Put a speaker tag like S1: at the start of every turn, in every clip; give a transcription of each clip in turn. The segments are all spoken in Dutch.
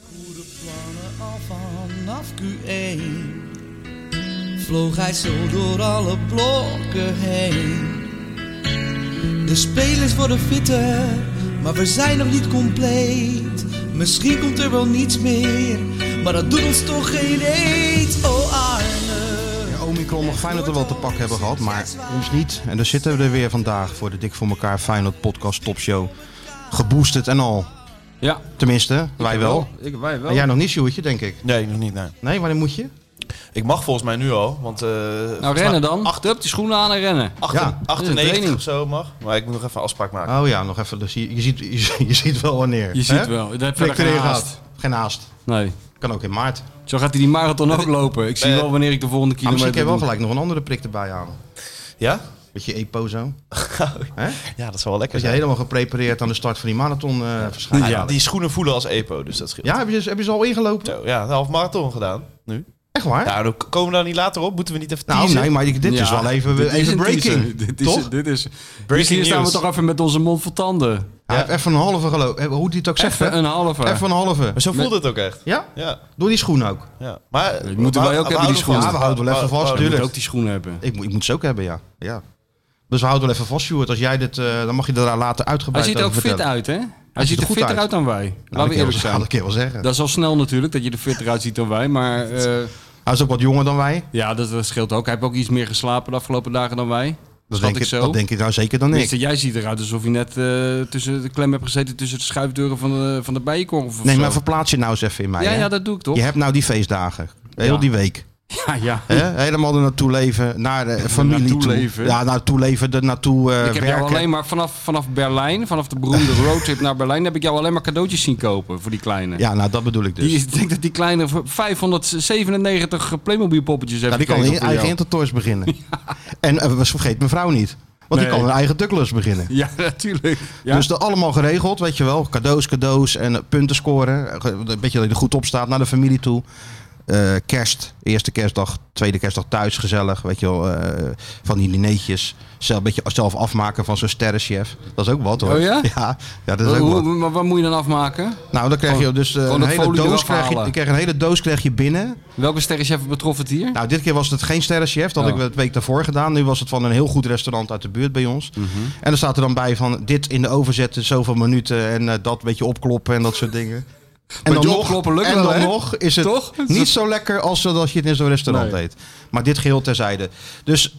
S1: goede plannen al vanaf Q1 vloog hij zo door alle blokken heen. De spelers worden fitter, maar we zijn nog niet compleet. Misschien komt er wel niets meer, maar dat doet ons toch geen eet. Oh Arne.
S2: Ja, Omicron nog Feyenoord er wel te pakken hebben gehad, maar ons niet. En daar zitten we er weer vandaag voor de Dik voor elkaar Feyenoord podcast topshow. Geboosterd en al.
S3: Ja,
S2: Tenminste, wij
S3: ik
S2: wel.
S3: Ik, wij wel.
S2: En jij nog niet, Sjoerdje, denk ik.
S4: Nee, nog niet. Nee.
S2: Nee, wanneer moet je?
S4: Ik mag volgens mij nu al. Want, eh,
S3: nou,
S4: volgens
S3: rennen
S4: mij
S3: dan.
S4: Acht,
S3: Hup, die schoenen aan en rennen.
S4: acht-
S2: Ja.
S4: 98
S3: training.
S4: of zo mag. Maar ik moet nog even een afspraak maken.
S2: Oh ja, nog even. Dus je, je ziet, je, je ziet wel wanneer.
S3: Je
S2: hè?
S3: ziet wel. Dat heb
S2: Flik
S3: verder geen
S2: erin
S3: haast.
S2: gaat. Geen haast.
S3: Nee.
S2: Kan ook in maart. Ah,
S3: Zo gaat hij die marathon ook lopen. Ik zie
S4: eh,
S3: wel wanneer ik de volgende
S2: Maar
S3: kilometer
S2: Ah, misschien kan je wel
S3: doe.
S2: gelijk nog een andere prik erbij halen.
S4: Ja?
S2: Met je EPO zo. Hè?
S4: Ja, dat zal wel lekker
S2: Dat je
S4: zijn.
S2: helemaal geprepareerd aan de start van die marathon eh verschijnt.
S4: Ah,
S2: Ja,
S4: ja, die schoenen voelen als EPO, dus dat scheelt.
S2: heb, je, ze- heb je ze al ingelopen?
S4: Zo, ja, een half marathon gedaan. Nu.
S2: Echt waar?
S4: Ja, dan komen we daar niet later op. Moeten we niet even
S2: nou,
S4: teasen?
S2: nee, maar dit is wel even,
S3: dit is
S2: even
S3: een
S2: breaking.
S3: teaser. Dit is,
S2: toch?
S3: Dit is,
S4: Breaking
S3: hier staan we
S4: news.
S3: toch even met onze mond vol tanden.
S2: Hij heeft even een halve gelopen. Hoe die het ook zegt, hè?
S3: Even een halve.
S2: Even een halve.
S4: Maar zo voelde het ook echt.
S2: Ja?
S4: Ja,
S2: Door die schoen ook.
S4: ja. Maar
S3: Die moeten wij ook hebben, die
S4: houden
S3: schoenen.
S4: vast.
S2: Ja, we houden wel even vast,
S4: houden-
S3: Je moet
S2: tuurlijk.
S3: ook die schoenen hebben.
S2: Ik, moet- ik moet ze ook hebben, ja. ja. Dus we houden wel even vast, Sjoerd. Als jij dit, eh, dan mag je daar later
S3: Hij
S2: uitgebreid
S3: ziet er ook
S2: over
S3: fit
S2: vertellen.
S3: uit, hè? Hij,
S2: ziet
S3: ziet
S2: er
S3: er
S2: goed
S3: fitter
S2: uit.
S3: uit dan wij.
S2: Nou,
S3: Laten we
S2: dat kan
S3: eerlijk
S2: ik wel-
S3: zijn.
S2: Dat kan ik wel zeggen.
S3: Dat is al snel natuurlijk, dat je er fitter uitziet dan wij. Maar eh,
S2: Hij is ook wat jonger dan wij.
S3: ja, dat, dat scheelt ook. Hij heeft ook iets meer geslapen de afgelopen dagen dan wij.
S2: Dat
S3: Schat
S2: denk,
S3: ik
S2: ik,
S3: zo.
S2: dat denk ik nou zeker dan ik.
S3: Tenminste, Dus jij ziet eruit alsof je net eh, tussen de klem hebt gezeten tussen de schuifdeuren van de, van de bijenkorf of
S2: Nee,
S3: zo.
S2: maar verplaats je nou eens even in mij.
S3: ja,
S2: hè?
S3: ja, dat doe ik toch?
S2: Je eh, hebt nou die feestdagen. Heel
S3: Ja.
S2: die week.
S3: Ja, ja.
S2: Hè? Helemaal er naartoe leven. Naar de familie
S3: naartoe
S2: toe.
S3: leven.
S2: Ja, naartoe leven. Er naartoe eh,
S3: ik heb jou
S2: werken.
S3: alleen maar vanaf, vanaf Berlijn, vanaf de beroemde roadtrip naar Berlijn, heb ik jou alleen maar cadeautjes zien kopen voor die kleine.
S2: Ja, nou dat bedoel ik dus.
S3: Die, is- ik denk dat die kleine v- 597 Playmobil poppetjes heeft
S2: Ja, die kan
S3: gekregen
S2: een
S3: voor
S2: eigen
S3: jou.
S2: intertours beginnen. En eh, we vergeet mevrouw niet. Want die
S3: Nee.
S2: kan een eigen ducklers beginnen.
S3: Ja, natuurlijk. Ja.
S2: Dus dat allemaal geregeld, weet je wel. Cadeaus, cadeaus en eh, punten scoren. Eh, Een beetje dat je er goed op staat naar de familie toe. Eh, kerst, eerste kerstdag, tweede kerstdag thuis, gezellig. Weet je wel, eh, van die dineetjes. Zelf, beetje zelf afmaken van zo'n sterrenchef. Dat is ook wat hoor.
S3: Oh ja?
S2: Ja, ja dat is
S3: Hoe-
S2: ook wat.
S3: hoe- maar wat moet je dan afmaken?
S2: Nou, dan krijg je dus eh,
S3: gewoon
S2: een
S3: het
S2: hele
S3: folie
S2: doos
S3: eraf
S2: krijg je,
S3: halen.
S2: je krijgt een hele doos krijg je binnen.
S3: Welke sterrenchef betrof het hier?
S2: Nou, dit keer was het geen sterrenchef. Dat had
S3: Oh.
S2: ik het week daarvoor gedaan. Nu was het van een heel goed restaurant uit de buurt bij ons.
S3: Mhm.
S2: En er staat er dan bij van dit in de oven zetten, zoveel minuten en eh, dat een beetje opkloppen en dat soort dingen. En
S3: Beetje opkloppen lukt
S2: en
S3: wel,
S2: dan
S3: hè?
S2: nog is het
S3: Toch?
S2: niet zo lekker als dat als je het in zo'n restaurant
S3: Nee.
S2: eet. Maar dit geheel terzijde. Dus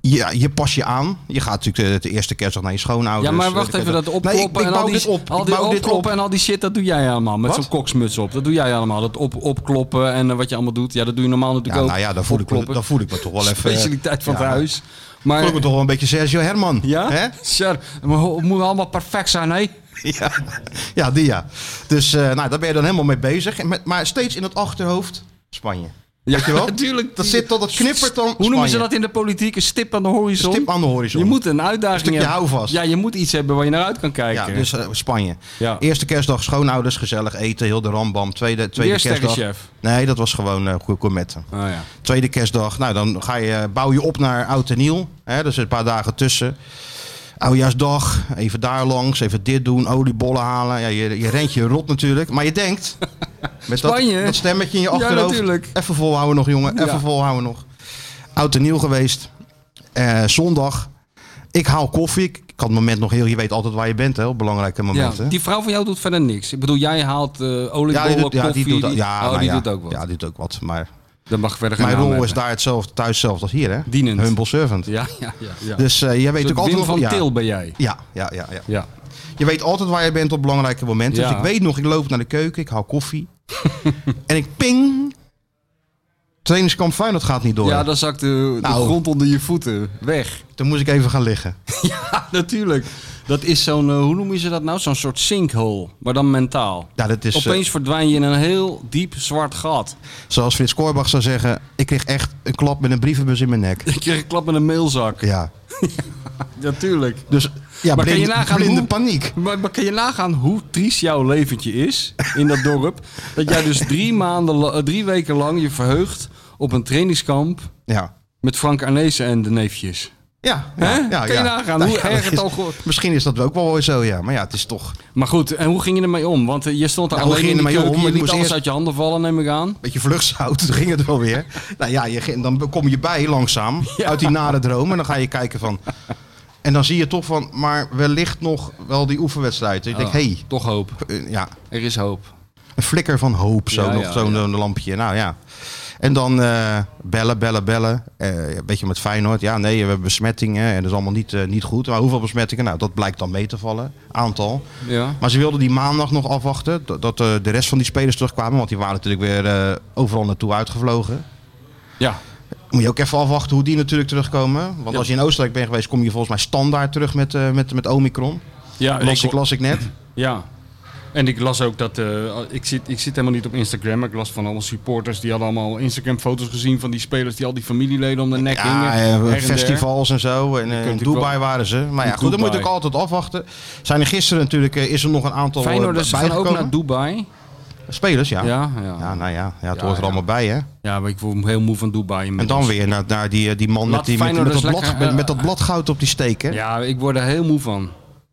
S2: ja, je pas je aan. Je gaat natuurlijk de, de eerste kerstdag naar je schoonouders.
S3: Ja, maar wacht
S2: Eh,
S3: even, dat
S2: nee, ik,
S3: opkloppen
S2: ik
S3: en
S2: bouw
S3: al die,
S2: dit op.
S3: al
S2: Ik
S3: die
S2: bouw dit op.
S3: opkloppen en al die shit, dat doe jij allemaal. Met
S2: Wat?
S3: zo'n koksmuts op, dat doe jij allemaal. Dat op, opkloppen en eh, wat je allemaal doet. Ja, dat doe je normaal natuurlijk
S2: Ja,
S3: ook.
S2: nou ja, dan voel, ik me,
S3: Opkloppen.
S2: dan voel ik me toch wel even... eh,
S3: Specialiteit van het
S2: ja.
S3: huis. Maar,
S2: Voel ik me toch wel een beetje Sergio Herman.
S3: ja?
S2: Hè?
S3: Sure. Maar ho- het moet allemaal perfect zijn, hè?
S2: Ja, ja die ja. Dus eh, nou, daar ben je dan helemaal mee bezig. En met- maar steeds in het achterhoofd Spanje.
S3: Ja,
S2: Weet je wel?
S3: natuurlijk.
S2: Dat, zit, dat, dat knippert dan
S3: Hoe noemen ze
S2: Spanje.
S3: dat in de politiek? Een stip aan de horizon?
S2: Stip aan de horizon.
S3: Je moet een uitdaging
S2: Een stukje
S3: hebben.
S2: houvast.
S3: Ja, je moet iets hebben waar je naar uit kan
S2: Ja,
S3: kijken.
S2: dus eh, Spanje.
S3: Ja.
S2: Eerste kerstdag schoonouders, gezellig eten, heel de rambam. Tweede, tweede
S3: Weer
S2: kerstdag.
S3: sterrenchef.
S2: Nee, dat was gewoon eh gourmetten.
S3: Oh, ja.
S2: Tweede kerstdag, nou dan ga je, bouw je op naar oud en nieuw. Hè, dus een paar dagen tussen. Oudjaarsdag, even daar langs, even dit doen, oliebollen halen. Ja, je, je rent je rot natuurlijk. Maar je denkt, met dat,
S3: Spanje.
S2: dat stemmetje in je
S3: Ja,
S2: achterhoofd.
S3: natuurlijk.
S2: even volhouden nog jongen, even
S3: Ja.
S2: volhouden nog. Oud en nieuw geweest. Eh, zondag, ik haal koffie. Ik kan het moment nog heel, je weet altijd waar je bent hè, op belangrijke
S3: Ja,
S2: momenten.
S3: die vrouw van jou doet verder niks. Ik bedoel, jij haalt eh
S2: Ja,
S3: oliebollen,
S2: die doet, ja,
S3: koffie.
S2: die doet,
S3: die-
S2: ja,
S3: oh,
S2: nou
S3: die
S2: ja,
S3: doet ook wat.
S2: Ja, die doet ook wat. Maar
S3: Dan mag verder geen
S2: mijn
S3: naam
S2: rol is
S3: hebben.
S2: daar hetzelfde, thuis hetzelfde als hier, hè?
S3: Dienend.
S2: Humble servant.
S3: Ja, ja, ja. ja.
S2: Dus eh, jij weet ook
S3: Een soort
S2: altijd
S3: Wim
S2: nog-
S3: van
S2: ja.
S3: Til ben jij.
S2: Ja, ja, ja, ja.
S3: Ja.
S2: Je weet altijd waar je bent op belangrijke momenten. Dus
S3: Ja.
S2: ik weet nog, ik loop naar de keuken, ik haal koffie. en ik ping. Trainingskamp Feyenoord gaat niet door.
S3: ja, dan zakt de, de
S2: Nou.
S3: grond onder je voeten weg.
S2: Toen moest ik even gaan liggen.
S3: Ja, natuurlijk. Dat is zo'n, eh, hoe noemen ze dat nou? Zo'n soort sinkhole, maar dan mentaal.
S2: Ja, dat is, eh,
S3: Opeens verdwijn je in een heel diep zwart gat.
S2: zoals Frits Korbach zou zeggen, ik kreeg echt een klap met een brievenbus in mijn nek.
S3: Ik kreeg een klap met een mailzak.
S2: Ja,
S3: Natuurlijk.
S2: dus ja,
S3: Maar kan je
S2: blinde,
S3: nagaan
S2: blinde
S3: hoe-
S2: paniek.
S3: Maar, maar kan je nagaan hoe triest jouw leventje is in dat dorp? Dat jij dus drie, maanden, la- eh, drie weken lang je verheugt op een trainingskamp
S2: Ja,
S3: met Frank Arnezen en de neefjes.
S2: Ja,
S3: Hè?
S2: ja, ja,
S3: Kun je
S2: ja.
S3: nagaan
S2: Nou
S3: hoe
S2: ja,
S3: erg
S2: dat
S3: het al
S2: is-
S3: gehoord.
S2: Misschien is dat ook wel weer zo, ja. Maar ja, het is toch...
S3: Maar goed, en hoe ging je ermee om? Want eh, je stond daar
S2: Nou, hoe
S3: alleen in
S2: ging
S3: de
S2: je ermee
S3: keuken.
S2: om?
S3: Je
S2: Ik
S3: liet
S2: moest
S3: alles
S2: eerst-
S3: uit je handen vallen, neem ik aan.
S2: beetje vluchtzout, toen ging het wel weer. nou ja, je, ging- dan kom je bij langzaam uit die nare droom en dan ga je kijken van... En dan zie je toch van, maar wellicht nog wel die oefenwedstrijd. Ik denk,
S3: Oh,
S2: hé,
S3: Toch hoop.
S2: hey, eh, ja,
S3: Er is hoop.
S2: een flikker van hoop, zo
S3: Ja,
S2: nog
S3: ja,
S2: zo'n
S3: ja.
S2: eh, lampje. Nou ja. En dan eh, bellen, bellen, bellen. Eh, een beetje met Feyenoord. Ja, nee, we hebben besmettingen en dat is allemaal niet, eh, niet goed. Maar hoeveel besmettingen? Nou, dat blijkt dan mee te vallen. Aantal.
S3: Ja.
S2: Maar ze wilden die maandag nog afwachten. Dat, dat eh, de rest van die spelers terugkwamen. Want die waren natuurlijk weer eh, overal naartoe uitgevlogen.
S3: Ja.
S2: Moet je ook even afwachten hoe die natuurlijk terugkomen. Want
S3: Ja.
S2: als je in Oostenrijk bent geweest, kom je volgens mij standaard terug met, eh, met, met Omicron.
S3: Ja,
S2: Las ik,
S3: ik,
S2: las ik net.
S3: ja. En ik las ook dat... eh, ik, zit, ik zit helemaal niet op Instagram. maar Ik las van allemaal supporters. Die hadden allemaal Instagram-foto's gezien van die spelers... die al die familieleden om de nek hingen.
S2: Ja, eh,
S3: her en der.
S2: festivals en zo. En, eh, in
S3: kunt u
S2: Dubai
S3: wel-
S2: waren ze. Maar ja,
S3: In
S2: goed, dan moet je
S3: Dubai.
S2: ook altijd afwachten. Zijn er gisteren natuurlijk eh, is er nog een aantal eh,
S3: Feyenoorders gaan ook
S2: bijgekomen.
S3: naar Dubai.
S2: Spelers, ja. ja.
S3: Ja, ja. ja.
S2: nou ja, ja het
S3: Ja,
S2: hoort er
S3: ja.
S2: allemaal bij, hè.
S3: maar ik word heel moe van Dubai.
S2: En
S3: inmiddels.
S2: dan weer naar, naar die, eh, die man
S3: Laat
S2: met, die, met, met
S3: Feyenoorders
S2: dat blad,
S3: lekker,
S2: met,
S3: eh,
S2: met dat bladgoud op die steek, hè.
S3: Ja, ik word er heel moe van.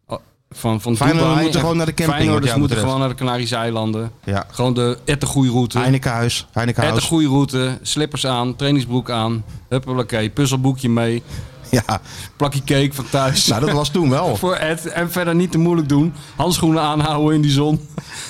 S3: Oh, Van, van
S2: Feyenoorders
S3: Dubai.
S2: moeten gewoon naar de camping, wat
S3: Feyenoorders
S2: jou
S3: moeten
S2: betreft.
S3: gewoon naar de Canarische eilanden.
S2: Ja.
S3: Gewoon de ette goede route.
S2: Heinekenhuis,
S3: Ette
S2: Heinekenhuis.
S3: goede route. Slippers aan, trainingsbroek aan. Huppelakee, puzzelboekje mee.
S2: Ja,
S3: Plakje cake van thuis.
S2: nou dat was toen wel.
S3: Voor Ed. En verder niet te moeilijk doen. Handschoenen aanhouden in die zon.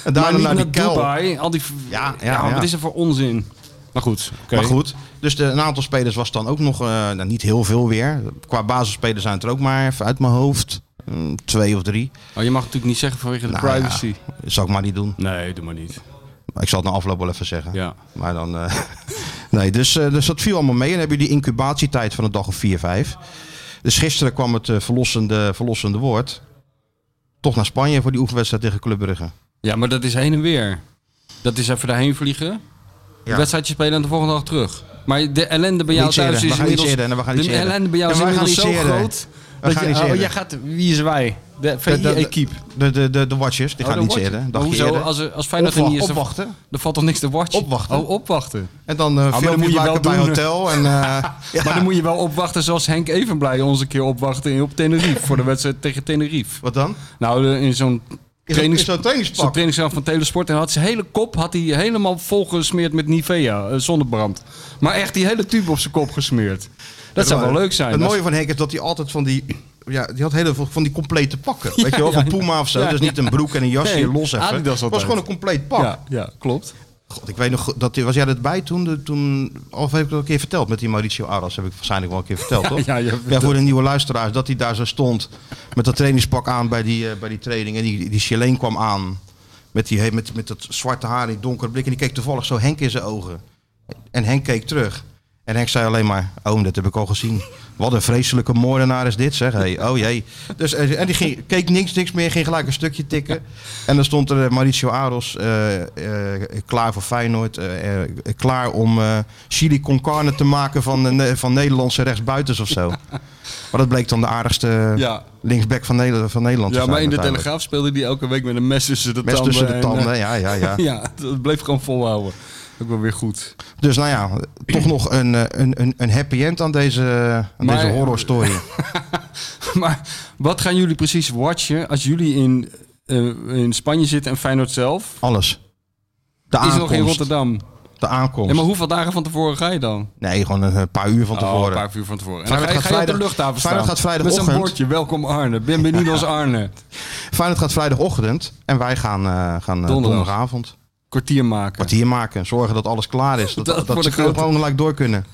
S2: En daarna
S3: maar niet
S2: naar
S3: naar,
S2: die kuil.
S3: Dubai. Al die...
S2: Ja, ja,
S3: maar
S2: ja.
S3: Wat is er voor onzin? Maar goed. oké.
S2: Maar goed, dus de, een aantal spelers was dan ook nog eh, nou, niet heel veel weer. Qua basisspelers zijn het er ook maar even uit mijn hoofd. mm, twee of drie.
S3: Oh, je mag natuurlijk niet zeggen vanwege de
S2: Nou ja.
S3: privacy.
S2: Dat zou ik maar niet doen.
S3: Nee, doe maar niet.
S2: Ik zal het na afloop wel even zeggen.
S3: Ja.
S2: Maar dan. eh, nee, dus, eh, dus dat viel allemaal mee. En dan heb je die incubatietijd van een dag of vier, vijf. Dus gisteren kwam het eh, verlossende, verlossende woord. Toch naar Spanje voor die oefenwedstrijd tegen Club Brugge.
S3: Ja, maar dat is heen en weer. Dat is even daarheen vliegen.
S2: Ja.
S3: Een wedstrijdje spelen en de volgende dag terug. Maar de ellende bij jou
S2: Niet
S3: thuis
S2: eerder.
S3: is
S2: We gaan niet
S3: inmiddels...
S2: eerder en we gaan niet
S3: de
S2: eerder.
S3: ellende bij jou
S2: En
S3: is
S2: we gaan
S3: inmiddels zo
S2: niet eerder.
S3: groot...
S2: We
S3: dat
S2: gaan
S3: je,
S2: niet
S3: oh,
S2: eerder.
S3: jij gaat... Wie is wij? De E
S2: De, de, de,
S3: VI-equipe.
S2: de, de, de, watchers, die
S3: Oh,
S2: gaan
S3: dan
S2: iets
S3: Oh, word
S2: eerder.
S3: je-
S2: Een
S3: Maar
S2: dagje
S3: hoezo?
S2: eerder.
S3: Als, er- als Feyenoord er
S2: Opwa-
S3: niet is, dan,
S2: opwachten.
S3: dan valt toch niks te watchen?
S2: Opwachten.
S3: Oh, opwachten.
S2: En dan eh
S3: dan Ah, moet
S2: filmpjes
S3: je wel
S2: maken bij
S3: doen.
S2: hotel. En, eh, ja.
S3: Maar dan moet je wel opwachten zoals Henk Evenblij ons een keer opwachten in- op Tenerife. voor de wedstrijd tegen Tenerife.
S2: Wat dan?
S3: Nou, de- in zo'n
S2: Is dat,
S3: trainings...
S2: is dat een
S3: Zo'n
S2: trainingspak?
S3: trainingskamp van Telesport. En had zijn hele kop had hij helemaal volgesmeerd met Nivea, eh, zonnebrand. Maar echt die hele tube op zijn kop gesmeerd. Dat zou wel leuk zijn.
S2: Het
S3: Dat-
S2: mooie van Henk is dat hij altijd van die... Ja, die had heel veel van die complete pakken. weet je wel, van Puma of zo.
S3: Ja,
S2: dus niet een broek en een jasje
S3: Nee,
S2: los even.
S3: Adidas
S2: Het was
S3: altijd.
S2: gewoon een compleet pak.
S3: ja, ja, klopt.
S2: God, ik weet nog, goed, dat, was jij erbij toen? De, toen of heb ik dat een keer verteld met die Mauricio Aras? Heb ik waarschijnlijk wel een keer verteld, toch?
S3: ja, je hebt
S2: ja, voor de nieuwe luisteraars, dat hij daar zo stond met dat trainingspak aan bij die, eh, bij die training. En die, die Chileen kwam aan met, die, met, met dat zwarte haar, die donkere blik. En die keek toevallig zo Henk in zijn ogen. En Henk keek terug. En Henk zei alleen maar, oh, dat heb ik al gezien. Wat een vreselijke moordenaar is dit, zeg. Hey, oh jee. Dus, eh, en die ging, keek niks, niks meer, ging gelijk een stukje tikken. En dan stond er eh, Mauricio Aros eh, eh, klaar voor Feyenoord. eh, eh, klaar om eh, chili con carne te maken van, eh, ne- van Nederlandse rechtsbuitens of zo. Maar dat bleek dan de aardigste
S3: Ja.
S2: linksback van, Nederland- van Nederland
S3: Ja,
S2: te
S3: maar
S2: zijn
S3: in de
S2: uiteindelijk.
S3: Telegraaf speelde hij elke week met een mes tussen de
S2: Mes
S3: tanden.
S2: tussen de
S3: en, eh,
S2: tanden, ja, ja, ja.
S3: ja, dat bleef gewoon volhouden. Ook wel weer goed.
S2: Dus nou ja, toch nog een, eh, een, een, een happy end aan deze, aan
S3: Maar-
S2: deze horror story.
S3: Maar wat gaan jullie precies watchen als jullie in, eh, in Spanje zitten en Feyenoord zelf?
S2: Alles. De
S3: Is nog
S2: aankomst.
S3: in Rotterdam.
S2: De aankomst.
S3: En maar hoeveel dagen van tevoren ga je dan?
S2: Nee, gewoon een eh, paar uur van
S3: Oh, een
S2: tevoren.
S3: paar uur van tevoren. En dan ga,
S2: Feyenoord
S3: je-
S2: gaat
S3: ga je op de
S2: vrijdag-
S3: luchthaven staan.
S2: Feyenoord gaat
S3: Met zo'n
S2: vrijdagochtend.
S3: bordje, welkom Arne. Bienvenidos Arne.
S2: Feyenoord gaat vrijdagochtend en wij gaan, eh, gaan eh,
S3: Donderdag.
S2: donderdagavond
S3: Kwartier maken.
S2: kwartier maken. Zorgen dat alles klaar is. Dat,
S3: Dat
S2: dat,
S3: wordt
S2: ze
S3: een grote- Nou,
S2: gewoon gelijk door kunnen.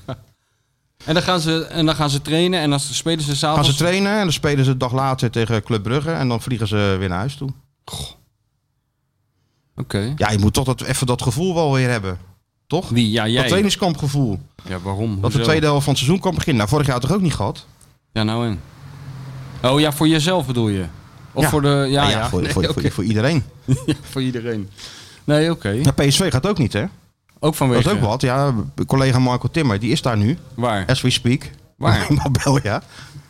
S3: En, dan gaan ze, en dan gaan ze trainen en dan spelen ze
S2: Gaan
S3: s'avonds...
S2: ze trainen en dan spelen ze een dag later tegen Club Brugge. En dan vliegen ze weer naar huis toe.
S3: Oké.
S2: Ja, je moet toch dat, even dat gevoel wel weer hebben. Toch?
S3: Wie? Ja, jij.
S2: Dat trainingskampgevoel.
S3: Ja, waarom?
S2: Dat de
S3: Hoezo?
S2: tweede helft van het seizoen kan beginnen. Nou, vorig jaar toch ook niet gehad?
S3: Ja, nou en? Oh ja, voor jezelf bedoel je? Of
S2: Ja.
S3: voor de... Ja,
S2: Nou
S3: ja.
S2: voor,
S3: Nee,
S2: voor,
S3: oké.
S2: voor, voor iedereen.
S3: Voor iedereen. Nee, oké.
S2: Ja, PSV gaat ook niet, hè?
S3: Ook vanwege...
S2: Dat is ook wat. Ja, collega Marco Timmer, die is daar nu.
S3: Waar?
S2: As we speak.
S3: Waar?
S2: In Marbella.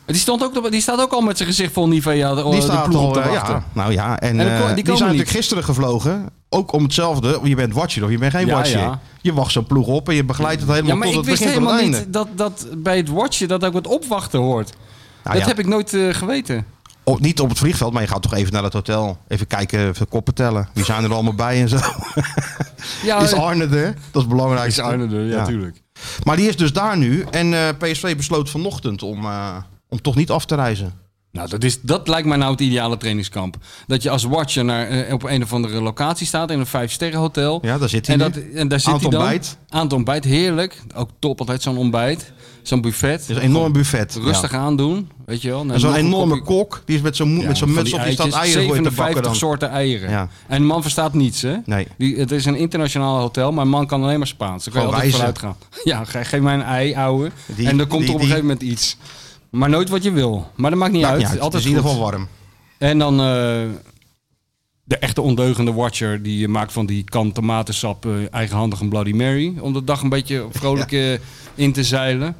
S3: Die, stond ook, op- die staat ook al met zijn gezicht vol Nivea de,
S2: Die
S3: Oh, de
S2: staat
S3: ploeg
S2: al,
S3: op te
S2: eh,
S3: wachten.
S2: ja, nou ja. En,
S3: En dan ko-
S2: eh,
S3: die komen
S2: die, zijn natuurlijk
S3: niet.
S2: gisteren gevlogen. Ook om hetzelfde. Je bent watcher of je bent geen
S3: Ja,
S2: watcher.
S3: ja.
S2: Je wacht zo'n ploeg op en je begeleidt het helemaal
S3: Ja, maar
S2: tot
S3: ik
S2: het
S3: wist
S2: begin van
S3: helemaal
S2: het einde.
S3: niet dat, dat bij het watchen dat ook het opwachten hoort.
S2: Nou
S3: dat
S2: ja,
S3: heb ik nooit eh, geweten.
S2: op- Oh, niet op het vliegveld, maar je gaat toch even naar het hotel. Even kijken, even koppen tellen. Wie zijn er allemaal bij en zo.
S3: Ja,
S2: Is Arne er? Dat is belangrijk.
S3: is Arne er, ja,
S2: Ja.
S3: tuurlijk.
S2: Maar die is dus daar nu. En eh, PSV besloot vanochtend om, eh, om toch niet af te reizen.
S3: Nou, dat, is, dat lijkt mij nou het ideale trainingskamp. Dat je als watcher naar, eh, op een of andere locatie staat in een vijfsterrenhotel. hotel.
S2: Ja, daar zit hij
S3: En, dat,
S2: nu.
S3: en daar zit
S2: Aan
S3: hij
S2: het
S3: dan.
S2: ontbijt.
S3: Aan het ontbijt, heerlijk. Ook top, altijd zo'n ontbijt. Zo'n buffet.
S2: Het is een enorm buffet.
S3: Rustig
S2: Ja.
S3: aandoen, weet je wel.
S2: En zo'n
S3: nog een
S2: enorme
S3: kopje-
S2: kok, die is met zo'n mo-
S3: Ja,
S2: met zo'n
S3: van
S2: muts
S3: die
S2: op, die staat
S3: eitjes,
S2: eieren voor je te bakken
S3: 57
S2: dan.
S3: soorten eieren.
S2: Ja.
S3: En de man verstaat niets, hè?
S2: Nee.
S3: Die, het is een internationaal hotel, maar een man kan alleen maar Spaans. Daar kan je
S2: Gewoon
S3: altijd
S2: wijzen.
S3: vanuit gaan. Ja, ge- geef mij een ei, ouwe.
S2: Die-
S3: en dan komt
S2: die-
S3: er op een
S2: die-
S3: gegeven moment iets. Maar nooit wat je wil. Maar dat maakt niet
S2: Maakt
S3: uit.
S2: niet uit, het
S3: Altijd
S2: is in ieder
S3: goed.
S2: geval warm.
S3: En dan eh, de echte ondeugende watcher die maakt van die kan tomatensap eh, eigenhandig een Bloody Mary. Om de dag een beetje vrolijk eh, in te zeilen.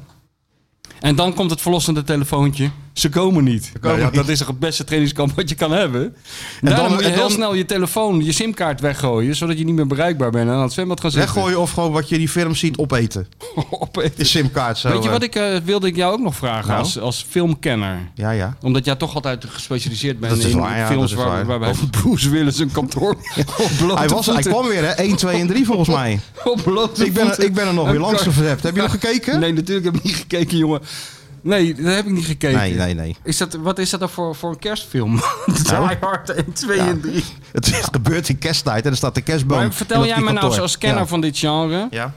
S3: En dan komt het verlossende telefoontje. Ze komen niet.
S2: komen
S3: Nou ja,
S2: niet.
S3: Dat is toch het beste trainingskamp wat je kan hebben. En
S2: dan-
S3: dan moet je
S2: en
S3: heel
S2: dan-
S3: snel je telefoon, je simkaart weggooien. Zodat je niet meer bereikbaar bent en aan het zwembad gaan zitten.
S2: Weggooien of gewoon wat je in die film ziet opeten.
S3: Opeten.
S2: De simkaart zo.
S3: Weet je
S2: eh.
S3: wat ik eh, wilde ik jou ook nog vragen
S2: Nou?
S3: als, als filmkenner?
S2: Ja, ja.
S3: Omdat jij toch altijd gespecialiseerd bent
S2: Dat is
S3: in
S2: waar, ja, dat
S3: films
S2: is
S3: waar,
S2: waar.
S3: waarbij Bruce Willis een kantoor op blote
S2: Hij, was, hij
S3: voeten-
S2: kwam weer, hè? 1, 2 en 3 volgens mij.
S3: op blote
S2: Ik ben, er-
S3: voeten
S2: ik ben er nog weer
S3: een
S2: langs
S3: kar-
S2: gevept. Heb je nog gekeken?
S3: Nee, natuurlijk heb ik niet gekeken, jongen. Nee, dat heb ik niet gekeken.
S2: nee, nee. nee.
S3: Is dat, wat is dat dan voor, voor een kerstfilm? Die Hard 1, 2
S2: Ja.
S3: en 3.
S2: Het is- gebeurt in kersttijd en er staat de kerstboom.
S3: Maar
S2: in
S3: vertel
S2: dat-
S3: jij
S2: die
S3: me nou
S2: kantoor.
S3: als kenner
S2: Ja.
S3: van dit genre...
S2: Ja.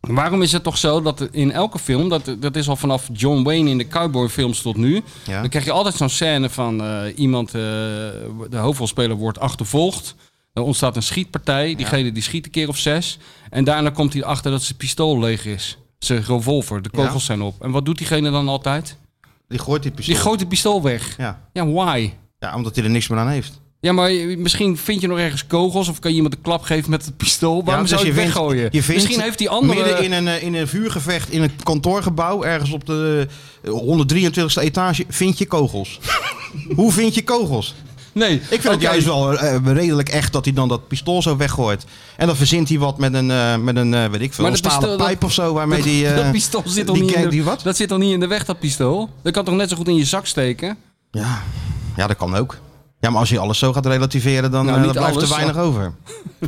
S3: Waarom is het toch zo dat in elke film, dat, dat is al vanaf John Wayne in de cowboyfilms tot nu,
S2: Ja.
S3: dan krijg je altijd zo'n scène van eh, iemand, eh, de hoofdrolspeler wordt achtervolgd. Dan ontstaat een schietpartij, diegene die schiet een keer of zes. En daarna komt hij erachter dat zijn pistool leeg is. Zijn revolver, de kogels
S2: Ja.
S3: zijn op. En wat doet diegene dan altijd?
S2: Die gooit die pistool.
S3: Die gooit het pistool weg.
S2: ja.
S3: Ja, why?
S2: ja, omdat hij er niks meer aan heeft.
S3: Ja, maar je- misschien vind je nog ergens kogels of kan je iemand een klap geven met het pistool. Waarom
S2: Ja,
S3: zou je
S2: dus
S3: het
S2: vindt-
S3: weggooien?
S2: je vindt
S3: misschien heeft die andere...
S2: Midden in een, eh, in een vuurgevecht in een kantoorgebouw, ergens op de eh, 123e etage, vind je kogels. Hoe vind je kogels?
S3: Nee,
S2: Ik vind het juist wel eh, redelijk echt dat hij dan dat pistool zo weggooit. En dan verzint hij wat met een, eh, met een eh, weet ik veel,
S3: Maar
S2: een
S3: dat
S2: stalen
S3: pistool- dat-
S2: pijp of zo. Waarmee
S3: dat,
S2: die, eh,
S3: dat pistool zit
S2: die
S3: toch niet in de,
S2: kijkt die wat?
S3: Dat zit toch niet in de weg, dat pistool? Dat kan toch net zo goed in je zak steken?
S2: Ja. ja, dat kan ook. Ja, maar als je alles zo gaat relativeren, dan,
S3: Nou,
S2: eh,
S3: niet
S2: dan blijft
S3: alles,
S2: er weinig over.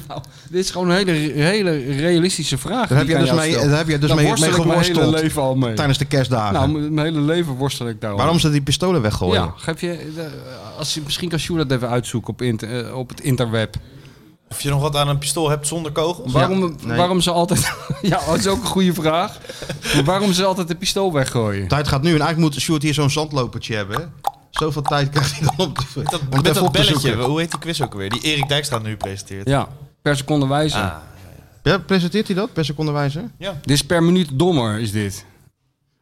S3: Nou, dit is gewoon een hele, hele realistische vraag.
S2: Daar heb,
S3: die
S2: je
S3: ik
S2: dus
S3: aan jou
S2: mee,
S3: stel.
S2: daar heb je dus
S3: Daar
S2: mee,
S3: worstel
S2: mee
S3: ik mijn hele
S2: geworsteld
S3: leven al mee.
S2: tijdens de kerstdagen.
S3: Nou, m- mijn hele leven worstel ik daar al
S2: Waarom
S3: mee.
S2: ze die pistolen weggooien?
S3: Ja, geef je, eh, als je, misschien kan Sjoerd dat even uitzoeken op, int- eh, op het interweb.
S4: Of je nog wat aan een pistool hebt zonder kogels?
S3: Waarom,
S2: nee.
S3: waarom ze altijd... ja, dat is ook een goede vraag. Maar waarom ze altijd de pistool weggooien?
S2: Tijd gaat nu en eigenlijk moet Sjoerd hier zo'n zandlopertje hebben. Zoveel tijd krijgt hij dan op de
S4: Met dat,
S2: om
S4: met
S2: het even
S4: dat
S2: op te
S4: belletje,
S2: zoeken.
S4: hoe heet die quiz ook alweer? Die Erik Dijkstra nu presenteert.
S3: Ja, per seconde wijzen.
S4: Ah,
S2: Ja, presenteert hij dat per secondewijze?
S3: Dit is per minuut dommer, is dit.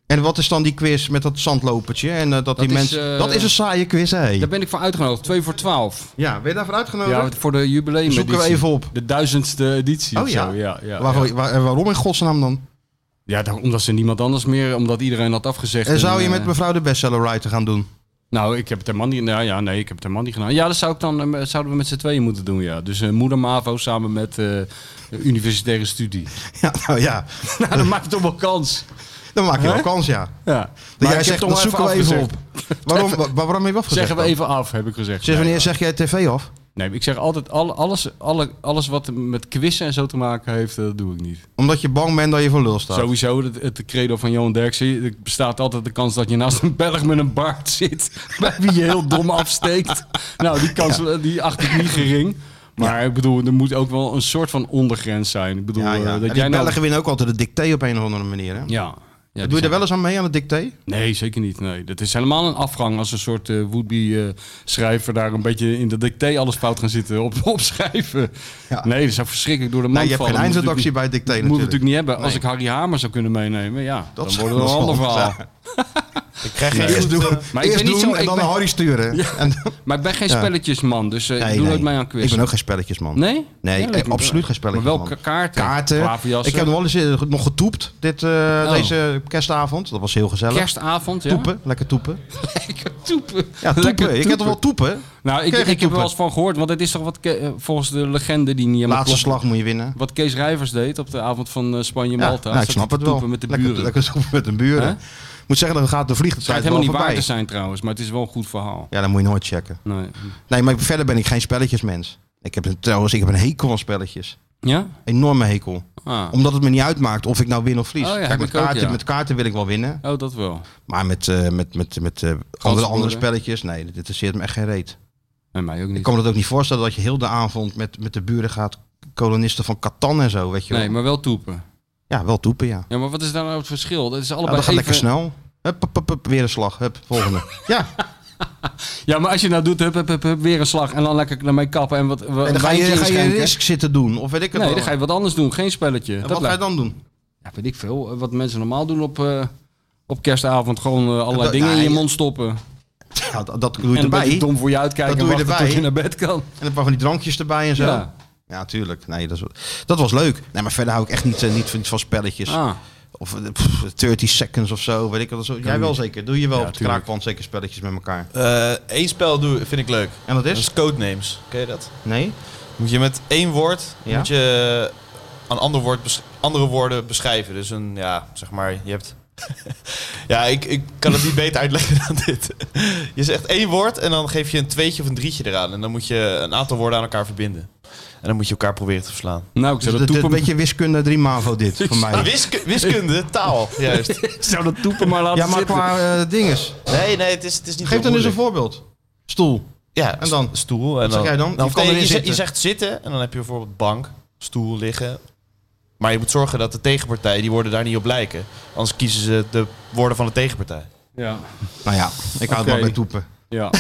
S2: En wat is dan die quiz met dat zandlopertje? En eh, dat, die
S3: is,
S2: mensen.
S3: eh,
S2: Dat is een saaie quiz, hé.
S3: Daar ben ik voor uitgenodigd. 2 voor 12.
S2: Ja, ben je daarvoor uitgenodigd?
S3: Ja, voor de jubileum.
S2: Zoeken we even op.
S3: De duizendste editie.
S2: Oh,
S3: of
S2: ja?
S3: zo. ja, ja,
S2: Waar-
S3: ja.
S2: waar- en waarom in godsnaam dan?
S3: Ja, daar- omdat ze niemand anders meer, omdat iedereen had afgezegd.
S2: En zou je
S3: eh,
S2: met mevrouw de bestseller writer gaan doen?
S3: Nou, ik heb het helemaal niet. Nou ja, nee, ik heb het helemaal niet gedaan. Ja, dat zou ik dan, eh, zouden we met z'n tweeën moeten doen, ja. Dus eh, moeder Mavo samen met eh, universitaire studie.
S2: Ja, nou ja,
S3: nou, dat maakt toch wel kans.
S2: dan maak je wel
S3: Hè?
S2: kans, ja.
S3: Ja.
S2: Dat
S3: Maar
S2: jij
S3: ik heb
S2: zegt,
S3: toch
S2: dat
S3: wel
S2: zoeken we even
S3: afgezegd.
S2: op. Waarom, wa- waarom heb je afgezegd?
S3: Zeggen we
S2: dan?
S3: even af, heb ik gezegd.
S2: Sinds wanneer
S3: Nee,
S2: zeg jij tv af?
S3: Nee, ik zeg altijd, alle- alles, alle, alles wat met quizzen en zo te maken heeft, eh, dat doe ik niet.
S2: Omdat je bang bent dat je voor lul staat.
S3: Sowieso, het, het credo van Johan Derksen. Er bestaat altijd de kans dat je naast een Belg met een baard zit. Bij wie je heel dom afsteekt. Nou, die kans eh, die acht ik niet gering. Maar ik bedoel, er moet ook wel een soort van ondergrens zijn. Ik bedoel,
S2: Ja,
S3: eh,
S2: ja.
S3: dat
S2: en
S3: jij
S2: die
S3: nou...
S2: Belgen winnen ook altijd de dicté op een of andere manier. Hè?
S3: Ja. ja die
S2: Doe je
S3: zijn-
S2: er wel eens aan mee, aan de dicté?
S3: Nee, zeker niet. Nee. Dat is helemaal een afgang als een soort eh would-be eh, schrijver daar een beetje in de dictee alles fout gaan zitten op, opschrijven.
S2: Ja.
S3: Nee, dat zou verschrikkelijk door de man
S2: Nee, je hebt
S3: vallen.
S2: geen
S3: Moet
S2: eindredactie
S3: natuurlijk niet-
S2: bij het dicté
S3: Moet we natuurlijk
S2: natuurlijk.
S3: niet hebben. Als ik Harry Hamer zou kunnen meenemen, ja,
S2: Dat
S3: dan
S2: zou-
S3: wordt het
S2: dat
S3: een
S2: zou
S3: ander
S2: goed
S3: verhaal.
S2: zijn.
S4: ik krijg geen
S2: Eerst
S4: goed,
S2: doen,
S4: eh,
S3: maar ik
S2: eerst
S3: ben niet
S2: doen
S3: zo-
S2: en
S3: ik
S2: dan
S3: ben-
S2: naar Harry sturen. En dan-
S3: Maar ik ben geen
S2: Ja.
S3: spelletjesman, dus eh, ik doe nooit mee aan quiz.
S2: Ik ben ook geen spelletjesman.
S3: Nee?
S2: Nee,
S3: Ja,
S2: ik
S3: leuk.
S2: heb absoluut geen
S3: Maar
S2: spelletjesman.
S3: wel ka- kaarten.
S2: Kaarten.
S3: Klaverjassen.
S2: Ik heb nog wel eens eh, nog getoept dit, eh, deze kerstavond. Dat was heel gezellig.
S3: Kerstavond, Oh. ja.
S2: Toepen, lekker toepen.
S3: Lekker toepen.
S2: Ja, toepen.
S3: Lekker
S2: Ik heb toch wel toepen?
S3: Nou,
S2: Kreeg
S3: ik, ik
S2: je
S3: heb er
S2: toepen?
S3: wel eens van gehoord, want het is toch wat Ke- eh, volgens de legende die niet helemaal
S2: Laatste
S3: klopt.
S2: slag moet je winnen.
S3: Wat Kees Rijvers deed op de avond van eh, Spanje-Malta.
S2: nou, ik
S3: Zat hij
S2: snap
S3: te
S2: het wel.
S3: toepen met de
S2: lekker,
S3: buren.
S2: Lekker toepen met de buren.
S3: Hè?
S2: Ik moet zeggen, dan gaat de vlieg vliegt de
S3: Het schijnt
S2: tijd wel
S3: helemaal niet
S2: voorbij.
S3: waar te zijn trouwens, maar het is wel een goed verhaal.
S2: Ja, dan moet je nooit checken.
S3: Nee.
S2: Nee, maar verder ben ik geen spelletjesmens. Ik heb een- trouwens, ik heb een hekel aan spelletjes.
S3: Ja?
S2: Enorme hekel.
S3: Ah.
S2: Omdat het me niet uitmaakt of ik nou win of verlies.
S3: Oh ja,
S2: Kijk,
S3: heb
S2: met
S3: ik ook,
S2: kaarten,
S3: ja.
S2: met kaarten wil ik wel winnen.
S3: Oh, dat wel.
S2: Maar met, eh, met, met, met eh, andere, andere
S3: worden.
S2: spelletjes, nee, dit interesseert me echt geen reet.
S3: En mij ook
S2: Ik
S3: niet.
S2: kan me dat ook niet voorstellen dat je heel de avond met, met de buren gaat kolonisten van Catan en zo, weet je wel.
S3: Nee, maar wel toepen.
S2: Ja, wel toepen, ja.
S3: Ja, maar wat is daar nou het verschil? Dat is
S2: ja
S3: allebei
S2: dat gaat lekker
S3: even-
S2: snel. Hup, hup, hup, hup, weer een slag. Hup, volgende. ja,
S3: Ja, maar als je nou doet, hup, hup, hup, hup, weer een slag en dan lekker daarmee kappen en wat en
S2: en dan ga je, ga je risk zitten doen. Of weet ik het
S3: Nee,
S2: wel.
S3: dan ga je wat anders doen. Geen spelletje.
S2: En
S3: Dat
S2: wat ga je
S3: lijkt-
S2: dan doen?
S3: Ja, weet ik veel. Eh, Wat mensen normaal doen op, eh, op kerstavond. Gewoon eh, allerlei
S2: Dat-
S3: dingen in je
S2: nee.
S3: mond stoppen.
S2: Ja, dat, dat doe je
S3: en een beetje
S2: erbij.
S3: dom voor je uitkijken
S2: Dat doe
S3: en
S2: je
S3: wachten tot je
S2: erbij.
S3: naar bed kan.
S2: En een paar van die drankjes erbij en zo.
S3: Ja.
S2: Ja, tuurlijk. Nee, dat, is- dat was leuk. Nee, maar verder hou ik echt niet, eh, niet, van, niet van spelletjes.
S3: Ah,
S2: Of eh, pff, 30 seconds of zo. Weet ik, wat. Zo- Jij wel zeker. Doe je wel
S3: Ja,
S2: op de
S3: tuurlijk.
S2: kraakwand zeker spelletjes met elkaar.
S4: Eén Eh, spel doe, vind ik leuk.
S2: En dat
S4: Dat
S2: is?
S4: is Codenames. Ken je dat?
S2: Nee? Dus
S4: Moet je met één woord
S2: Ja.
S4: moet je een ander woord bes- andere woorden beschrijven. Dus een, ja, zeg maar, je hebt... ja, ik, ik kan het niet beter uitleggen dan dit. je zegt één woord en dan geef je een tweetje of een drietje eraan. En dan moet je een aantal woorden aan elkaar verbinden. En dan moet je elkaar proberen te verslaan.
S3: nou, ik zou
S2: Dus
S3: dat
S2: dit- dit
S3: toepen,
S2: een beetje wiskunde 3 MAVO dit, voor mij.
S4: Wisk- wiskunde, taal, juist.
S3: ik zou dat toepen maar laten
S2: Ja, maar
S3: zitten.
S2: qua eh, dinges.
S4: Nee, nee, het is, het is niet
S2: Geef
S4: heel
S2: dan eens een
S4: moeilijk.
S2: voorbeeld. Stoel.
S4: Ja,
S2: En dan?
S4: s- stoel. En
S2: zeg jij dan?
S4: dan
S2: Je kan
S4: nee,
S2: erin
S4: je, zegt-
S2: zitten.
S4: je zegt zitten en dan heb je bijvoorbeeld bank, stoel, liggen. Maar je moet zorgen dat de tegenpartij, die woorden daar niet op lijken. Anders kiezen ze de woorden van de tegenpartij.
S3: Ja.
S2: Nou ja, ik hou het
S3: Oké.
S2: maar bij toepen.
S3: Ja.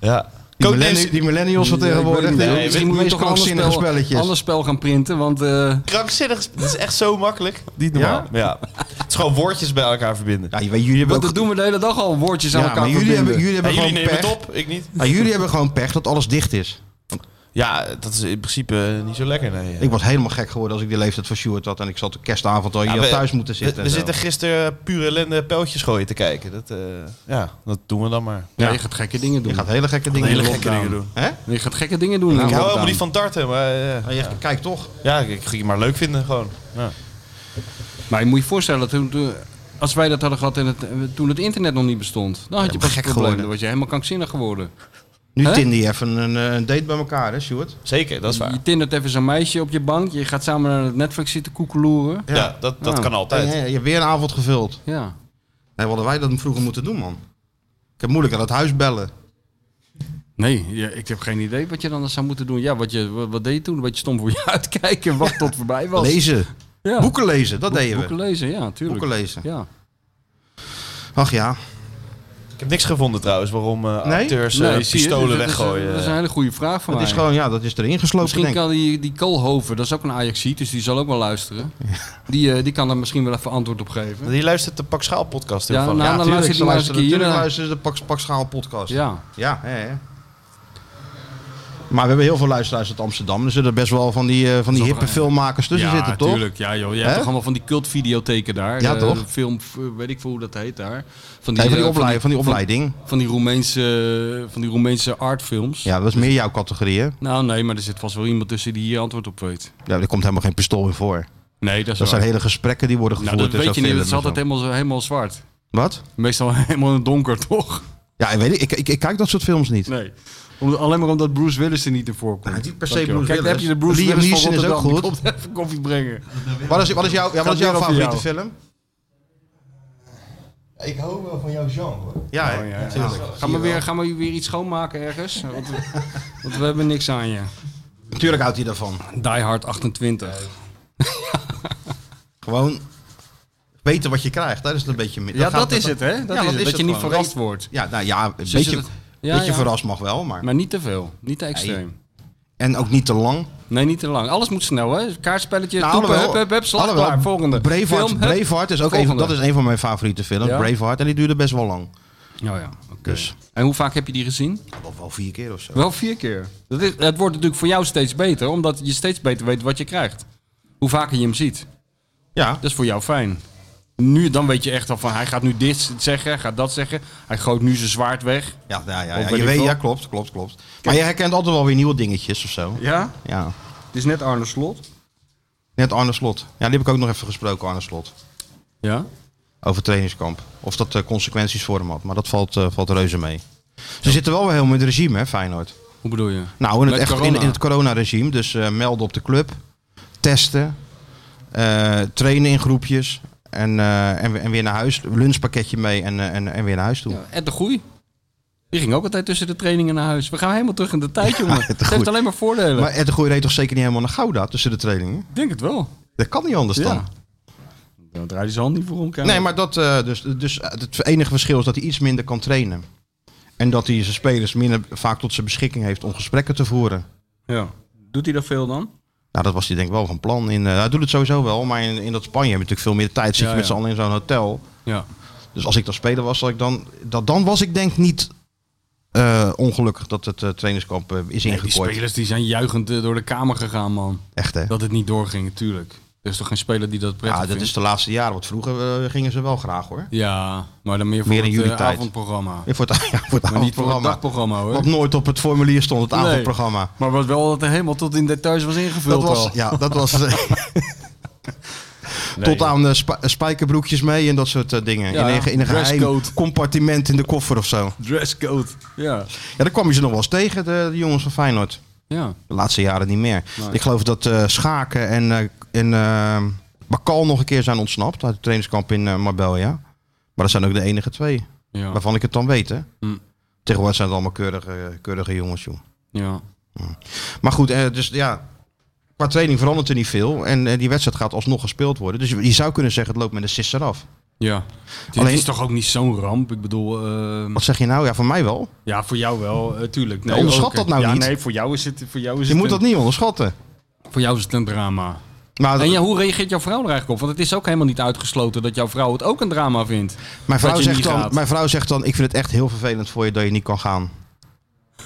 S4: Ja.
S2: Die, millenni- die millennials van tegenwoordig.
S3: Ja, ik weet het
S2: die doen
S3: niet.
S4: Nee,
S2: het
S3: Misschien moet je
S2: meest
S3: toch een ander
S2: krankzinnige
S3: spel,
S2: spelletjes.
S3: ander spel gaan printen, want... eh,
S4: Krankzinnig. Dat is echt zo makkelijk. Niet
S2: normaal.
S4: normaal. Ja? Het is gewoon woordjes bij elkaar verbinden.
S2: Ja, je weet, jullie hebben
S3: want
S2: ook...
S3: dat doen we de hele dag al, woordjes aan
S2: ja,
S3: elkaar
S2: maar jullie hebben,
S3: verbinden.
S2: jullie
S4: Ja,
S2: hebben
S4: jullie
S2: gewoon
S4: nemen
S2: pech.
S4: het op, ik niet.
S2: Ja, jullie hebben gewoon pech dat alles dicht is.
S4: Ja, dat is in principe eh, niet zo lekker. Nee.
S2: Ik was helemaal gek geworden als ik die leeftijd van Sjoerd had. En ik zat de kerstavond al hier
S4: we-
S2: thuis moeten
S4: we,
S2: zitten.
S4: we
S2: en zo.
S4: zitten gisteren pure ellende pijltjes gooien te kijken. Dat, eh, ja, dat doen we dan maar.
S3: Ja, je gaat gekke dingen doen.
S2: Je gaat hele gekke dingen
S4: Hele
S2: doen.
S4: gekke dingen doen.
S2: Hè?
S3: Je gaat gekke dingen doen. in
S4: Ik
S3: de
S4: hou helemaal
S3: lockdown.
S4: niet van darten, maar eh,
S2: Maar je- Kijk toch.
S4: ja, ik ik ging het maar leuk vinden gewoon. Ja.
S3: Maar je moet je voorstellen, toen, toen- als wij dat hadden gehad in het, eh, toen het internet nog niet bestond, dan had je
S2: maar
S3: pas
S2: gek
S3: gek geworden. Dan
S2: geworden.
S3: was je helemaal krankzinnig geworden.
S2: Nu
S3: Hè?
S2: tinder je even een, eh, een date bij elkaar, hè Sjoerd?
S4: Zeker, dat is waar.
S3: Je tindert even zo'n meisje op je bank, je gaat samen naar het Netflix zitten koekeloeren.
S4: Ja, dat, dat
S3: Ja.
S4: kan altijd.
S2: Ja, ja, eh, je hebt weer een avond gevuld.
S3: Ja.
S2: Nee, wat hadden wij dat vroeger moeten doen, man? Ik heb moeilijk aan het huis bellen.
S3: Nee, ja, ik heb geen idee wat je dan zou moeten doen. Ja, wat, je, wat, wat deed je toen? Een beetje stom voor je uitkijken, wacht tot het voorbij was.
S2: Lezen.
S3: Ja.
S2: Boeken lezen, dat deden we.
S3: Boeken lezen, ja, tuurlijk.
S2: Boeken lezen.
S3: Ja.
S2: Ach ja.
S4: Ik heb niks gevonden trouwens waarom eh,
S2: Nee? dus
S4: acteurs eh,
S3: Nee, zie je,
S4: pistolen
S3: dat is-
S4: weggooien.
S3: Dat is een hele goede vraag van
S2: Dat
S3: mij.
S2: is gewoon, ja, dat is erin geslopen,
S3: Misschien
S2: denk ik.
S3: kan die, die Koolhoven, dat is ook een Ajaxiet, dus die zal ook wel luisteren. Die, eh, die kan daar misschien wel even antwoord op geven.
S4: Die luistert de Pak Schaal podcast heel
S3: Ja,
S4: vaak.
S3: nou,
S4: Ja,
S3: dan
S2: Tuurlijk,
S3: luistert
S2: ze
S3: hij maar eens een
S2: luisteren,
S3: keer.
S2: natuurlijk
S3: eh,
S2: luisteren ze de Pak, Pak Schaal podcast.
S3: Ja.
S2: Ja, hè, hè. Maar we hebben heel veel luisteraars uit Amsterdam. Er zullen best wel van die, eh, van die
S3: Zo-
S2: hippe filmmakers tussen
S3: ja,
S2: zitten, toch?
S3: Tuurlijk. Ja, joh. Je hebt
S2: Hè?
S3: toch allemaal van die cultvideotheken daar.
S2: Ja,
S3: Eh,
S2: toch?
S3: Film, f- weet ik veel hoe dat heet daar. Van
S2: Nee, van, die
S3: eh,
S2: opleiding, van die opleiding.
S3: Van, die Roemeense, eh, van die Roemeense artfilms.
S2: Ja, dat is meer jouw categorie, hè?
S3: Nou, nee, maar er zit vast wel iemand tussen die hier antwoord op weet.
S2: Ja, er komt helemaal geen pistool in voor.
S3: Nee, dat
S2: Dat
S3: is waar.
S2: zijn hele gesprekken die worden
S3: nou,
S2: gevoerd.
S3: dat
S2: in zo'n
S3: weet je niet.
S2: film
S3: Dat is
S2: en zo.
S3: altijd helemaal, zo- helemaal zwart.
S2: Wat?
S3: Meestal helemaal in het donker, toch?
S2: Ja, ik, weet, niet, ik, ik, ik kijk dat soort films niet.
S3: Nee. Om- alleen maar omdat Bruce Willis er niet in voorkomt.
S2: Nou, niet per se
S3: Dankjewel.
S2: Bruce
S3: Kijk, daar heb
S2: Willis.
S3: je de Bruce
S2: Liam
S3: Willis
S2: Neeson
S3: van
S2: is ook
S3: Rotterdam. Die
S2: goed.
S3: komt even koffie brengen.
S2: Wat is, wat is, jou, ja, wat is
S3: weer
S2: jouw
S3: over
S2: favoriete
S3: jou.
S2: film?
S4: Ik hou wel van jouw genre.
S2: Ja,
S3: Oh, ja, ja.
S2: natuurlijk.
S3: Gaan we, weer, gaan we weer iets schoonmaken ergens? Want, we- want we hebben niks aan je.
S2: Natuurlijk houdt hij daarvan.
S3: Die Hard 28.
S2: Gewoon weten wat je krijgt. Dat is het een beetje... mi-
S3: Ja,
S2: gaat-
S3: dat is het, hè? Dat,
S2: ja,
S3: is het. dat je niet
S2: gewoon.
S3: verrast
S2: Weet-
S3: wordt.
S2: Ja, nou ja, een
S3: Zo
S2: beetje,
S3: zit het. Ja,
S2: beetje
S3: ja.
S2: verrast mag wel, maar...
S3: Maar niet te veel. Niet te extreem. Nee,
S2: En ook niet te lang.
S3: niet te lang. Alles moet snel, hè? Kaartspelletje,
S2: Nou,
S3: toepen,
S2: alhoewel-
S3: hup, hup, hup, slag,
S2: alhoewel,
S3: klaar. Volgende.
S2: Braveheart,
S3: Film, hup.
S2: Braveheart is ook een, van-
S3: Volgende.
S2: dat is een van mijn favoriete films.
S3: Ja?
S2: Braveheart. En die duurde best wel lang.
S3: Oh ja, oké.
S2: Dus.
S3: En hoe vaak heb je die gezien?
S2: Wel, wel vier keer of zo.
S3: Wel vier keer. Dat is, het wordt natuurlijk voor jou steeds beter, omdat je steeds beter weet wat je krijgt. Hoe vaker je hem ziet.
S2: Ja.
S3: Dat is voor jou fijn. Nu, dan weet je echt al van, hij gaat nu dit zeggen, hij gaat dat zeggen. Hij gooit nu zijn zwaard weg.
S2: Ja, ja, ja,
S3: Of
S2: ja,
S3: weet
S2: je
S3: ik
S2: weet,
S3: wel.
S2: ja klopt, klopt, klopt. Maar je herkent altijd wel weer nieuwe dingetjes of zo.
S3: Ja?
S2: Ja.
S3: Het is net Arne Slot.
S2: Net Arne Slot. Ja, die heb ik ook nog even gesproken, Arne Slot.
S3: Ja?
S2: over trainingskamp. Of dat eh, consequenties voor hem had. Maar dat valt, eh, valt reuze mee. Ze zitten wel weer helemaal in het regime, hè, Feyenoord.
S3: Hoe bedoel je?
S2: Nou, in het,
S3: Met
S2: echt, in,
S3: corona.
S2: in het coronaregime. Dus eh, melden op de club, testen, eh, trainen in groepjes en, eh, en, en weer naar huis. Lunchpakketje mee en, eh, en, en weer naar huis toe.
S3: Ja, Ed de Goeie. Die ging ook altijd tussen de trainingen naar huis. We gaan helemaal terug in de tijd, jongen.
S2: Ed de
S3: Het heeft
S2: Goeie.
S3: alleen maar voordelen.
S2: Maar Ed de Goeie reed toch zeker niet helemaal naar Gouda tussen de trainingen?
S3: Ik denk het wel.
S2: Dat kan niet anders dan.
S3: Ja. Dan draait hij zijn hand niet voor om. Kamer.
S2: Nee, maar dat, eh, dus, dus het enige verschil is dat hij iets minder kan trainen. En dat hij zijn spelers minder vaak tot zijn beschikking heeft om gesprekken te voeren.
S3: Ja. Doet hij dat veel dan?
S2: Nou, dat was hij denk ik wel van plan. In, eh, hij doet het sowieso wel, maar in, in dat Spanje heb je natuurlijk veel meer tijd. Zit
S3: Ja,
S2: je met
S3: ja.
S2: z'n allen in zo'n hotel.
S3: Ja.
S2: Dus als ik dan speler was, zal ik dan, dat, dan was ik denk niet eh, ongelukkig dat het eh, trainingskamp eh, is
S3: die
S2: ingekooid.
S3: spelers die zijn juichend eh, door de kamer gegaan, man.
S2: Echt hè?
S3: Dat het niet doorging, natuurlijk. Er is toch geen speler die dat prettig
S2: Ja, Ah, dat
S3: vindt?
S2: is de laatste jaren. Want vroeger eh, gingen ze wel graag hoor.
S3: Ja, maar dan meer voor
S2: Meer in
S3: het
S2: jullie
S3: eh,
S2: tijd.
S3: avondprogramma.
S2: Ja, Voor het, ja, voor het
S3: Maar niet voor het
S2: avondprogramma.
S3: dagprogramma, hoor.
S2: Wat nooit op het formulier stond, het
S3: Nee.
S2: avondprogramma.
S3: Maar wat wel altijd helemaal tot in details was ingevuld
S2: Dat was,
S3: al.
S2: ja, dat was eh,
S3: Nee,
S2: tot
S3: joh.
S2: aan de spa- spijkerbroekjes mee en dat soort eh, dingen.
S3: Ja,
S2: in, een- in een geheim
S3: dresscode.
S2: compartiment in de koffer of zo.
S3: Dresscode. Ja.
S2: Ja, daar kwam je ze nog wel eens tegen, de, de jongens van Feyenoord.
S3: Ja.
S2: De laatste jaren niet meer.
S3: Nee.
S2: Ik geloof dat eh, Schaken en, eh, en eh, Bakal nog een keer zijn ontsnapt uit het trainingskamp in eh, Marbella. Maar dat zijn ook de enige twee
S3: Ja.
S2: waarvan ik het dan weet. Hè?
S3: Mm.
S2: Tegenwoordig zijn het allemaal keurige, keurige jongens, joh.
S3: ja.
S2: Maar goed, eh, dus ja, qua training verandert er niet veel. En eh, die wedstrijd gaat alsnog gespeeld worden. Dus je zou kunnen zeggen, het loopt met een sisser af.
S3: Hm. Ja.
S2: Alleen-
S3: Het is toch ook niet zo'n ramp? Ik bedoel, ehm,
S2: Wat zeg je nou? Ja, voor mij wel.
S3: ja, voor jou wel, eh, tuurlijk. Nee,
S2: onderschat
S3: ook,
S2: dat
S3: eh,
S2: nou
S3: ja,
S2: niet.
S3: Nee, voor jou is het, voor jou is
S2: Je
S3: het
S2: moet
S3: een-
S2: dat niet onderschatten.
S3: Voor jou is het een drama.
S2: Maar
S3: En ja, hoe reageert jouw vrouw er eigenlijk op? Want het is ook helemaal niet uitgesloten dat jouw vrouw het ook een drama vindt.
S2: mijn,
S3: dat
S2: vrouw
S3: je
S2: zegt
S3: niet
S2: dan,
S3: gaat.
S2: mijn vrouw zegt dan, ik vind het echt heel vervelend voor je dat je niet kan gaan.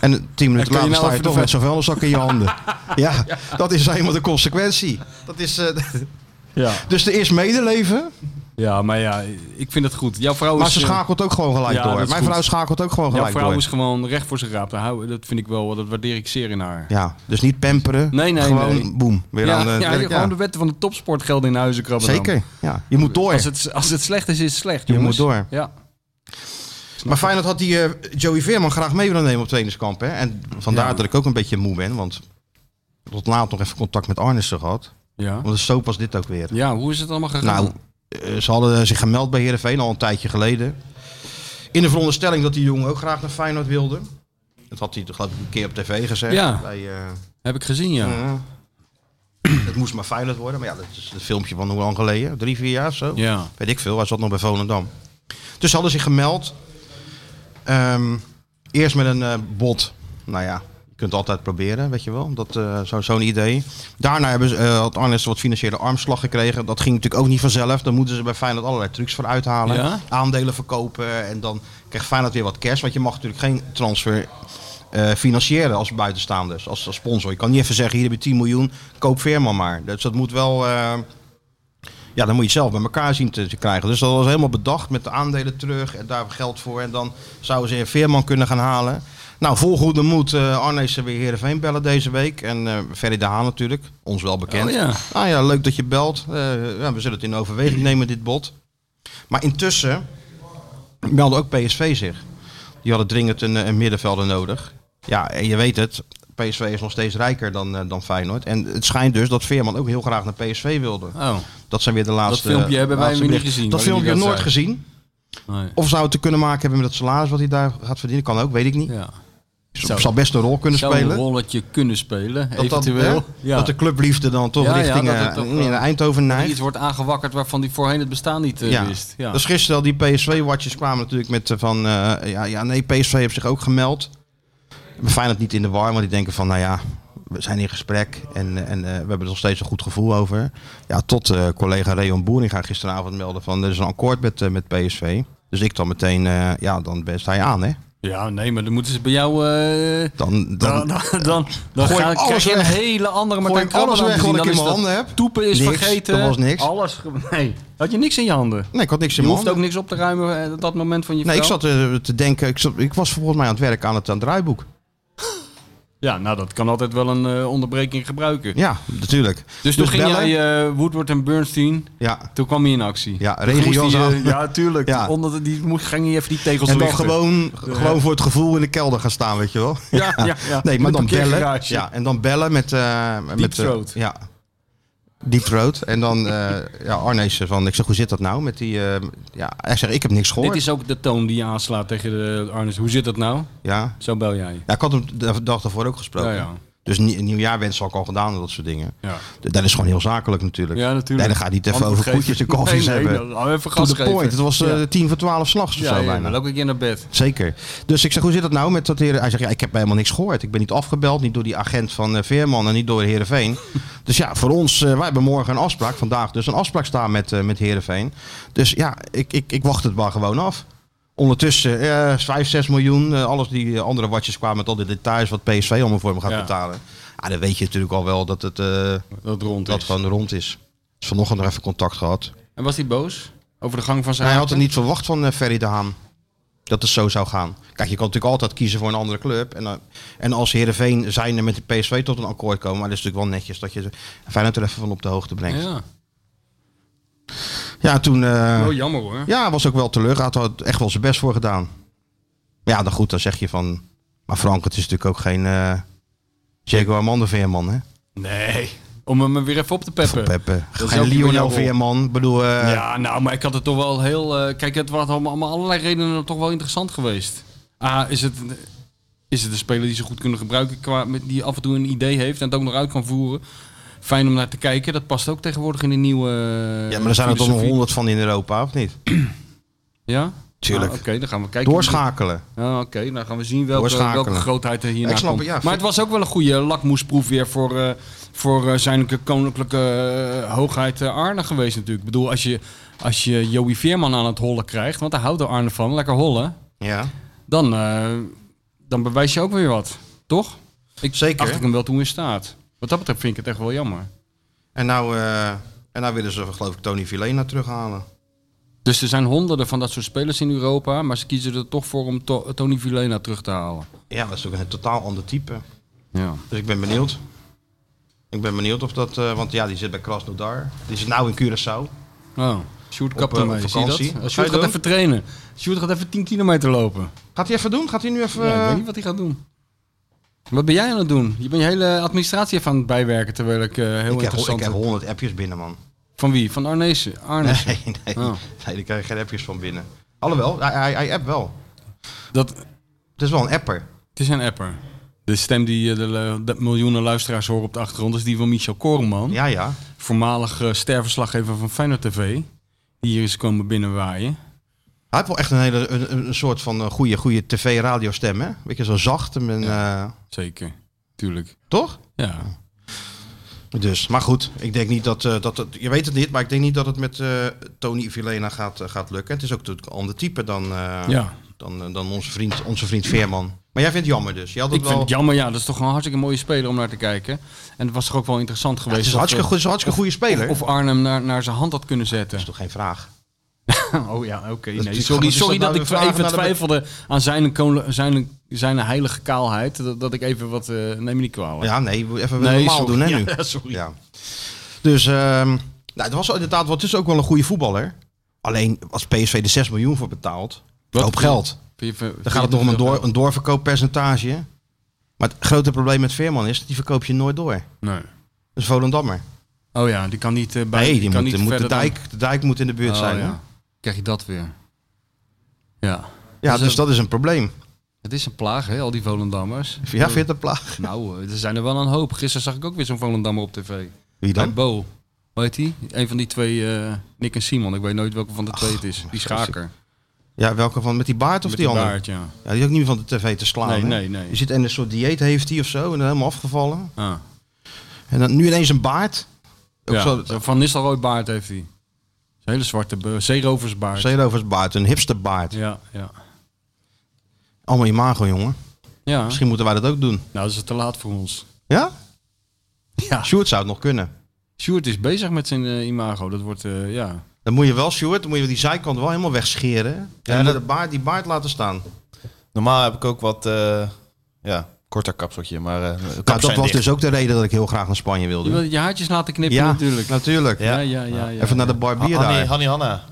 S2: En tien minuten
S3: kan
S2: later
S3: je nou
S2: sta je
S3: even de
S2: toch
S3: vet-
S2: met zo'n vuilniszak in je handen. ja, dat is helemaal de consequentie. Dat is, eh,
S3: Ja.
S2: dus er is medeleven,
S3: Ja, maar ja, ik vind het goed. Jouw vrouw
S2: maar
S3: is...
S2: ze
S3: eh,
S2: schakelt ook gewoon gelijk
S3: ja, dat
S2: door.
S3: is
S2: Mijn
S3: goed.
S2: vrouw schakelt ook gewoon
S3: Jouw
S2: gelijk
S3: vrouw
S2: door.
S3: is gewoon recht voor zijn raap. Daar hou- Dat vind ik wel, dat waardeer ik zeer in haar.
S2: Ja, dus niet pamperen.
S3: Nee, nee,
S2: gewoon,
S3: nee.
S2: boem, weer
S3: Ja,
S2: aan de
S3: ja,
S2: het werk,
S3: gewoon
S2: eh, ja.
S3: de wetten van de topsport gelden in huizen krabben dan.
S2: Zeker, ja. Je moet door.
S3: Als het, als het slecht is, is het slecht,
S2: Je
S3: jongens.
S2: moet door.
S3: Ja.
S2: Maar Feyenoord had die eh, Joey Veerman graag mee willen nemen op trainingskamp. Hè? En vandaar
S3: Ja.
S2: dat ik ook een beetje moe ben, want tot laat nog even contact met Arnissen gehad.
S3: Ja.
S2: Want zo was dit ook weer.
S3: ja, hoe is het allemaal gegaan?
S2: Nou, eh, ze hadden zich gemeld bij Heerenveen al een tijdje geleden. In de veronderstelling dat die jongen ook graag naar Feyenoord wilde. Dat had hij toch geloof ik een keer op tv gezegd.
S3: Ja.
S2: Bij, eh,
S3: Heb ik gezien, ja.
S2: het moest maar Feyenoord worden. Maar ja, dat is een filmpje van hoe lang geleden? Drie, vier jaar of zo?
S3: Ja.
S2: Weet ik veel. Hij zat nog bij Volendam. Dus ze hadden zich gemeld. Ehm, eerst met een eh, bot. Nou ja, je kunt het altijd proberen, weet je wel. Dat, eh, zo- Zo'n idee. Daarna hebben ze, eh, had Arnes wat financiële armslag gekregen. Dat ging natuurlijk ook niet vanzelf. Dan moeten ze bij Feyenoord allerlei trucs voor uithalen.
S3: Ja?
S2: Aandelen verkopen. En dan krijgt Feyenoord weer wat cash. Want je mag natuurlijk geen transfer eh, financieren als buitenstaanders. Als, als sponsor. Je kan niet even zeggen, hier heb je 10 miljoen. Koop Veerman maar. Dus dat moet wel... eh, ja, dan moet je het zelf bij elkaar zien te, te krijgen. Dus dat was helemaal bedacht met de aandelen terug en daar geld voor. En dan zouden ze een Veerman kunnen gaan halen. Nou, vol goede moed eh Arnees en weer Heerenveen bellen deze week. En eh Ferry de Haan natuurlijk, ons wel bekend.
S3: Oh ja.
S2: Nou ja, leuk dat je belt. Eh, ja, we zullen het in overweging nemen, dit bod. Maar intussen meldde ook PSV zich. Die hadden dringend een, eh, een middenvelder nodig. Ja, en je weet het, PSV is nog steeds rijker dan, eh, dan Feyenoord. En het schijnt dus dat Veerman ook heel graag naar PSV wilde.
S3: Oh,
S2: Dat zijn weer de laatste.
S3: filmpje hebben wij
S2: laatste
S3: weer niet
S2: berichten.
S3: gezien,
S2: Dat
S3: waarin
S2: filmpje
S3: hij dat
S2: nooit
S3: zei.
S2: gezien.
S3: nee.
S2: Of zou het te kunnen maken hebben met het salaris wat hij daar gaat verdienen? Kan ook, weet ik niet.
S3: Ja.
S2: Zou, zal best een rol kunnen
S3: Zou
S2: spelen.
S3: een rolletje kunnen spelen,
S2: dat, dan,
S3: eventueel.
S2: hè, dat de clubliefde dan toch
S3: Ja, ja,
S2: richting
S3: dat
S2: eh,
S3: het toch wel-
S2: in Eindhoven
S3: Dat er
S2: neigt.
S3: iets wordt aangewakkerd waarvan die voorheen het bestaan niet eh, wist. Ja.
S2: Dus gisteren al die PSV-watjes kwamen natuurlijk met eh, van... eh, ja, ja, nee, PSV heeft zich ook gemeld. We fijn het niet in de war, want die denken van... Nou ja, we zijn in gesprek en, eh, en eh, we hebben er nog steeds een goed gevoel over. Ja, tot eh, collega Reon Boeringa gisteravond meldde van... Er is een akkoord met, eh, met PSV. Dus ik dan meteen... eh, ja, dan best hij aan, hè.
S3: ja, nee, maar dan moeten ze bij jou... eh,
S2: Dan,
S3: dan,
S2: dan,
S3: dan, dan, dan
S2: Gooi
S3: ga-
S2: ik
S3: krijg
S2: alles
S3: je een
S2: weg.
S3: hele andere
S2: Gooi
S3: Martijn
S2: ik alles
S3: Krabbe
S2: weg wat
S3: dan
S2: ik
S3: te zien.
S2: in
S3: Dan
S2: mijn
S3: is dat-
S2: handen heb.
S3: Toepen is
S2: Niks,
S3: vergeten.
S2: er was niks.
S3: Alles. ge- Nee, had je niks in je handen.
S2: nee, ik had niks in
S3: Je
S2: mijn
S3: hoeft
S2: handen.
S3: ook niks op te ruimen eh, op dat moment van je
S2: Nee, ik
S3: vrouw.
S2: zat eh, te denken... Ik, zat, ik was volgens mij aan het werk aan het, aan het draaiboek.
S3: Ja, nou dat kan altijd wel een eh, onderbreking gebruiken.
S2: Ja, natuurlijk.
S3: Dus toen ging
S2: bellen.
S3: jij eh, Woodward en Bernstein,
S2: Ja,
S3: toen kwam hij in actie.
S2: ja
S3: Toen moest
S2: regio's
S3: hij, eh,
S2: aan.
S3: ja, tuurlijk.
S2: Ja.
S3: Onder de- die moest, ging hij even die tegels
S2: En dan
S3: lichten.
S2: gewoon, gewoon voor het gevoel in de kelder gaan staan, weet je wel.
S3: Ja, ja, ja.
S2: Nee, maar
S3: Met
S2: dan bellen.
S3: parkeergarage.
S2: Ja, en dan bellen met... eh met eh,
S3: Throat.
S2: ja. Deep Throat. En dan eh ja, Arnees van, ik zeg, hoe zit dat nou met die... eh, ja, hij zegt, ik heb niks gehoord.
S3: Dit is ook de toon die je aanslaat tegen de Arnes. Hoe zit dat nou?
S2: Ja.
S3: Zo bel jij.
S2: ja, ik had hem de dag daarvoor ook gesproken.
S3: Ja, ja.
S2: Dus nie- nieuwjaar wensen had ik al gedaan en dat soort dingen.
S3: Ja,
S2: Dat is gewoon heel zakelijk natuurlijk.
S3: ja natuurlijk.
S2: Nee, dan gaat hij het even
S3: Antwoord
S2: over
S3: geven.
S2: koetjes en kalfjes
S3: nee, nee,
S2: hebben.
S3: dan even
S2: To
S3: gas
S2: the
S3: geven.
S2: point. Het was
S3: Ja.
S2: eh, tien voor twaalf slags of
S3: ja,
S2: zo
S3: ja,
S2: bijna.
S3: maar elke keer naar bed.
S2: Zeker. Dus ik zeg, hoe zit het nou met dat heren? Hij zegt, ja, ik heb helemaal niks gehoord. Ik ben niet afgebeld, niet door die agent van eh, Veerman en niet door Heerenveen. dus ja, voor ons, eh, wij hebben morgen een afspraak, vandaag dus een afspraak staan met, eh met Heerenveen. Dus ja, ik, ik, ik wacht het maar gewoon af. Ondertussen eh 5, 6 miljoen, eh, alles die eh, andere watjes kwamen met al die details wat PSV allemaal voor hem gaat
S3: Ja.
S2: betalen. Ja, dan weet je natuurlijk al wel dat het eh,
S3: Dat rond
S2: dat
S3: is.
S2: gewoon rond is. Dus vanochtend nog even contact gehad.
S3: En was hij boos? Over de gang van zijn
S2: Hij had
S3: haken?
S2: het niet verwacht van eh, Ferry de Haan. Dat het zo zou gaan. Kijk, je kan natuurlijk altijd kiezen voor een andere club. En, eh, en als Heerenveen zijnde met de PSV tot een akkoord komen. Maar dat is natuurlijk wel netjes dat je ze- Feyenoord er even van op de hoogte brengt. Ja,
S3: Ja.
S2: toen... eh,
S3: Wel Oh, jammer hoor.
S2: ja, was ook wel teleurgesteld. Hij had er echt wel zijn best voor gedaan. Maar ja, dan goed, dan zeg je van... Maar Frank, het is natuurlijk ook geen... eh Diego Armando Veerman, hè?
S3: Nee. Om hem weer even op te peppen.
S2: Peppe.
S3: is
S2: Geen
S3: ook niet jouw
S2: Lionel
S3: rol.
S2: Veerman. Ik bedoel... eh,
S3: ja, nou, maar ik had het toch wel heel... eh, kijk, het was allemaal, allemaal allerlei redenen toch wel interessant geweest. A, is het, is het een speler die ze goed kunnen gebruiken, qua, met- die af en toe een idee heeft en het ook nog uit kan voeren. Fijn om naar te kijken. Dat past ook tegenwoordig in de nieuwe eh,
S2: ja, maar er zijn er toch nog
S3: filosofie.
S2: honderd van in Europa, of niet?
S3: Ja?
S2: Tuurlijk.
S3: Ah, Oké, dan gaan we kijken.
S2: Doorschakelen.
S3: Ja, Oké, dan gaan we zien welke,
S2: Doorschakelen.
S3: welke grootheid er hierna
S2: Ik snap
S3: komt.
S2: het, ja.
S3: maar het was ook wel een goede lakmoesproef weer voor, eh, voor eh, zijn koninklijke eh, hoogheid eh, Arne geweest natuurlijk. Ik bedoel, als je, als je Joey Veerman aan het hollen krijgt, want daar houdt de Arne van, lekker hollen,
S2: Ja.
S3: dan, eh, dan bewijs je ook weer wat, toch? Ik
S2: Zeker.
S3: acht ik hem wel toe in staat. Wat dat betreft vind ik het echt wel jammer.
S2: En nou, eh, en nou willen ze, geloof ik, Tony Villena terughalen.
S3: Dus er zijn honderden van dat soort spelers in Europa, maar ze kiezen er toch voor om To- Tony Villena terug te halen.
S2: Ja, dat is ook een totaal ander type.
S3: Ja.
S2: Dus ik ben benieuwd. Ik ben benieuwd of dat... eh, want ja, die zit bij Krasnodar. Die zit nou in Curaçao.
S3: Oh, Sjoerd kapt
S2: Op, eh,
S3: ermee,
S2: op
S3: zie je dat?
S2: vakantie. Wat ga
S3: Sjoerd
S2: je
S3: gaat
S2: doen?
S3: even trainen. Sjoerd gaat even 10 kilometer lopen.
S2: Gaat hij even doen? Gaat hij nu even...
S3: Ja, ik
S2: eh,
S3: weet niet wat hij gaat doen. Wat ben jij aan het doen? Je bent je hele administratie even aan het bijwerken, terwijl ik eh, heel
S2: ik, heb, ik
S3: interessant...
S2: heb 100 appjes binnen, man.
S3: Van wie? Van Arnezen? Arnes.
S2: Nee, nee.
S3: Oh.
S2: Nee, daar krijg je geen appjes van binnen. Alhoewel, hij, hij, hij appt wel.
S3: Dat,
S2: Het is wel een apper.
S3: het is een apper. De stem die eh, de, lu- de miljoenen luisteraars horen op de achtergrond is die van Michel Koreman.
S2: Ja, ja.
S3: Voormalig eh, sterverslaggever van Feyenoord TV. Die hier is komen binnenwaaien.
S2: Hij heeft wel echt een, hele, een, een- een soort van eh, goede, goede tv-radiostem, hè? Weet je, zo zacht. En, eh,
S3: Zeker. Tuurlijk.
S2: toch?
S3: Ja.
S2: Dus, maar goed, ik denk niet dat, eh, dat het, je weet het niet, maar ik denk niet dat het met eh, Tony Villena gaat, eh, gaat lukken. Het is ook natuurlijk een ander type dan, eh,
S3: Ja.
S2: dan, eh, dan onze, vriend, onze vriend Veerman. Maar jij vindt het jammer dus. Je had het
S3: Ik
S2: wel,
S3: vind het jammer, ja. Dat is toch een hartstikke mooie speler om naar te kijken. En het was toch ook wel interessant
S2: Ja,
S3: geweest.
S2: het is een
S3: of-
S2: hartstikke, goed- het is een hartstikke goede speler.
S3: Of Arnhem naar, naar zijn hand had kunnen zetten.
S2: dat is toch geen vraag?
S3: Oh ja, oké.
S2: is
S3: nee,
S2: natuurlijk
S3: sorry
S2: gewoon- is
S3: sorry
S2: dat nou
S3: dat, ik
S2: weer vragen
S3: even
S2: naar de-
S3: twijfelde aan zijn, koninklijke- zijn, zijn heilige kaalheid. Dat, dat ik even wat... eh neem me niet kwalijk.
S2: Ja, nee, moet even
S3: Nee,
S2: normaal
S3: sorry.
S2: doen hè
S3: Ja,
S2: nu.
S3: ja, sorry.
S2: Ja. Dus, ehm, nou, het was inderdaad, wel- het is ook wel een goede voetballer. Alleen, als PSV er 6 miljoen voor betaalt,
S3: Wat?
S2: hoop geld.
S3: Vind je- vind je
S2: Dan gaat het nog om
S3: te
S2: een,
S3: veel
S2: door,
S3: geld?
S2: een doorverkooppercentage. Maar het grote probleem met Veerman is, die verkoop je nooit door.
S3: Nee.
S2: Dat is Volendammer.
S3: Oh ja, die kan niet eh bij...
S2: Nee, die,
S3: kan
S2: moet,
S3: niet
S2: moet de,
S3: verder dan-
S2: dijk, de dijk moet in de buurt
S3: Oh,
S2: zijn. hè?
S3: ja.
S2: Ja,
S3: Krijg je dat weer. Ja.
S2: dus, dat is een probleem.
S3: Het is een plaag, hè, al die Volendammers.
S2: Ja, vind je het een plaag?
S3: Nou, eh, er zijn er wel een hoop. Gisteren zag ik ook weer zo'n Volendammer op tv.
S2: Wie
S3: Bij Bo. Hoe heet die? Een van die twee, eh, Nick en Simon. Ik weet nooit welke van de twee het is. Die schaker.
S2: Ja, welke van? Met die baard of
S3: Met
S2: die,
S3: die
S2: andere?
S3: baard, ja.
S2: Ja, die is ook niet meer van de tv te slaan.
S3: Nee,
S2: hè?
S3: nee, nee.
S2: Je zit en een soort dieet heeft hij of zo. En dan helemaal afgevallen.
S3: Ah.
S2: En dan nu ineens een baard. Ook
S3: Ja,
S2: zo,
S3: zo'n Van Nistelrooy baard heeft hij. Een hele zwarte be- zeeroversbaard.
S2: zeeroversbaard, een hipsterbaard.
S3: ja, ja.
S2: Allemaal imago, jongen.
S3: Ja,
S2: Misschien moeten wij dat ook doen.
S3: nou is het te laat voor ons.
S2: Ja?
S3: Ja.
S2: Sjoerd zou het nog kunnen.
S3: Sjoerd is bezig met zijn eh, imago. Dat wordt, eh, ja.
S2: Dan moet je wel, Sjoerd, dan moet je die zijkant wel helemaal wegscheren. En
S4: dat-
S3: Nou,
S2: de baard, die baard laten staan.
S4: Normaal heb ik ook wat eh, ja, korter kapseltje. Maar eh, kappen
S2: Nou, dat
S4: zijn
S2: was
S4: dicht.
S2: dus ook de reden dat ik heel graag naar Spanje
S3: Je
S2: wilde.
S3: wilt je haartjes laten knippen
S2: Ja,
S3: natuurlijk.
S2: natuurlijk.
S3: Ja, ja, ja. Ah, ja.
S2: Even naar de
S4: Ha-
S2: barbier
S4: Hanni,
S2: dus daar.
S4: Hanni Hanna.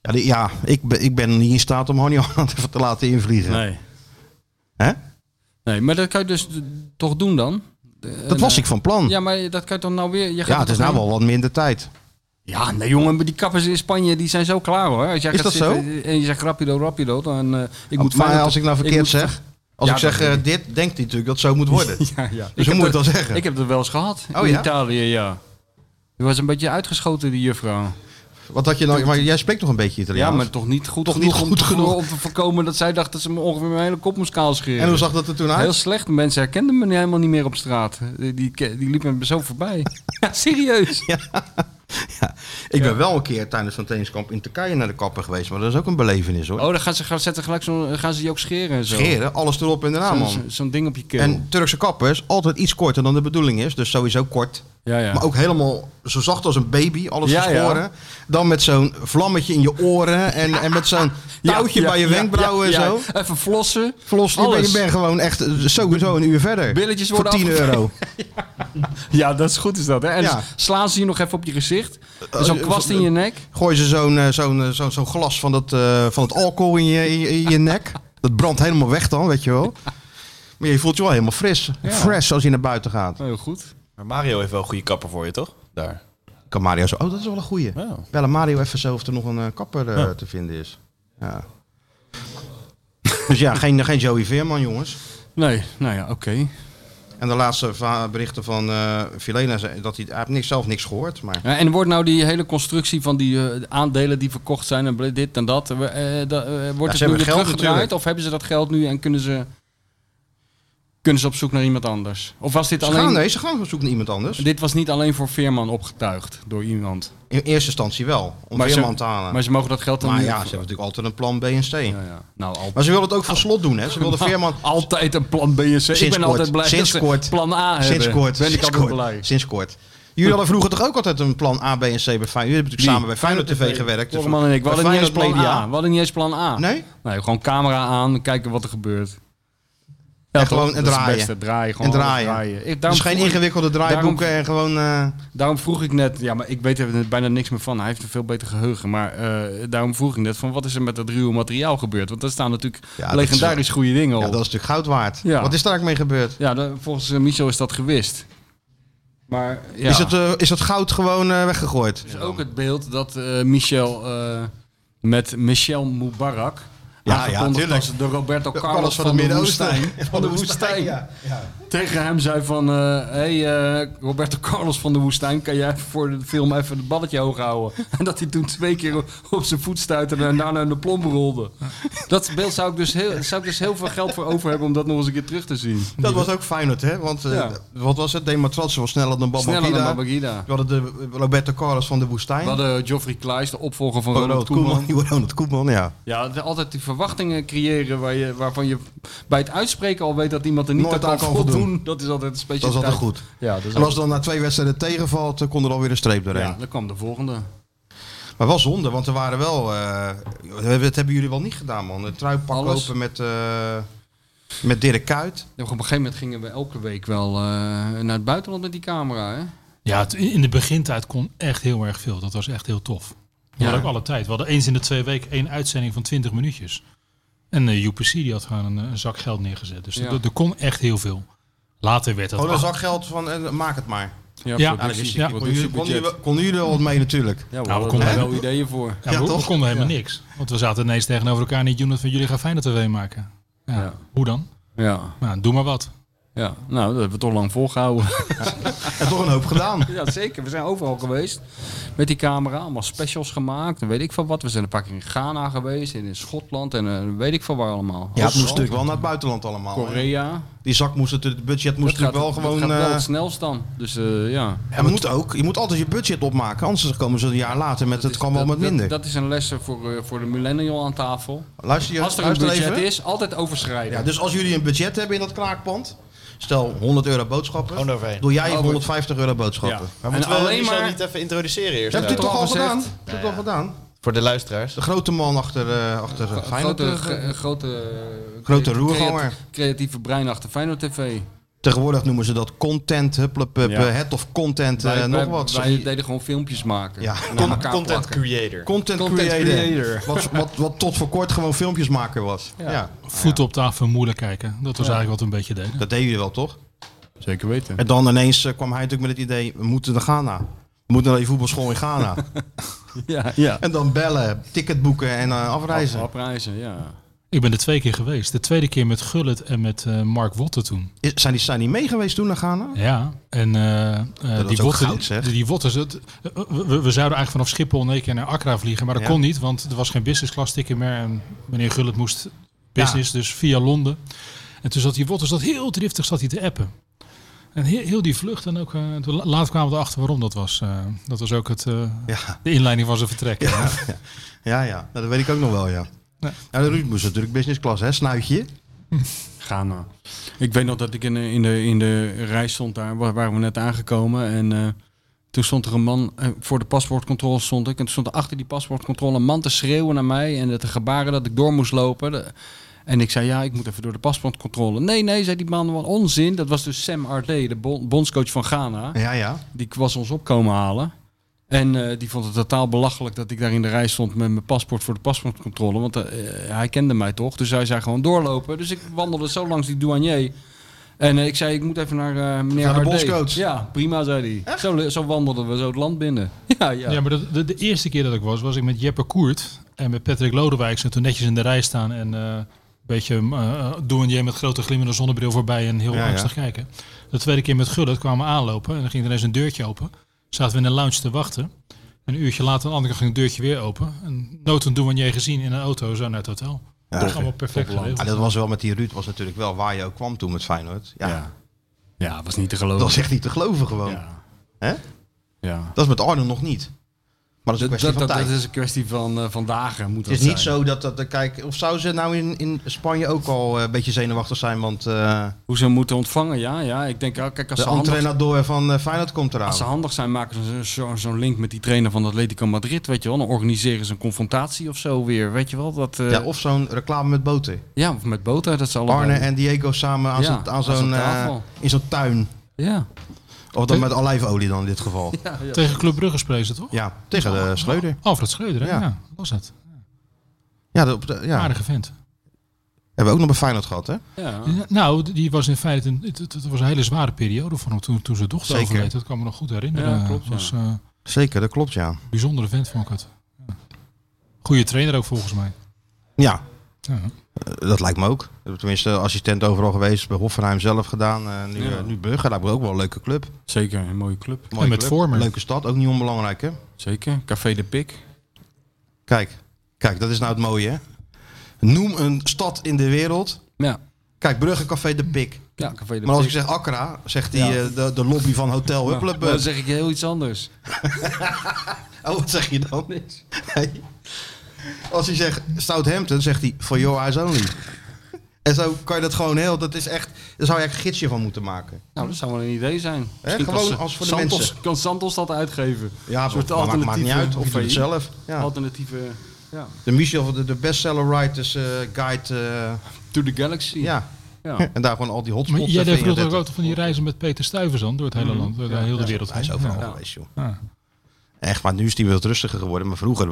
S2: Ja, die- ja ik, ben, ik ben niet in staat om Honey Holland even te laten invliegen.
S3: Nee. Eh,
S2: Hè?
S3: nee, maar dat kan je dus d- toch doen dan?
S2: Dat was ik van plan. Ja,
S3: Ja, maar dat kan je toch nou weer... Je gaat er
S2: Hm. het is
S3: toch
S2: nou
S3: heen?
S2: wel wat minder tijd.
S3: Ja, nee jongen, maar die kappers in Spanje die zijn zo klaar hoor. Als jij
S2: Is
S3: gaat
S2: dat
S3: zitten En je zegt rapido, rapido, dan... eh, ik moet
S2: maar
S3: vijftig-
S2: als ik nou verkeerd
S3: moet-
S2: zeg, als
S3: Ja,
S2: ik zeg
S3: dat-
S2: eh, dit, denkt hij natuurlijk dat het zo moet worden.
S3: Ja, ja.
S2: Dus
S3: heb
S2: hoe moet ik
S3: dat-
S2: dat zeggen?
S3: Ik heb dat wel eens gehad.
S2: Oh,
S3: in
S2: ja?
S3: Italië, ja. Die was een beetje uitgeschoten, die juffrouw.
S2: Wat had je nou, maar jij spreekt toch een beetje
S3: Ja,
S2: Italiaans?
S3: maar toch niet goed
S2: Toch
S3: genoeg,
S2: niet
S3: om,
S2: goed
S3: te-
S2: genoeg.
S3: om te voorkomen dat zij dacht dat ze me ongeveer mijn hele kop moest kaal scheren.
S2: En hoe zag dat er toen uit?
S3: Heel slecht. Mensen herkenden me helemaal niet meer op straat. Die, die, die liepen me zo voorbij. ja, serieus.
S2: Ik ben wel een keer tijdens zo'n trainingskamp in Turkije naar de kapper geweest, maar dat is ook een belevenis hoor.
S3: Oh, dan gaan ze, gaan, zetten gelijk zo'n- gaan ze die ook scheren en zo.
S2: Scheren, alles erop en eraan
S3: Zo'n-
S2: man.
S3: Zo'n zo'n ding op je keel.
S2: En Turkse kappers, altijd iets korter dan de bedoeling is, dus sowieso kort.
S3: ja, ja.
S2: Maar ook helemaal zo zacht als een baby, alles
S3: Ja,
S2: geschoren.
S3: ja.
S2: Dan met zo'n vlammetje in je oren en, en met zo'n
S3: Ja,
S2: touwtje
S3: ja,
S2: bij je
S3: ja,
S2: wenkbrauwen
S3: ja,
S2: en
S3: ja.
S2: zo.
S3: Even flossen.
S2: Vlos, je bent- je bent gewoon echt sowieso een uur verder.
S3: Billetjes
S2: Voor
S3: worden
S2: 10 euro.
S3: Ja, dat is goed is dat. Hè? En
S2: Ja.
S3: dan slaan ze je nog even op je gezicht. En
S2: eh,
S3: zo'n kwast in je nek.
S2: Gooi ze zo'n eh, zo'n eh, zo'n zo'n glas van, dat, eh, van het alcohol in je, in, je, in je nek. Dat brandt helemaal weg dan, weet je wel. Maar je voelt je wel helemaal fris.
S3: Ja.
S2: Fresh als je naar buiten gaat.
S3: Heel goed.
S4: Maar Mario heeft wel een goede kapper voor je, toch? Daar.
S2: Kan Mario zo... Oh, dat is wel een goeie.
S4: Oh.
S2: Bel aan Mario even zo of er nog een eh, kapper eh, te vinden is. Ja. dus ja, geen, geen Joey Veerman, jongens.
S3: Nee, nou ja, oké.
S2: En de laatste va- berichten van eh Filena, zei dat hij, hij heeft niks, zelf niks gehoord. Maar
S3: Ja, en wordt nou die hele constructie van die eh, aandelen die verkocht zijn en bl- dit en dat, eh, eh, da- eh, wordt
S2: hebben
S3: het nu weer
S2: geld
S3: teruggedraaid?
S2: natuurlijk.
S3: Of hebben ze dat geld nu en kunnen ze, kunnen ze op zoek naar iemand anders? Of was dit
S2: ze gaan,
S3: alleen...
S2: nee, ze gaan op zoek naar iemand anders.
S3: Dit was niet alleen voor Veerman opgetuigd door iemand.
S2: In eerste instantie wel, om
S3: Maar ze-
S2: Veerman te halen.
S3: Maar ze mogen dat geld dan
S2: Maar
S3: niet-
S2: ja, ze hebben natuurlijk altijd een plan B en C.
S3: Ja, ja. Nou, al-
S2: Maar ze wilden het ook van slot doen, hè? Ze wilden Ah,
S3: Nou,
S2: Veerman
S3: eh, altijd een plan B en C. Ik ben
S2: Sinds kort.
S3: altijd blij
S2: Sinds
S3: dat ze
S2: kort.
S3: plan A hebben.
S2: sinds kort.
S3: Ben ik
S2: sinds,
S3: altijd
S2: kort
S3: blij.
S2: sinds kort. Jullie hadden vroeger toch ook altijd een plan A, B en C bij Feyenoord? Jullie hebben natuurlijk samen bij Feyenoord TV gewerkt. Dus
S3: Korman en ik, we
S2: bij
S3: hadden niet eens
S2: Feyenoord Dus
S3: plan
S2: bleef
S3: A. We hadden niet eens plan A.
S2: Nee?
S3: Nee, gewoon camera aan, kijken wat er gebeurt. Ja,
S2: En
S3: toch?
S2: gewoon- en
S3: Dat is het
S2: draaien.
S3: beste, draaien. Gewoon
S2: En draaien.
S3: alles Ik,
S2: Dus
S3: daarom,
S2: geen
S3: vroeg ik,
S2: ingewikkelde draaiboeken en gewoon... eh,
S3: daarom vroeg ik net, ja, maar ik weet er bijna niks meer van. Hij heeft een veel beter geheugen. Maar eh, daarom vroeg ik net van wat is er met dat ruwe materiaal gebeurd? Want daar staan natuurlijk
S2: Ja, dat
S3: legendarisch goede dingen
S2: ja,
S3: op.
S2: dat is natuurlijk goud waard.
S3: Oh. Ja.
S2: Wat is daar ook mee gebeurd?
S3: Ja, dan- volgens eh, Michel is dat gewist. Maar ja,
S2: Is, het, eh, is dat goud gewoon eh, weggegooid?
S3: is ook het beeld dat eh, Michel eh, met Michel Mubarak...
S2: Ja, ja,
S3: aangekondigd
S2: tuurlijk.
S3: als De Roberto
S2: De
S3: Carlos, van,
S2: het
S3: de
S2: Midden-Oosten.
S3: woestijn. Van de woestijn.
S2: ja. Ja.
S3: tegen hem zei van... eh, hey, eh, Roberto Carlos van de Woestijn... kan jij voor de film even het balletje hoog houden? En dat hij toen twee keer op- op zijn voet stuitte... en daarna in de plomb rolde. Dat beeld zou ik, dus heel, zou ik dus heel veel geld voor over hebben... om dat nog eens een keer terug te zien.
S2: Dat was ook Feyenoord, hè? Want eh,
S3: Ja.
S2: wat was het? Dematratse was sneller dan
S3: Sneller dan
S2: Babangida. We
S3: Babagida.
S2: hadden de Roberto Carlos van de
S3: We
S2: woestijn.
S3: hadden Geoffrey Kluis, de opvolger van
S2: Ronald
S3: Oh, Ronald Koeman.
S2: Koeman. Ronald Koeman, ja.
S3: Ja, het- altijd die verwachtingen creëren... Waar je, waarvan je bij het uitspreken al weet... dat iemand er niet
S2: Nooit
S3: aan
S2: aan kan
S3: kan
S2: voldoen.
S3: voldoen. Dat is altijd een
S2: Dat is
S3: specialiteit.
S2: altijd goed.
S3: Ja, dat
S2: En
S3: is
S2: als
S3: altijd-
S2: dan na twee wedstrijden tegenvalt, eh, kon er alweer een streep doorheen.
S3: ja, dan kwam de volgende.
S2: Maar wel zonde, want er waren wel... eh, dat hebben jullie wel niet gedaan, man. Een truipak
S3: Alles.
S2: lopen met, eh, met Dirk Kuyt.
S3: Ja, op een gegeven moment gingen we elke week wel eh, naar het buitenland met die camera. Hè?
S5: Ja, het- in de begintijd kon echt heel erg veel. Dat was echt heel tof. We
S3: Ja.
S5: hadden ook alle tijd. We hadden eens in de twee weken één uitzending van 20 minuutjes. En de UPC die had gewoon een, eh, een zak geld neergezet. Dus
S3: Ja.
S5: er- er kon echt heel veel. Later werd dat...
S2: Gewoon een
S5: af-
S2: Oh, zak geld van, eh, maak het maar.
S5: Ja,
S2: Ja, dat is-
S5: Ja.
S2: Konden jullie- konden jullie wel- konden jullie er wat mee natuurlijk.
S3: Ja, we
S5: Nou, we
S3: hadden er
S5: konden-
S3: wel ideeën voor.
S5: Ja,
S2: Ja,
S5: we, we
S2: toch?
S5: konden helemaal niks. Want we zaten ineens tegenover elkaar in het unit van jullie gaan Feyenoord TV maken. Ja,
S3: Ja.
S5: Hoe dan?
S3: Ja,
S5: Nou, doe maar wat.
S3: ja. nou, dat hebben we toch lang volgehouden.
S2: En toch een hoop gedaan.
S3: ja, zeker. We zijn overal geweest met die camera. Allemaal specials gemaakt en weet ik van wat. We zijn een paar keer in Ghana geweest en in Schotland en eh, weet ik van waar allemaal.
S2: Ja, het moest
S3: Oostenrijk,
S2: natuurlijk wel naar het buitenland allemaal. hè.
S3: Korea.
S2: Die zak moest het, het budget moest
S3: Dat
S2: natuurlijk wel
S3: dat
S2: gewoon...
S3: gaat wel het
S2: eh
S3: snelst dan. Dus eh, ja.
S2: en moet ook. Je moet altijd je budget opmaken, anders komen ze een jaar later met het kan wel
S3: Dat-
S2: wat
S3: dat-
S2: minder.
S3: Dat, is een les voor, eh, voor de millennial aan tafel.
S2: luister je,
S3: Als er een
S2: luister
S3: budget
S2: even.
S3: is, altijd overschrijden.
S2: Ja, dus als jullie een budget hebben in dat kraakpand, stel 100 euro boodschappen,
S4: Gewoon overheen.
S2: doe jij
S3: Over.
S2: 150 euro boodschappen.
S3: Nou, Ja.
S2: Dat
S4: Maar
S3: En
S4: moeten we
S3: alleen
S4: alleen
S3: maar-
S4: niet even introduceren eerst?
S2: heeft u
S4: Ja.
S2: toch
S3: toch
S2: al
S3: al gezegd?
S2: gedaan? Dat heeft u toch al gedaan?
S4: Voor de luisteraars.
S2: De grote man achter, eh, achter Feyenoord.
S3: grote,
S2: eh,
S3: ge- grote,
S2: grote
S3: crea-
S2: roerganger.
S3: Creatieve brein achter Feyenoord TV.
S2: Eh, Tegenwoordig noemen ze dat content, hupplepup,
S3: Ja.
S2: het head of content, eh,
S3: wij,
S2: nog
S3: wij-
S2: wat.
S3: Wij deden gewoon filmpjes maken.
S2: Ja.
S3: En aan
S4: Con-
S3: elkaar
S4: content
S3: plakken.
S4: creator.
S2: Content,
S3: Content
S2: creator.
S3: creator.
S2: Wat, wat, wat tot voor kort gewoon filmpjesmaker was. Ja.
S3: Ja.
S5: Voet op tafel, moeilijk kijken. Dat was eigenlijk wat we een beetje deden.
S2: Dat deden jullie wel, toch?
S3: Zeker weten.
S2: En dan ineens eh, kwam hij natuurlijk met het idee, we moeten naar Ghana. We moeten naar die voetbalschool in Ghana.
S3: Ja, ja.
S2: en dan bellen, ticket boeken en eh, afreizen.
S3: Afreizen, ja.
S5: Ik ben er twee keer geweest. De tweede keer met Gullit en met eh, Mark Wotte toen.
S2: Is- zijn, die, zijn die mee geweest toen naar Ghana?
S5: Ja, en eh, eh,
S2: was
S5: die,
S2: ook
S5: Wotte,
S2: goud, zeg.
S5: die, die Wotte, dat- eh, we, we zouden eigenlijk vanaf Schiphol in één keer naar Accra vliegen. Maar dat
S2: Ja.
S5: kon niet, want er was geen business class ticket meer. En meneer Gullit moest business, dus via Londen. En toen zat die Wotte zat heel driftig zat hij te appen. En heel, heel die vlucht en ook, eh, toen la- later kwamen we erachter waarom dat was. Eh, dat was ook het, eh,
S2: Ja,
S5: de inleiding van zijn vertrek. Ja.
S2: ja, ja. Nou, dat weet ik ook nog wel, ja.
S5: Ja.
S2: Nou, Ruud moest natuurlijk business class, hè, snuitje.
S3: Ghana. Ik weet nog dat ik in de, in de, in de rij stond daar, waar waren we net aangekomen. En eh, toen stond er een man, eh, voor de paspoortcontrole stond ik. En toen stond er achter die paspoortcontrole een man te schreeuwen naar mij. En te gebaren dat ik door moest lopen. De- en ik zei, ja, ik moet even door de paspoortcontrole. Nee, nee, zei die man, wat onzin. Dat was dus Sam Ardé, de bon- bondscoach van Ghana.
S2: Ja, ja.
S3: Die was ons opkomen halen. En eh, die vond het totaal belachelijk dat ik daar in de rij stond met mijn paspoort voor de paspoortcontrole. Want eh, hij kende mij toch. Dus hij zei gewoon doorlopen. Dus ik wandelde zo langs die douanier. En eh, ik zei, ik moet even naar eh, meneer
S2: Naar de
S3: Hardé.
S2: bondscoach.
S3: Ja, prima, zei hij. Zo, zo wandelden we zo het land binnen. Ja, ja.
S5: Ja, maar dat- de, de eerste keer dat ik was, was ik met Jeppe Koert en met Patrick Lodewijks. En toen netjes in de rij staan en eh, een beetje eh douanier met grote glimmende zonnebril voorbij en heel
S2: Ja, ja.
S5: angstig kijken. De tweede keer met Gullit kwamen we aanlopen en dan ging er ineens een deurtje open. Zaten we in een lounge te wachten. Een uurtje later, een andere keer ging het deurtje weer open. En nood een douanier gezien in een auto, zo naar het hotel. dat is allemaal perfect
S3: Topland.
S5: geregeld.
S2: Ah, dat was wel met die Ruud, was natuurlijk wel waar je ook kwam toen met Feyenoord. Ja,
S3: ja. Ja, was niet te
S2: Dat
S3: geloven.
S2: was echt niet te geloven gewoon.
S3: ja.
S2: Hè?
S3: Ja.
S2: Dat is met Arno nog niet. Maar dat is een kwestie
S3: Dat, dat,
S2: van
S3: dat,
S2: tijd.
S3: dat is een kwestie van eh, vandaag. eh, Moet dat
S2: Het is niet
S3: zijn.
S2: zo dat, dat kijk, of zou ze nou in, in Spanje ook al eh, een beetje zenuwachtig zijn, want eh,
S3: Hoe ze hem moeten ontvangen, ja. ja. Ik denk, ah, kijk, als
S2: de
S3: ze handig
S2: entrenador van eh, Feyenoord komt eraan.
S3: Als ze handig zijn, maken ze zo- zo'n link met die trainer van Atletico Madrid, weet je wel. Dan organiseren ze een confrontatie of zo weer, weet je wel. Dat, eh,
S2: ja, of zo'n reclame met boten.
S3: ja, of met Bota, dat ze allemaal...
S2: Arne en Diego samen aan
S3: Ja,
S2: zo'n- aan
S3: aan zo'n
S2: zo'n, eh,
S3: tafel.
S2: in zo'n tuin.
S3: Ja.
S2: Of dan met olijfolie dan in dit geval.
S3: Ja, Oh.
S5: Tegen Club Brugge spelen ze toch?
S2: Ja, tegen de Schreuder.
S5: Alfred Schreuder, hè?
S2: Ja.
S5: Ja. dat was het.
S2: Ja, dat, dat- ja. hebben
S5: Aardige vent.
S2: we ook nog bij Feyenoord gehad, hè?
S3: ja.
S5: Ja, Nou, d- die was in feite een, het, het- het was een hele zware periode voor hem toen, toen zijn dochter
S2: Zeker.
S5: overleed. Dat kan me nog goed herinneren.
S3: Ja, klopt, ja.
S5: was eh, een
S2: Zeker, dat klopt, ja.
S5: bijzondere vent vond ik het. Ja. Goede trainer ook volgens mij.
S2: Ja,
S5: Ja.
S2: eh, dat lijkt me ook. Tenminste, assistent overal geweest, bij Hoffenheim zelf gedaan. eh, nu,
S3: Ja.
S2: eh, nu Brugge, lijkt me ook wel een leuke club.
S3: Zeker, een mooie club.
S2: Mooie
S5: met
S2: club,
S5: Vormer.
S2: Leuke stad, ook niet onbelangrijk, hè?
S3: Zeker. Café de Pik.
S2: Kijk, kijk, dat is nou het mooie. hè? Noem een stad in de wereld.
S3: Ja,
S2: Kijk, Brugge Café de Pik.
S3: ja Café de
S2: Maar als ik
S3: Pik.
S2: zeg Accra, zegt hij
S3: Ja.
S2: eh, de, de lobby van Hotel
S3: Nou, dan
S2: Huppelepup.
S3: zeg ik heel iets anders.
S2: Oh, wat zeg je dan? Nee. Als hij zegt Southampton, zegt hij for your eyes only. En zo kan je dat gewoon heel, dat is echt, daar zou je echt een gidsje van moeten maken.
S3: Nou, dat zou wel een idee zijn. Misschien kan
S2: gewoon
S3: ze-
S2: als voor de
S3: Santos,
S2: mensen.
S3: Kan Santos dat uitgeven?
S2: Ja,
S3: Een soort
S2: maar maakt, maakt niet
S3: alternatieve
S2: uit, of je doet het
S3: VI.
S2: zelf. Ja.
S3: Alternatieve... Ja.
S2: De Michel, de, de bestseller writers eh, guide, eh,
S3: To the Galaxy.
S2: ja.
S3: Ja.
S2: En daar gewoon al die hotspots
S5: Maar jij deed
S2: even in
S5: vroeger ook
S2: zetten.
S5: altijd van die reizen met Peter Stuyvesant door het hele land, door de hele wereld.
S2: Hij is overal
S5: Ja.
S2: geweest, joh.
S5: Ja.
S2: Echt, maar nu is hij wat rustiger geworden. Maar vroeger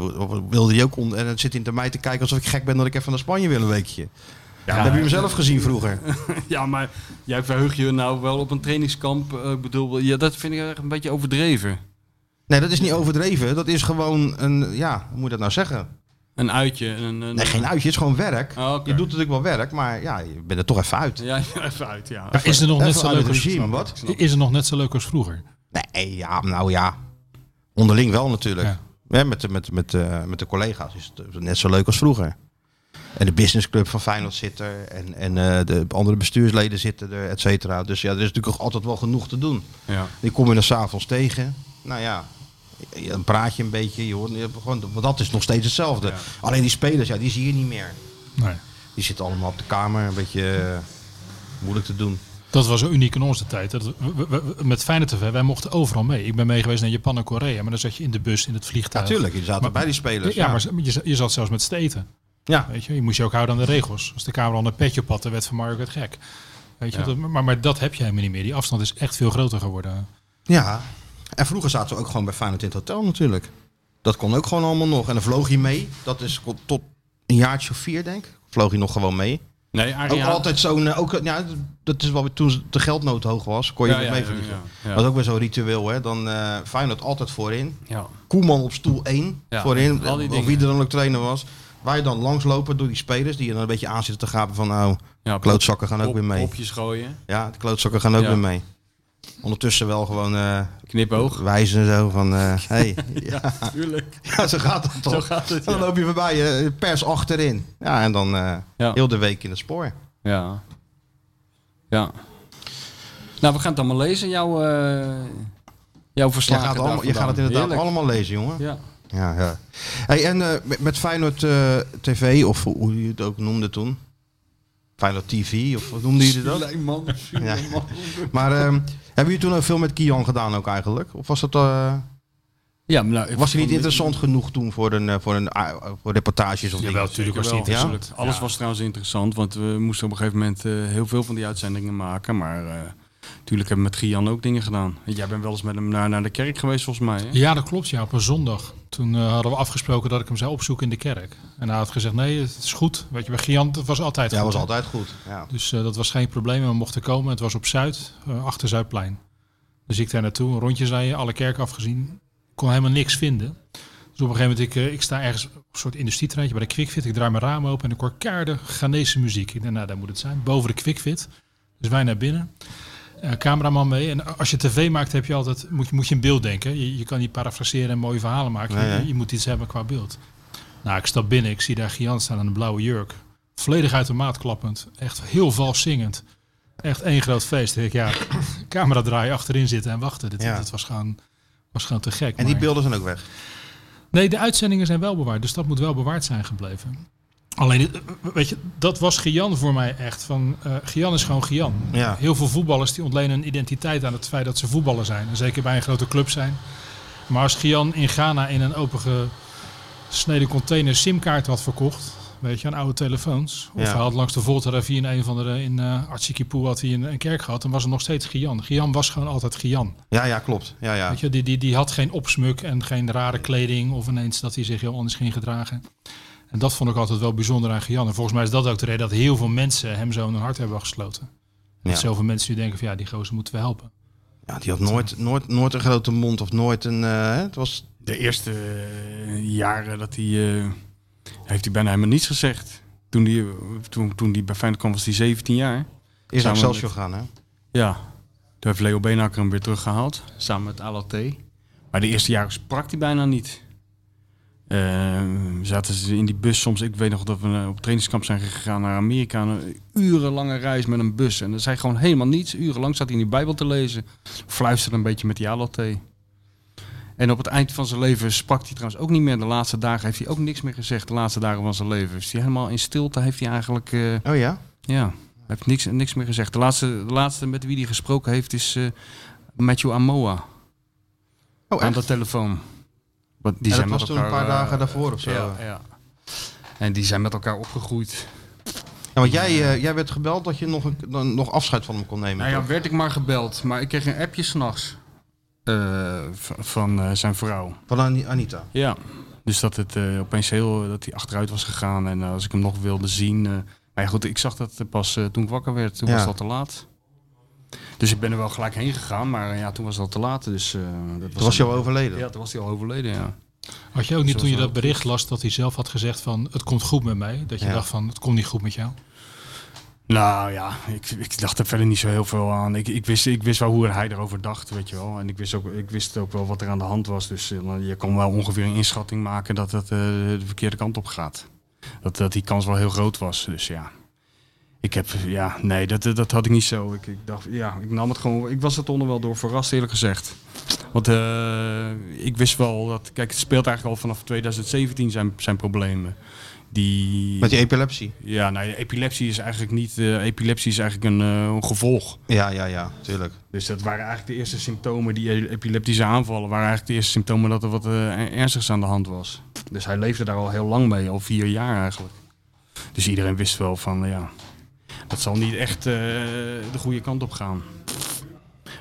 S2: wilde hij ook... On- en dan zit hij naar mij te kijken alsof ik gek ben dat ik even naar Spanje wil een weekje. Ja, dat heb je hem zelf gezien vroeger.
S3: Ja, maar jij verheugt je nou wel op een trainingskamp. eh, Ik bedoel, ja, dat vind ik echt een beetje overdreven.
S2: Nee, dat is niet overdreven. Dat is gewoon een... Ja, hoe moet je dat nou zeggen?
S3: Een uitje. Een, een,
S2: Nee, geen uitje. Het is gewoon werk.
S3: Oh, oké.
S2: Je doet natuurlijk wel werk, maar ja, je bent er toch even uit.
S3: Ja, ja, even uit, ja.
S5: Maar is er nog
S2: Even
S5: net zo
S2: uit het
S5: leuk als,
S2: regime, wat?
S5: is er nog net zo leuk als vroeger?
S2: Nee, ja, nou ja. Onderling wel natuurlijk.
S5: Ja.
S2: Ja, met, de- met, met, eh, met de collega's is het net zo leuk als vroeger. En de businessclub van Feyenoord zit er. En, en eh, de andere bestuursleden zitten er, et cetera. Dus ja, er is natuurlijk ook altijd wel genoeg te doen.
S3: Ja.
S2: Die kom je dan s'avonds tegen. Nou ja, je- dan praat je een beetje. Je hoort, je hebt gewoon, want dat is nog steeds hetzelfde.
S3: Ja.
S2: Alleen die spelers, ja, die zie je niet meer.
S5: Nee.
S2: Die zitten allemaal op de kamer. Een beetje eh, moeilijk te doen.
S5: Dat was zo uniek in onze tijd. Dat, we, we- we- met Fijne TV, wij mochten overal mee. Ik ben meegeweest naar Japan en Korea, maar dan zat je in de bus, in het vliegtuig.
S2: Natuurlijk, je zaten
S5: Maar-
S2: bij die spelers.
S5: Ja, maar je, je zat zelfs met steten.
S2: Ja.
S5: Weet je, je moest je ook houden aan de regels. Als de camera al een petje op had, dan werd van Margaret gek. Weet je,
S3: Ja.
S5: dat- maar, maar dat heb je helemaal niet meer. Die afstand is echt veel groter geworden.
S2: Ja. En vroeger zaten we ook gewoon bij Feyenoord in het hotel natuurlijk. Dat kon ook gewoon allemaal nog. En dan vloog hij mee. Dat is tot een jaartje of vier, denk ik. Vloog hij nog gewoon mee.
S3: Nee,
S2: Ook
S3: Ariane.
S2: altijd zo'n... eh, Ook, eh, ja, dat is wel weer toen de geldnood hoog was. Kon je
S3: Ja,
S2: weer
S3: ja,
S2: mee
S3: ja,
S2: vliegen.
S3: ja, ja.
S2: Dat is ook weer zo'n ritueel, hè. Dan eh Feyenoord altijd voorin.
S3: Ja.
S2: Koeman op stoel 1
S3: Ja,
S2: voorin.
S3: al die
S2: Of
S3: dingen.
S2: wie er dan ook trainer was. Wij dan langslopen door die spelers die je dan een beetje aan zitten te gapen van... Nou,
S3: Ja,
S2: klootzakken gaan ook
S3: pop-
S2: weer mee.
S3: Popjes gooien,
S2: Ja, de klootzakken gaan ook
S3: Ja.
S2: weer mee. Ondertussen wel gewoon eh,
S3: knipoog.
S2: wijzen en zo van... eh, hey, ja.
S3: Tuurlijk.
S2: Ja, zo gaat dat Ah. toch.
S3: Zo gaat het.
S2: En dan
S3: Ja.
S2: loop je voorbij, eh, pers achterin. Ja, en dan eh,
S3: Ja.
S2: heel de week in het spoor.
S3: ja. Ja. Nou, we gaan het allemaal lezen, jouw, eh jouw
S2: Je
S3: verslag.
S2: gaat, het allemaal, je gaat het inderdaad allemaal lezen, jongen.
S3: Ja.
S2: Ja, ja. Hey, en eh, met, met Feyenoord eh, TV, of hoe- hoe je het ook noemde toen. Feyenoord TV, of wat noemden jullie dat?
S3: Suleiman, Suleiman.
S2: Maar ehm, hebben jullie toen ook veel met Kian gedaan ook eigenlijk? Of was dat... eh,
S3: Ja, maar nou, ik
S2: was hij niet
S3: vond-
S2: interessant genoeg toen voor, een, eh, voor, een, ah, voor reportages of dingen?
S5: natuurlijk
S3: was die
S2: Ja?
S3: interessant. Alles was trouwens interessant, want we moesten op een gegeven moment eh, heel veel van die uitzendingen maken. Maar eh, natuurlijk hebben we met Gian ook dingen gedaan. Jij bent wel eens met hem naar, naar de kerk geweest, volgens mij. Hè?
S5: Ja, dat klopt. Ja, op een zondag. Toen eh, hadden we afgesproken dat ik hem zou opzoeken in de kerk. En hij had gezegd, nee, het is goed. Weet je, bij Gian, dat was altijd
S2: Ja,
S5: goed,
S2: was
S5: hè?
S2: altijd goed. Ja.
S5: Dus eh, dat was geen probleem. En we mochten komen. Het was op Zuid, eh, achter Zuidplein. Dus ik daar naartoe, een rondje rijden, alle kerken afgezien. Kon helemaal niks vinden. Dus op een gegeven moment, ik, eh, ik sta ergens op een soort industrietreintje bij de QuickFit. Ik draai mijn raam open en ik hoor keiharde Ghanese muziek. Ik denk, nou, daar moet het zijn. Boven de QuickFit. Dus wij naar binnen. Eh, cameraman mee. En als je tv maakt, heb je altijd, moet, je, moet je een beeld denken. Je, je kan niet parafraseren en mooie verhalen maken.
S2: Nee,
S5: Je-
S2: nee.
S5: je moet iets hebben qua beeld. Nou, ik stap binnen. Ik zie daar Gian staan aan een blauwe jurk. Volledig uit de maat klappend. Echt heel vals zingend. Echt één groot feest. Ik, denk, ja, camera draaien, achterin zitten en wachten. Dit,
S2: Ja.
S5: dit was, gewoon, was gewoon te gek.
S2: En die
S5: maar-
S2: beelden zijn ook weg.
S5: Nee, de uitzendingen zijn wel bewaard. Dus dat moet wel bewaard zijn gebleven. Alleen, eh, weet je, dat was Gian voor mij echt. Van, eh Gian is gewoon Gian.
S2: Ja.
S5: Heel veel voetballers die ontlenen hun identiteit aan het feit dat ze voetballer zijn. En zeker bij een grote club zijn. Maar als Gian in Ghana in een opengesneden container simkaart had verkocht... Weet je, aan oude telefoons. Of
S2: Ja.
S5: hij had langs de Volta rivier in een van de... in eh Atsikipu had hij een, een kerk gehad. Dan was het nog steeds Gian. Gian was gewoon altijd Gian.
S2: Ja, ja, klopt. Ja, ja.
S5: Weet je, die, die, die had geen opsmuk en geen rare kleding of ineens dat hij zich heel anders ging gedragen. En dat vond ik altijd wel bijzonder aan Gian. En volgens mij is dat ook de reden dat heel veel mensen hem zo in hun hart hebben gesloten.
S2: Ja.
S5: Dat zoveel mensen die denken van ja, die gozer moeten we helpen.
S2: Ja, die had nooit, nooit, nooit een grote mond of nooit een... eh, hè, het was,
S3: De eerste eh, jaren dat hij, eh, heeft hij bijna helemaal niets gezegd. Toen hij, toen, toen die bij Feyenoord kwam was hij 17 jaar.
S2: is naar
S3: Samen
S2: Excelsior gaan, hè?
S3: Ja, toen heeft Leo Beenhakker hem weer teruggehaald, samen met Alat. Maar de eerste jaren sprak hij bijna niet. Ehm, zaten ze in die bus soms, ik weet nog dat we eh, op trainingskamp zijn gegaan naar Amerika, een urenlange reis met een bus. En er zei gewoon helemaal niets, urenlang zat hij in die Bijbel te lezen, fluisterde een beetje met die Alat. En op het eind van zijn leven sprak hij trouwens ook niet meer. De laatste dagen heeft hij ook niks meer gezegd. De laatste dagen van zijn leven. Is hij helemaal in stilte, heeft hij eigenlijk eh,
S2: Oh ja?
S3: ja, hij heeft niks, niks meer gezegd. De laatste, de laatste met wie hij gesproken heeft is eh Matthew Amoa
S2: Oh,
S3: aan
S2: echt?
S3: de telefoon. Want die
S2: en dat
S3: zijn
S2: was
S3: met
S2: toen
S3: elkaar,
S2: een paar
S3: eh,
S2: dagen daarvoor of zo. Ja,
S3: Ja, ja. En die zijn met elkaar opgegroeid.
S2: want jij, eh, jij werd gebeld dat je nog, een, dan nog afscheid van hem kon nemen.
S3: Nou ja,
S2: toch?
S3: werd ik maar gebeld. Maar ik kreeg een appje s'nachts eh van, van eh, zijn vrouw.
S2: Van Ani- Anita.
S3: Ja, dus dat het eh, opeens heel dat hij achteruit was gegaan en eh, als ik hem nog wilde zien. eh, maar ja, goed, ik zag dat eh, pas eh, toen ik wakker werd, toen
S2: Ja.
S3: was dat te laat. Dus ik ben er wel gelijk heen gegaan, maar eh, ja, toen was dat te laat. Dus eh, dat
S2: Toen was je
S3: al-
S2: al overleden.
S3: Ja, toen was hij al overleden, ja.
S5: Had je ook niet
S3: Zo
S5: toen je
S3: zou
S5: dat
S3: het
S5: bericht las dat hij zelf had gezegd van het komt goed met mij. Dat je
S2: Ja.
S5: dacht van het komt niet goed met jou.
S3: Nou ja, ik, ik dacht er verder niet zo heel veel aan. Ik, ik, wist, ik wist wel hoe hij erover dacht, weet je wel. En ik wist ook, ik wist ook wel wat er aan de hand was. Dus eh, dan- je kon wel ongeveer een inschatting maken dat het eh, de verkeerde kant op gaat. Dat, dat die kans wel heel groot was. Dus ja, ik heb, ja, nee, dat, dat- dat had ik niet zo. Ik, ik dacht, ja, ik nam het gewoon. Ik was het onder wel door verrast, eerlijk gezegd. Want eh, ik wist wel dat, kijk, het speelt eigenlijk al vanaf 2017 zijn, zijn problemen. die...
S2: Met die epilepsie.
S3: Ja, nou, ja, epilepsie is eigenlijk niet... eh, epilepsie is eigenlijk een eh, een gevolg.
S2: Ja, ja, ja, tuurlijk.
S3: Dus dat waren eigenlijk de eerste symptomen, die e- epileptische aanvallen, waren eigenlijk de eerste symptomen dat er wat eh, ernstigs aan de hand was. Dus hij leefde daar al heel lang mee, al vier jaar eigenlijk. Dus iedereen wist wel van, ja, dat zal niet echt eh, de goede kant op gaan.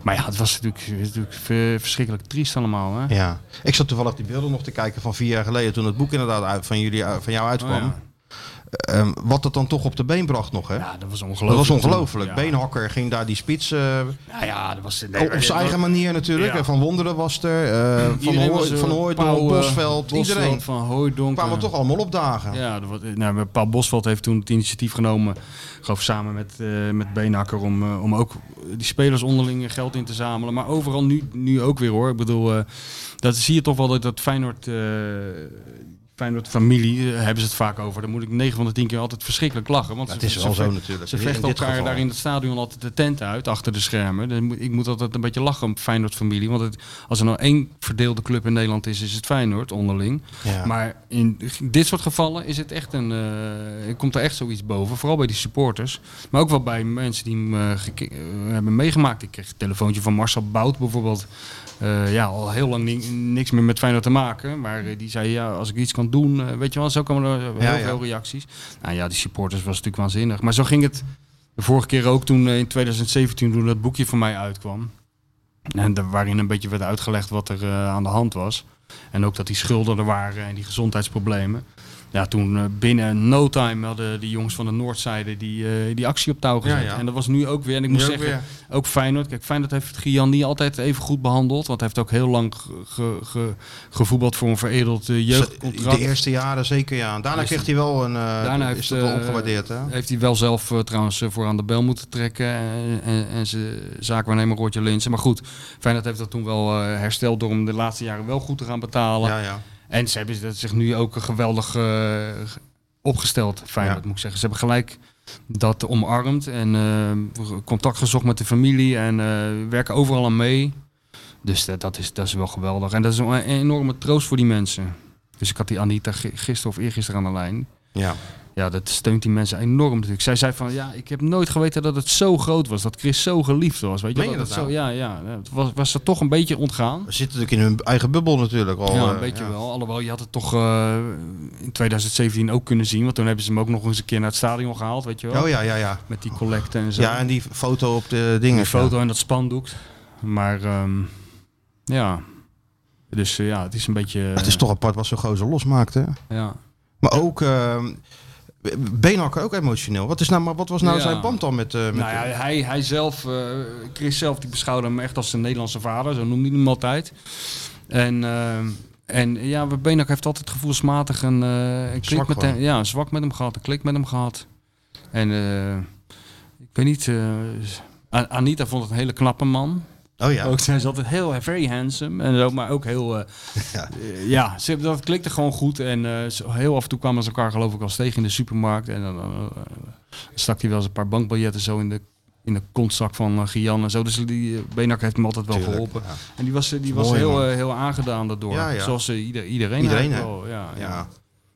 S3: Maar ja, het was natuurlijk, het was natuurlijk ver- verschrikkelijk triest allemaal, hè?
S2: Ja. Ik zat toevallig die beelden nog te kijken van vier jaar geleden toen het boek inderdaad uit, van, jullie, eh, van jou uitkwam.
S3: Oh, ja.
S2: Ehm, wat het dan toch op de been bracht nog, hè?
S3: Ja, dat was
S2: dat
S3: ongelooflijk.
S2: was ongelooflijk.
S3: Ja.
S2: Beenhakker ging daar die spits eh,
S3: Ja, ja, dat was...
S2: op, op zijn eigen manier natuurlijk.
S3: Ja.
S2: Van Wonderen was er, eh, van,
S3: Iedereen
S2: Hoor-
S3: was er,
S2: van Hooijdonk,
S3: Pauw, eh,
S2: Bosveld, iedereen.
S3: Van Hooijdonk.
S2: kwamen
S3: eh,
S2: toch allemaal opdagen. Ja.
S3: Ja, er wordt- nou, Paul Bosveld heeft toen het initiatief genomen, ik geloof samen met, eh, met Beenhakker, om, eh, om ook die spelers onderling geld in te zamelen. Maar overal nu, nu ook weer hoor. Ik bedoel, eh, dat zie je toch wel dat, dat Feyenoord, eh, Feyenoord-familie, eh, hebben ze het vaak over. Daar moet ik 9 van de 10 keer altijd verschrikkelijk lachen. Want
S2: het
S3: ze-
S2: is
S3: ze
S2: wel
S3: ve-
S2: zo natuurlijk.
S3: Ze
S2: In
S3: vechten
S2: dit
S3: elkaar
S2: geval.
S3: daar in het stadion altijd de tent uit, achter de schermen. Dan moet- Ik moet altijd een beetje lachen om Feyenoord-familie. Want het, als er nou één verdeelde club in Nederland is, is het Feyenoord onderling. Maar in dit soort gevallen is het echt een, eh, komt er echt zoiets boven. Vooral bij die supporters. Maar ook wel bij mensen die hem eh, geke- eh, hebben meegemaakt. Ik kreeg een telefoontje van Marcel Bout bijvoorbeeld. Eh, ja, al heel lang ni- niks meer met Feyenoord te maken. Maar eh, die zei, ja, als ik iets kan doen... eh, weet je wel, zo komen er heel
S2: Ja, ja.
S3: veel reacties. Nou ja, die supporters was natuurlijk waanzinnig. Maar zo ging het de vorige keer ook toen eh, in 2017... toen dat boekje van mij uitkwam. En daar- waarin een beetje werd uitgelegd wat er eh, aan de hand was. En ook dat die schulden er waren en die gezondheidsproblemen. Ja, toen eh, binnen no time hadden die jongens van de Noordzijde die, eh, die actie op touw gezet.
S2: Ja, ja.
S3: En dat was nu ook weer. En ik moet zeggen, ook Feyenoord. Kijk, Feyenoord heeft Gian niet altijd even goed behandeld. Want hij heeft ook heel lang ge- ge- ge- gevoetbald voor een veredeld eh,
S2: De
S3: jeugdcontract.
S2: eerste jaren zeker, ja. Daarna
S3: Is-
S2: kreeg hij wel een... eh,
S3: Daarna
S2: is
S3: heeft,
S2: dat wel
S3: eh,
S2: opgewaardeerd, hè?
S3: Heeft hij wel zelf eh, trouwens eh, voor aan de bel moeten trekken. En, en, en zijn zaakwaarnemer Roortje Linsen. Maar goed, Feyenoord heeft dat toen wel eh, hersteld door hem de laatste jaren wel goed te gaan betalen.
S2: Ja, ja.
S3: En ze hebben dat zich nu ook geweldig eh, opgesteld, Feyenoord
S2: Ja.
S3: moet ik zeggen. Ze hebben gelijk dat omarmd en eh, contact gezocht met de familie en eh, werken overal aan mee. Dus dat, dat, is, dat is wel geweldig. En dat is een enorme troost voor die mensen. Dus ik had die Anita gi- gisteren of eergisteren aan de lijn.
S2: ja.
S3: Ja, dat steunt die mensen enorm natuurlijk. Zij zei van, ja, ik heb nooit geweten dat het zo groot was. Dat Chris zo geliefd was. Weet je,
S2: Meen je
S3: het
S2: dat
S3: zo,
S2: nou?
S3: ja, ja. Het was, was dat toch een beetje ontgaan.
S2: Ze zitten natuurlijk in hun eigen bubbel natuurlijk al.
S3: ja,
S2: eh,
S3: een beetje
S2: ja.
S3: wel. Alhoewel, je had het toch eh, in 2017 ook kunnen zien. Want toen hebben ze hem ook nog eens een keer naar het stadion gehaald, weet je wel.
S2: Oh ja, ja, ja.
S3: Met die collecten en zo.
S2: Ja, en die foto op de dingen.
S3: die foto en dat spandoek. Maar ehm, ja... Dus eh, ja, het is een beetje...
S2: Ja. Het is toch apart wat zo'n gozer losmaakte. hè?
S3: Ja.
S2: Maar ook ehm Beenhakker ook emotioneel. Wat, is nou, maar wat was nou
S3: Ja.
S2: zijn band dan met... eh met
S3: Nou ja, hij, hij zelf, eh, Chris zelf, die beschouwde hem echt als zijn Nederlandse vader. Zo noemde hij hem altijd. En, ehm, en ja, Benak heeft altijd gevoelsmatig een, eh, een
S2: Zwak
S3: klik met
S2: gewoon.
S3: hem, ja, een zwak met hem gehad, een klik met hem gehad. En eh, ik weet niet, eh, A- Anita vond het een hele knappe man.
S2: Oh ja.
S3: Ook zij is altijd heel eh, very handsome en zo, maar ook heel. eh,
S2: Ja.
S3: eh, ja, ze, dat klikte gewoon goed. En eh, zo heel af en toe kwamen ze elkaar, geloof ik, al tegen in de supermarkt. En dan eh, stak hij wel eens een paar bankbiljetten zo in de, in de kontzak van eh, Gian en zo. Dus die eh, Benak heeft hem altijd wel
S2: Tuurlijk,
S3: geholpen.
S2: ja.
S3: En die was, eh, die was
S2: Mooi,
S3: heel,
S2: man.
S3: eh, heel aangedaan daardoor.
S2: Ja, ja.
S3: Zoals eh, ieder, iedereen.
S2: Iedereen,
S3: eigenlijk wel, ja, ja.
S2: Ja.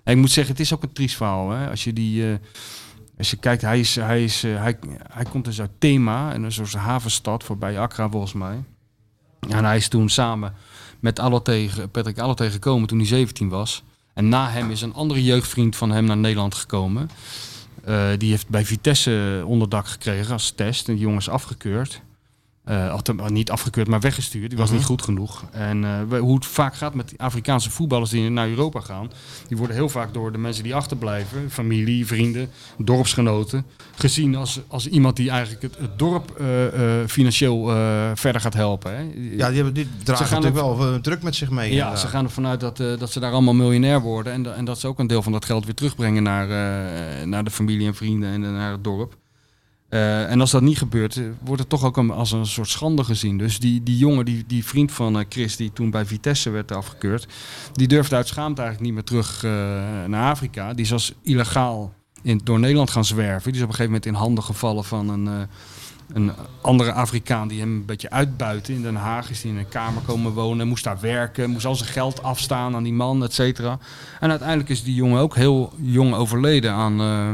S3: En ik moet zeggen, het is ook een triest verhaal. Hè? Als je die. eh, als je kijkt, hij, is, hij, is, eh, hij, hij komt dus uit Thema, een soort havenstad voorbij Accra volgens mij. En hij is toen samen met Alloté, Patrick Alloté gekomen toen hij 17 was. En na hem is een andere jeugdvriend van hem naar Nederland gekomen. Eh, die heeft bij Vitesse onderdak gekregen als test. En die jongen is afgekeurd. Eh, of, eh, niet afgekeurd, maar weggestuurd. Die was
S2: Mhm.
S3: niet goed genoeg. En eh, we- hoe het vaak gaat met die Afrikaanse voetballers die naar Europa gaan... die worden heel vaak door de mensen die achterblijven... familie, vrienden, dorpsgenoten... gezien als, als iemand die eigenlijk het, het dorp eh, eh, financieel eh, verder gaat helpen. Hè?
S2: ja, die, hebben, die dragen
S3: gaan
S2: natuurlijk wel eh, druk met zich mee.
S3: Ja,
S2: inderdaad.
S3: ze gaan ervan uit dat, eh, dat ze daar allemaal miljonair worden. En, da- en dat ze ook een deel van dat geld weer terugbrengen naar, eh, naar de familie en vrienden en eh, naar het dorp. Eh, en als dat niet gebeurt, eh, wordt het toch ook een- als een soort schande gezien. Dus die, die jongen, die, die vriend van eh, Chris, die toen bij Vitesse werd afgekeurd, die durfde uit schaamte eigenlijk niet meer terug eh, naar Afrika. Die is als illegaal in, door Nederland gaan zwerven. Die is op een gegeven moment in handen gevallen van een, eh, een andere Afrikaan die hem een beetje uitbuiten in Den Haag. Is die in een kamer komen wonen, moest daar werken, moest al zijn geld afstaan aan die man, et cetera. En uiteindelijk is die jongen ook heel jong overleden aan, eh,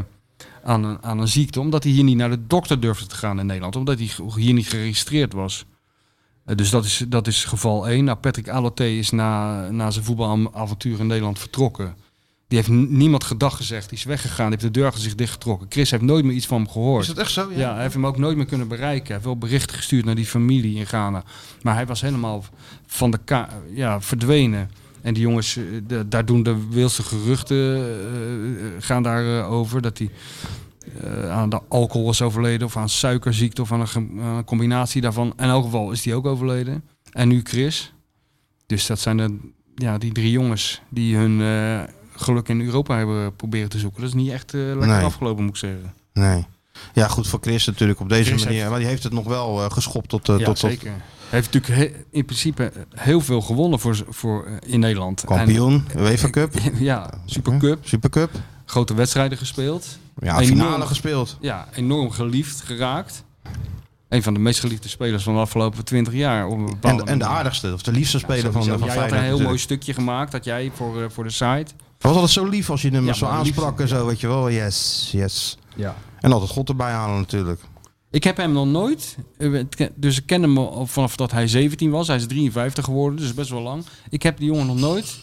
S3: aan, een, aan een ziekte. Omdat hij hier niet naar de dokter durfde te gaan in Nederland. Omdat hij hier niet geregistreerd was. Eh, Dus dat is, dat is geval 1. Nou, Patrick Aloté is na, na zijn voetbalavontuur in Nederland vertrokken. Die heeft n- niemand gedag gezegd. Die is weggegaan. Die heeft de deur achter zich dichtgetrokken. Chris heeft nooit meer iets van hem gehoord.
S2: Is dat echt zo?
S3: Ja, hij heeft hem ook nooit meer kunnen bereiken. Hij heeft wel berichten gestuurd naar die familie in Ghana. Maar hij was helemaal van de ka- ja, verdwenen. En die jongens, eh, de- daar doen de wilste geruchten eh, gaan daar eh, over. Dat hij eh, aan de alcohol is overleden of aan suikerziekte of aan een, ge- aan een combinatie daarvan. In elk geval is die ook overleden. En nu Chris. Dus dat zijn de, ja, die drie jongens die hun eh, geluk in Europa hebben proberen te zoeken. Dat is niet echt eh, lekker
S2: Nee.
S3: afgelopen, moet ik zeggen.
S2: Nee. Ja, goed voor Chris natuurlijk op deze
S3: Chris
S2: manier.
S3: heeft-
S2: Maar die heeft het nog wel eh, geschopt tot, eh,
S3: ja,
S2: tot, tot
S3: zeker. Hij heeft natuurlijk he- in principe heel veel gewonnen voor, z- voor, eh, in Nederland.
S2: kampioen. UEFA Cup.
S3: En, ja, Supercup.
S2: Supercup.
S3: Grote wedstrijden gespeeld.
S2: Ja,
S3: Enorm.
S2: finale gespeeld.
S3: Ja, enorm geliefd geraakt. Een van de meest geliefde spelers van de afgelopen 20 jaar. Op
S2: En,
S3: een bepaalde
S2: en de
S3: manier.
S2: aardigste, of de liefste
S3: Ja,
S2: speler van,
S3: sowieso.
S2: van
S3: Jij
S2: Feyenoord.
S3: had een heel mooi
S2: natuurlijk.
S3: stukje gemaakt, dat jij voor, eh, voor de site.
S2: Hij was altijd zo lief als je hem
S3: Ja,
S2: zo
S3: maar lief,
S2: aansprak en zo, weet je wel. Yes, yes.
S3: Ja.
S2: En altijd God erbij halen natuurlijk.
S3: Ik heb hem nog nooit, eh, het ke- dus ik ken hem al vanaf dat hij 17 was. Hij is 53 geworden, dus best wel lang. Ik heb die jongen nog nooit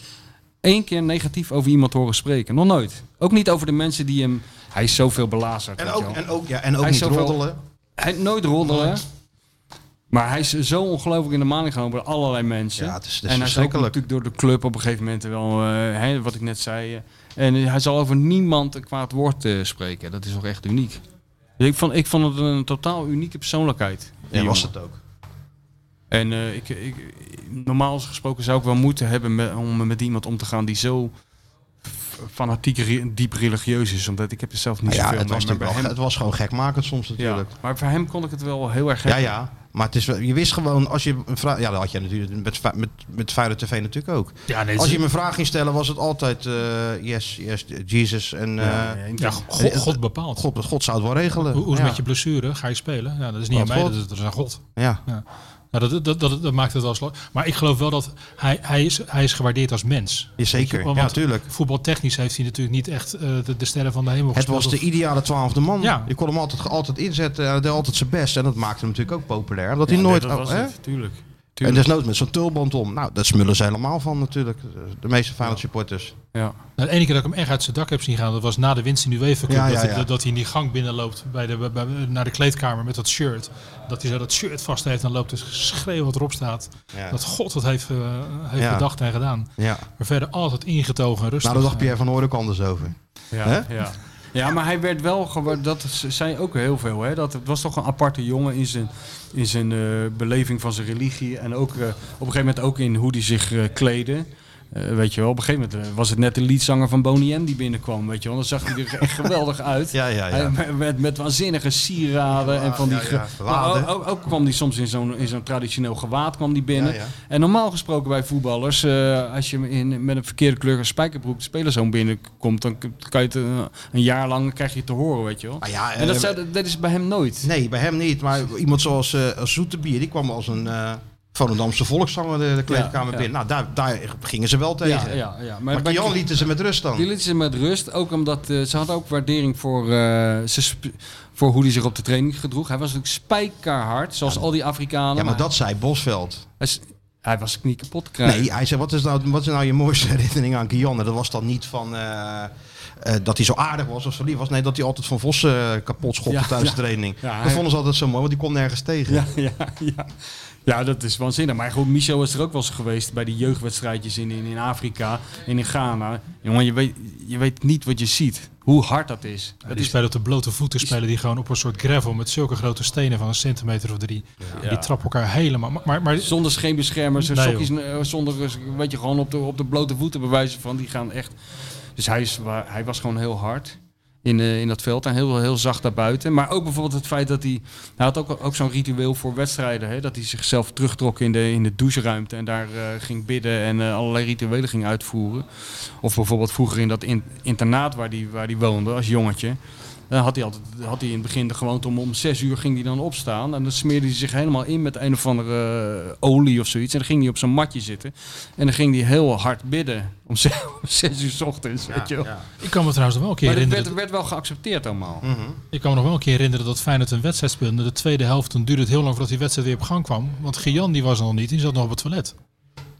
S3: één keer negatief over iemand horen spreken. Nog nooit. Ook niet over de mensen die hem... Hij is zoveel belazerd.
S2: En
S3: weet je
S2: ook,
S3: wel.
S2: en ook, ja, en ook
S3: Hij is
S2: niet
S3: zoveel-
S2: roddelen.
S3: Hij nooit roddelen. Maar hij is zo ongelooflijk in de maling genomen door allerlei mensen.
S2: Ja, het is- het is
S3: en hij is ook
S2: verschrikkelijk.
S3: natuurlijk door de club op een gegeven moment wel, eh, hè, wat ik net zei. eh, en hij zal over niemand een kwaad woord eh, spreken. Dat is toch echt uniek. Dus ik, vond, ik vond het een totaal unieke persoonlijkheid. die
S2: Ja, was
S3: jongen.
S2: het ook.
S3: En eh, ik, ik, normaal gesproken zou ik wel moeten hebben met- om met iemand om te gaan die zo f- fanatiek re- diep religieus is. Omdat ik heb er zelf niet
S2: Nou Ja,
S3: zoveel
S2: het was,
S3: mee. Maar bij
S2: natuurlijk wel,
S3: hem-
S2: het was gewoon gekmakend soms
S3: ja,
S2: natuurlijk.
S3: maar voor hem kon ik het wel heel erg
S2: Ja, ja. Maar het is, wel- je wist gewoon, als je een vraag... Ja, dat had je natuurlijk met, Fe- met, met Feyenoord TV natuurlijk ook.
S5: Ja, nee,
S2: Als je
S5: het-
S2: me een vraag ging stellen, was het altijd eh, yes, yes, Jesus. En eh,
S3: Ja, ja, ik-
S5: ja, God, God bepaalt.
S2: God, God zou het wel regelen.
S5: Hoe, hoe is het
S2: ja.
S5: met je blessure? Ga je spelen? Ja, dat is niet
S2: Wat
S5: aan mij,
S2: God?
S5: dat is, dat is aan God.
S2: Ja.
S5: Nou, dat, dat, dat, dat maakt het wel lastig. Maar ik geloof wel dat hij, hij, is, hij is gewaardeerd als mens.
S2: Ja, zeker.
S5: Want-
S2: Ja, natuurlijk.
S5: Voetbaltechnisch heeft hij natuurlijk niet echt eh, de, de sterren van de hemel
S2: Het
S5: gespeeld.
S2: was de ideale twaalfde man.
S5: Ja.
S2: Je kon hem altijd, altijd inzetten. Hij deed altijd zijn best. En dat maakte hem natuurlijk ook populair. Omdat hij nooit...
S3: dat was
S2: hè?
S3: het, tuurlijk.
S2: En desnoods met zo'n tulband om. Nou, dat smullen ze helemaal van natuurlijk. De meeste Feyenoord supporters.
S3: Ja.
S5: Nou, de enige keer dat ik hem echt uit zijn dak heb zien gaan, dat was na de winst in de UEFA Cup.
S2: Ja, ja,
S5: dat,
S2: ja.
S5: Dat, dat hij in die gang binnenloopt bij de, bij- bij- naar de kleedkamer met dat shirt. Dat hij zo dat shirt vast heeft en loopt dus schreeuwen wat erop staat.
S2: Ja.
S5: Dat God dat heeft, eh, heeft
S2: Ja.
S5: bedacht en gedaan.
S2: ja.
S5: Maar verder altijd ingetogen en rustig.
S2: Nou, daar dacht Pierre van Hoorn ook anders over.
S3: Ja,
S2: Hè?
S3: ja. ja, maar hij werd wel gewaardeerd. Dat ze- zei ook heel veel. Hè? Dat het was toch een aparte jongen in zijn, in zijn eh, beleving van zijn religie. En ook eh, op een gegeven moment ook in hoe hij zich eh kleedde. Eh, weet je wel, op een gegeven moment eh, was het net de liedzanger van Bonnie M die binnenkwam. Weet je wel, dan zag hij er echt geweldig uit.
S2: Ja, ja, ja.
S3: Hij- met, met, met waanzinnige sieraden en van die.
S2: Ja,
S3: ge-
S2: ja,
S3: maar
S2: waden.
S3: ook, ook, ook kwam hij soms in zo'n, in zo'n traditioneel gewaad kwam die binnen.
S2: Ja, ja.
S3: En normaal gesproken bij voetballers, eh, als je in, met een verkeerde kleur een spijkerbroek de spelerzoon binnenkomt, dan k- kan je het eh, een jaar lang krijg je het te horen, weet je wel.
S2: Ah, ja,
S3: en dat,
S2: eh,
S3: zou- dat is bij hem nooit.
S2: Nee, bij hem niet. Maar iemand zoals eh, als Zoetebier, die kwam als een eh Volendamse volkszanger de, de kleedkamer
S3: Ja, ja.
S2: binnen. Nou, daar, daar gingen ze wel tegen.
S3: Ja, ja, ja.
S2: Maar,
S3: bij-
S2: Kian lieten ze met rust dan.
S3: Die liet ze met rust, ook omdat eh, ze had ook waardering voor, eh, ze sp- voor hoe hij zich op de training gedroeg. Hij was natuurlijk spijkerhard, zoals al die Afrikanen.
S2: Ja, maar dat zei Bosveld.
S3: hij, is- hij was niet kapot te krijgen.
S2: Nee, hij zei, wat is nou, wat is nou je mooiste herinnering aan Kian? En dat was dan niet van eh, eh, dat hij zo aardig was of zo lief was. Nee, dat hij altijd van Vossen eh, kapot schopte
S3: Ja,
S2: tijdens
S3: ja.
S2: de training.
S3: Ja,
S2: dat
S3: hij-
S2: vonden ze altijd zo mooi, want die kon nergens tegen.
S3: Ja, ja, ja. ja, dat is waanzinnig. Maar goed, Michel is er ook wel eens geweest bij die jeugdwedstrijdjes in, in, in Afrika en in Ghana. Jongen, je weet, je weet niet wat je ziet. Hoe hard dat is.
S5: Het
S3: Dat
S5: is
S3: is
S5: bij dat de blote voeten spelen die gewoon op een soort gravel met zulke grote stenen van een centimeter of drie. Die trappen elkaar helemaal. Maar, maar, maar
S3: zonder scheenbeschermers, en
S5: Nee,
S3: sokjes, eh, zonder, eh, weet je, gewoon op de, op de blote voeten bewijzen van, die gaan echt... Dus hij, is, wa- hij was gewoon heel hard in, eh, in dat veld en heel, heel zacht daarbuiten. Maar ook bijvoorbeeld het feit dat hij... Hij had ook, ook zo'n ritueel voor wedstrijden, hè, dat hij zichzelf terugtrok in de, in de doucheruimte en daar eh, ging bidden en eh, allerlei rituelen ging uitvoeren. Of bijvoorbeeld vroeger in dat in- internaat waar hij die, waar die woonde als jongetje. Dan had hij, altijd, had hij in het begin de gewoonte om om zes uur ging hij dan opstaan. En dan smeerde hij zich helemaal in met een of andere eh, olie of zoiets. En dan ging hij op zijn matje zitten. En dan ging hij heel hard bidden om zes, om zes uur 's ochtends, weet je wel.
S5: Ik kan me trouwens nog wel een keer
S3: Maar dat
S5: herinneren.
S3: werd, werd wel geaccepteerd allemaal.
S5: Ik kan me nog wel een keer herinneren dat Feyenoord een wedstrijd speelde. De tweede helft, toen duurde het heel lang voordat die wedstrijd weer op gang kwam. Want Gian die was er nog niet, die zat nog op het toilet.